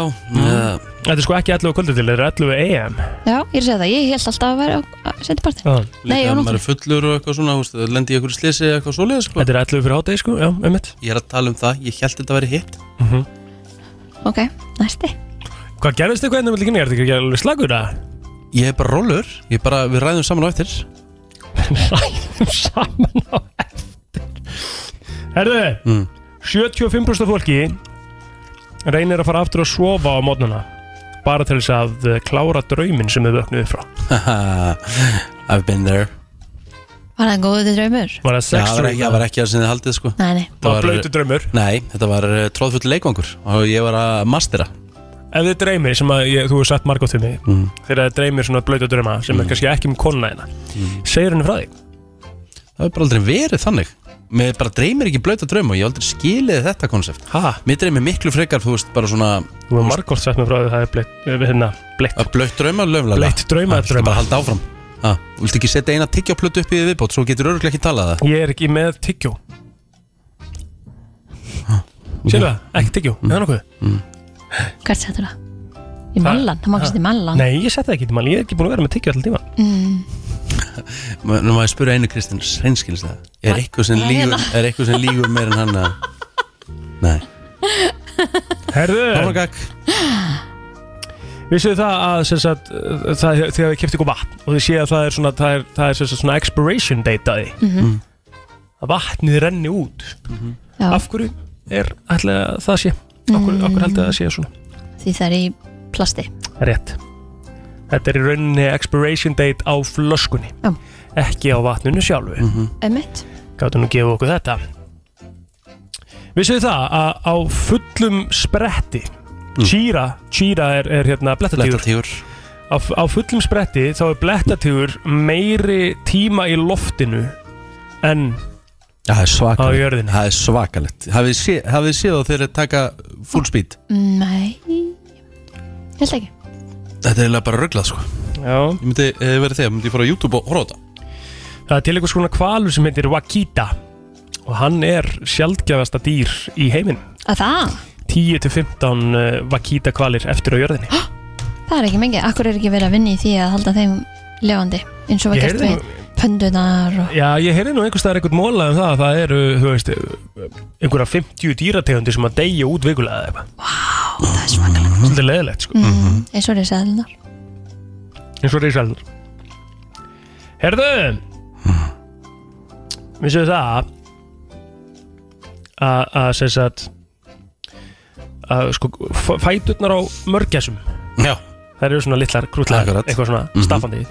eða-
Þetta er sko ekki 11 á kvöldu til, þetta er 11 AM
Já, ég er að segja það, ég held alltaf að vera á setjapartin
Já.
Nei,
líka
já,
ef
nú-
maður er fullur og eitthvað svona þú veist, Lendi í einhverju slisi eða eitthvað svoleiðis sko.
Þetta er 11 fyrir hátegi sko, já, um mitt
Ég er að tala um það, ég held þetta að vera hitt
Ok, næsti
Hvað gerðist eitthvað ennum líka nýjar, þetta er ekki alveg slagur að
Ég er bara rólur, ég er bara, við ræðum saman á eftir *laughs*
ræðum *laughs* saman á eftir Herðu,
Mm.
75% af fólki reynir að fara aftur að sofa á mótnuna bara til þess að eh, klára drauminn sem þau vöknuðu frá
I've been there
Var það góðið draumur?
Var það
Já,
sex
það var ekki- það var ekki að sem þið haldið sko
Nei, nei
Það
Það var
var-
blöytu draumur
Nei, þetta var uh, tróðfull leikvangur og ég var að mastera
Ef þið dreymir, sem að ég, þú hefur sagt margótt við mig
Mm.
Þegar þið dreymir svona blöytu drauma sem er kannski ekki um konuna hérna Segir henni frá því
Það hefur bara aldrei verið þannig Mér bara dreymir ekki blöta drauma og ég hef aldrei skilið þetta konsept
Ha,
Mér dreymir miklu frekar, þú veist, bara svona
þú hefur margótt sagt mér frá því að það er bleitt, eh, hérna, bleitt,
að blöta drauma löfla
bleitt drauma
bara
drauma
halda áfram Ha, Viltu ekki setja eina tyggjáplötu upp í því viðbót svo getur örgulega ekki talað það
Ég er ekki með tyggjó Sérðu það, ekki tyggjó, mm. eða nokkuð
Hvert settur það? Í
Það-
mallan, það má ekki setja í mallan
Nei, ég seti það ekki til mann, ég er ekki búin að vera með tyggjó alltaf tíma
mm.
Nú nú maður spura einu Kristinn, reynskilist það Er eitthvað sem
Nei,
lígur,
hérna.
er eitthvað sem lígur meir en hann að Nei,
Herðu,
Norrgag
vissuðu það að sem sagt, eh, það, þið hafið kæft ykkur vatn og þið séð að það er svona, það er, það er sem sagt, svona expiration date að því að vatnið renni út
Já,
af hverju er ætlaði að það sé okkur, mm. okkur held að það sé svona
því það er í plasti
rétt þetta er í rauninni expiration date á flöskunni
Já.
ekki á vatninu sjálfu mm -hmm.
Ömmit
gáttu nú að gefa okkur þetta vissuðu það að á fullum spretti mm. Chira, Chira er, er hérna blettatígur
Blettatígur
á, á fullum spretti þá er blettatígur meiri tíma í loftinu en
Já, það er
á
svakalegt
jörðinu
Það er svakalegt Hafið þið sé- hafið þið séð þá þegar þeir taka full speed
Nei Ég held ekki
Þetta er eiginlega bara rugglað sko
Já.
Ég myndi eh, verið þegar, myndi ég fara á YouTube og horfa á þetta
Það er til einhvers konar kvalur sem heitir Wakita og hann er sjaldgæfasta dýr í heiminum.
Að það?
10-15 uh, Wakita kvalir eftir á jörðinni.
Það er ekki mikið. Akkur er ekki verið að vinna í því að halda þeim levandi eins og var
Ég
gert
heyrði
við pöndunar og...
Já, ég heyrði nú einhvers staðar einhvern móla um það að það eru, þú veist, einhverja 50 dýrategundir sem að deyja út vikulega eða eitthvað. Vá,
það er svakalegt.
Svolítið leðilegt, sko.
Mm, eins og risaðlunar.
eins og risaldur Herðu Vissuðu það að að sem sagt að sko f- fæturnar á mörgæsum
Já
þær eru svona litlar krútlar
Akkurat.
eitthvað svona
Mhm.
staffandi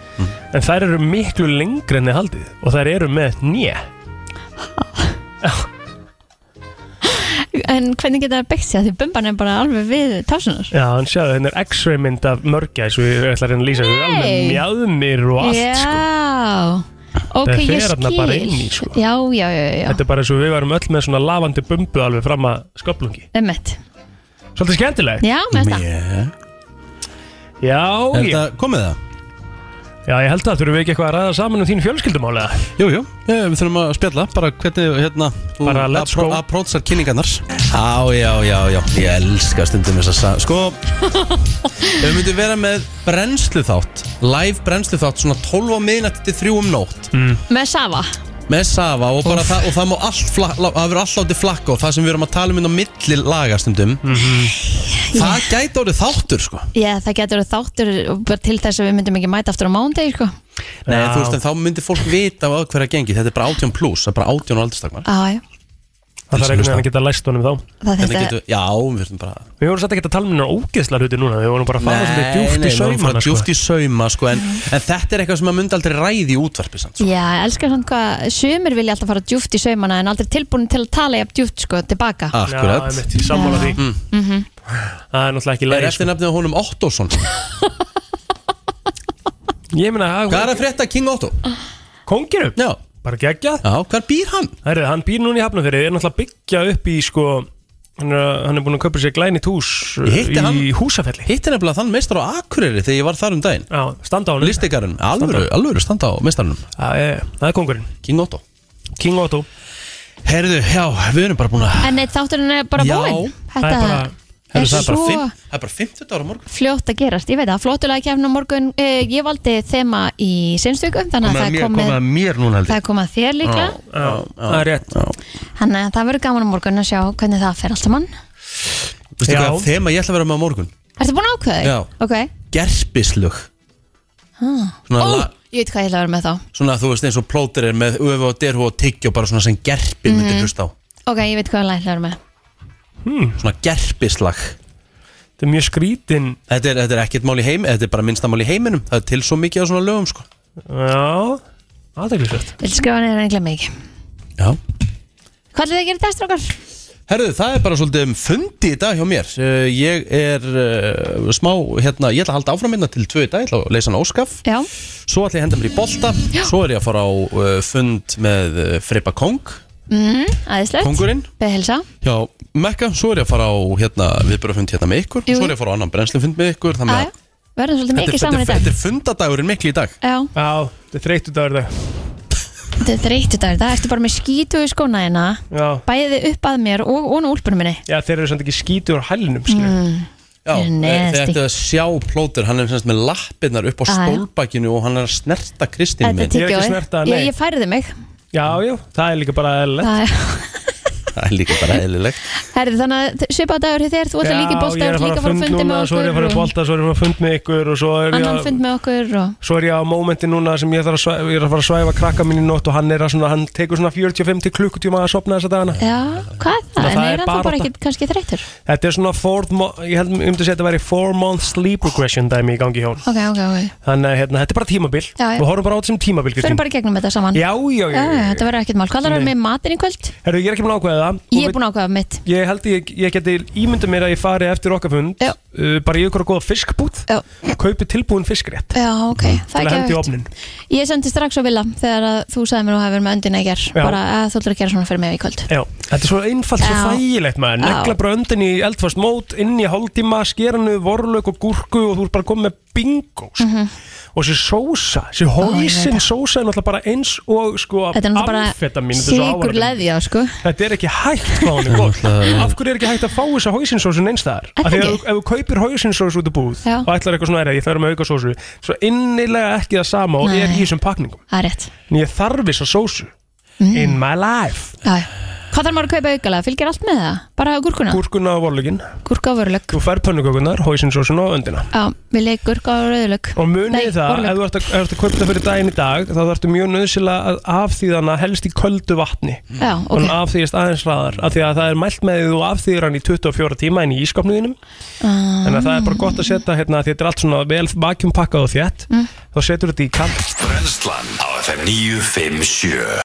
en þær eru miklu lengri enn þið haldið og þær eru með njö
En hvernig geta það byggt sér? Því bumban er bara alveg við tásunar.
Já, hann sjáðu, hérna er x-ray mynd af mörgæs og ég ætla að reyna að lýsa þau alveg
Nei.
mjadmir og allt
já.
sko.
Ok,
Það fer
ég
þarna
skil.
bara inn í, sko.
Já, já, já, já.
Þetta er bara eins og við varum öll með svona lavandi bumbu alveg fram að sköplungi
Emmett.
Svolítið skemmtilegt
Já, með þetta.
Já,
Er
ég-
þetta
komið það? Já, ég held að þurfum við ekki eitthvað að ræða saman um þín fjölskyldumáli eða?
Jú, jú, eh, við þurfum að spjalla bara hvernig, hérna þú
Bara let's
appro-
go.
approachar kynningarnar
Já, já, já, já, ég elska stundum þess að sa-
Sko,
*laughs*
ef við myndum vera með brennslu þátt Live brennslu þátt, svona 12 á miðnætti til 3 um nótt mm.
Með Sava.
Með Sava og bara það, og það má allt flak, lá- það verður allt látið flakka og það sem við erum að tala um inn á milli laga stundum
Mhm.
Það gæti orðið þáttur, sko
Já, það getur þáttur bara til þess að við myndum ekki mæta aftur á mándegi, sko.
Nei, þú veist, en þá myndir fólk vita á hverja gengi Þetta er bara 18 pluss, það er bara 18 og aldurstakmar
Á, já.
Það
Til
þarf
sem
einhvern
hlusta.
veginn að geta læst honum þá
Það
Hvernig
þetta-
getum við- Já, við verðum bara
Við vorum satt ekki að tala um hennar ógeðsla hluti núna Við vorum bara að fara
við
svolítið djúft í
vorum að fara
saumana sko.
djúpt í sauma sko, en, en þetta er eitthvað sem maður myndi aldrei ræði í útvarpi samt, sko.
Já, ég elskar svona hvað, sumir vilja alltaf fara djúft í saumana en aldrei tilbúin til að tala jafn djúft sko tilbaka.
Akkurat.
Já, einmitt, sko. ég sammála því
Mm.
Mm -hmm.
Það er náttúrulega ekki
Er
læri
eftir nefnið á honum Ottosson
sko. Ég meina Hvað
er að frétta King Otto?
Kongirum?
Já
Bara geggjað
Já, hvað býr hann?
Herri, hann býr núna í Hafnafjörði Ég er náttúrulega að byggja upp í sko Hann er, hann er búin að köpa sér glænit hús uh,
Hitti
Í
hann-
húsafelli
Hittir nefnilega þann meistar á Akureyri þegar ég var þar um daginn
Já, standa á hann
Listikarinn, alvöru, alvöru standa á meistarnum
Það er kongurinn
King Otto
King Otto
Herðu, já, við erum bara búin að
En neitt þátturinn er bara
Já,
búinn.
það er bara-
er
Herðu, það er bara
svo
fimm- það er bara 50 ára morgun
fljótt að gerast. Ég veit að flottulega kefna morgun, uh, ég valdi þema í sinnstöku þannig að það er komið,
mér núna
það er komið að þér líka.
Það er rétt
Þannig að það verður gaman á morgun að sjá hvernig það fer alltaf mann.
Vistu
Já.
hvað, þema ég ætla að vera með á morgun
Ertu búin að ákveða þig?
Já.
Ok.
Gerpislug
Ah.
Svona
Ó,
la-
ég veit hvað ég ætla að vera með þá.
Svona þú veist eins og plóter er með öfu og derhu og tyggju bara svona sem gerpi
Mhm.
myndir hlusta á
Ok, ég veit hvað ég ætla að vera með.
Svona gerpislag
Þetta er mjög skrítin
Þetta er, þetta er ekkert mál í heim, þetta er bara minnsta mál í heiminum Það er til svo mikið á svona lögum sko
Já, aðeinsvægt
Vil skrifa neina englega mikið.
Já.
Hvað ætlaði að gera í dag, strákar?
Herðu, það er bara svolítið um fundi í dag hjá mér Eh, Ég er uh, smá, hérna, ég ætla að halda áfram hérna til tvö í dag Ég ætla að leysa hann óskaf
Já.
Svo ætla ég að henda mér í bolta Já. Svo er ég að fara á uh, fund með uh, Frippa Kong
Mm, Æðislegt.
Kóngurinn.
Behelsa.
hjá Mekka Svo er ég að fara á, hérna, viðbjörafund hérna með ykkur
Jú,
Svo
jú.
er ég að fara á annan brennslufund með ykkur Þannig
Á,
að
já. Verðum svolítið
þetta, er-
mikið
þetta,
saman í
er-
dag.
þetta er fundadagurin miklu í dag
Já.
Já, þetta er þreyttu dagur dag
Þetta er þreyttu dagur, það ertu bara með skítu í skóna hérna
Já,
Bæði upp að mér og og nú úlpunum minni
já þeir eru samt ekki skítur á hælunum skilur.
Mm.
Já,
Nasty. Ah,
þeir ættu að sjá plótur, hann er semst með lappirnar upp á
Já, já.
stólbakinu og hann er að snerta Kristín
Þetta
minn.
er tyggjóið, ég, ég færði mig
Já, já, það er líka bara eðlilegt
Það- *laughs*
Það er líka bara eðlilegt.
Herði þannig að þ- svipað dagur hjá þér, þú ætlar líka í bolta Þú ætlar líka að fara að fundi
núna,
með
Svo er ég að fara að
okkur og
bolta, svo er ég að fara að fund með ykkur og svo er ég
Annan
að
fund með okkur og
Svo er ég á mómenti núna sem ég, þarf að svæfa, ég er að fara að svæfa krakka mín í nótt og hann er að svona, hann tekur svona 45 til klukkutíma að sopna þessa dagana
Já, hvað er það? En
Það er
er hann
barátta.
bara ekki kannski þreyttur?
Þetta er svona, fourth mo- ég held um til að segja þetta væri 4 month sleep regression dæmi í gangi hjá hann
Ok, ok, ok
Þannig að hérna, þetta er bara tímabil,
Já, já.
við horfum bara á þetta sem tímabil
Fyrir
Kristín.
bara í gegnum þetta saman
Já, já, já, já, já.
Þetta verður ekkert mál, hvað er það
Nei.
með matinn í kvöld?
Herru, ég er ekki búin að ákveða það
Ég er búin að ákvaða mitt
Ég held ég, ég geti ímyndað mér að ég fari eftir okkar fund uh, bara í ykkur að góða fiskbúð
Já.
kaupi tilbúin fiskrétt
Já, ok,
til
það
að
er
hendi í
ekki
ofnin
Ég sendi strax á Villa þegar að þú sagði mér að þú hafi verið með öndina í ger
Já.
bara að þú ætlar að gera svona fyrir mig í kvöld
Já, þetta er svo einfalt, svo
Já.
þægilegt maður
Já.
negla bara öndin í eldfast mót inn í hálftíma, skeranu, vorlaug og gúrku og þú ert bara komið með bingo sko.
Mhm.
og þessi sósa, þessi hóisin sósa er náttúrulega bara eins og sko
Þetta er
amfetamín,
náttúrulega bara
þetta er svo ávarandi.
sigur leðja sko.
Þetta er ekki hægt hvað hún er gott Af hverju er ekki hægt að fá þessa hóisinsósu neins þar?
Er
Af
það
því að
ekki?
ef- ef þú kaupir hóisinsósu út í búð
Já.
og ætlar eitthvað svona er að ég þarf með auka sósu svo innilega ekki það sama og
Nei.
er í þessum pakningum
Það er rétt
en ég þarf þessa sósu
Mm.
in my life
Já, já. Hvað þarf maður að kaupa aukala? Fylgir allt með það? Bara gúrkuna?
Gúrkuna og vorlugin
Gúrka og vörulög
Þú fær pönnukökunar, hóisinsósun og öndina
Já, við leik gúrka og rauðlög
Og munið
Nei,
það,
vorlög.
ef þú ert að, ef þú ert að kaupa það fyrir daginn í dag þá þarftu mjög nöðsilega að afþýða hana helst í köldu vatni
Já,
og
ok
hann afþýðist aðeins hraðar af því að það er mælt með því að þú afþýðir hann í 24 tíma en í ískapnuðinum
Ah.
þannig að það er bara gott að setja hérna því þetta er allt svona vel vakjum pakkað og þjætt
Mm.
þá setur þetta í kall
Brennslan á FM 957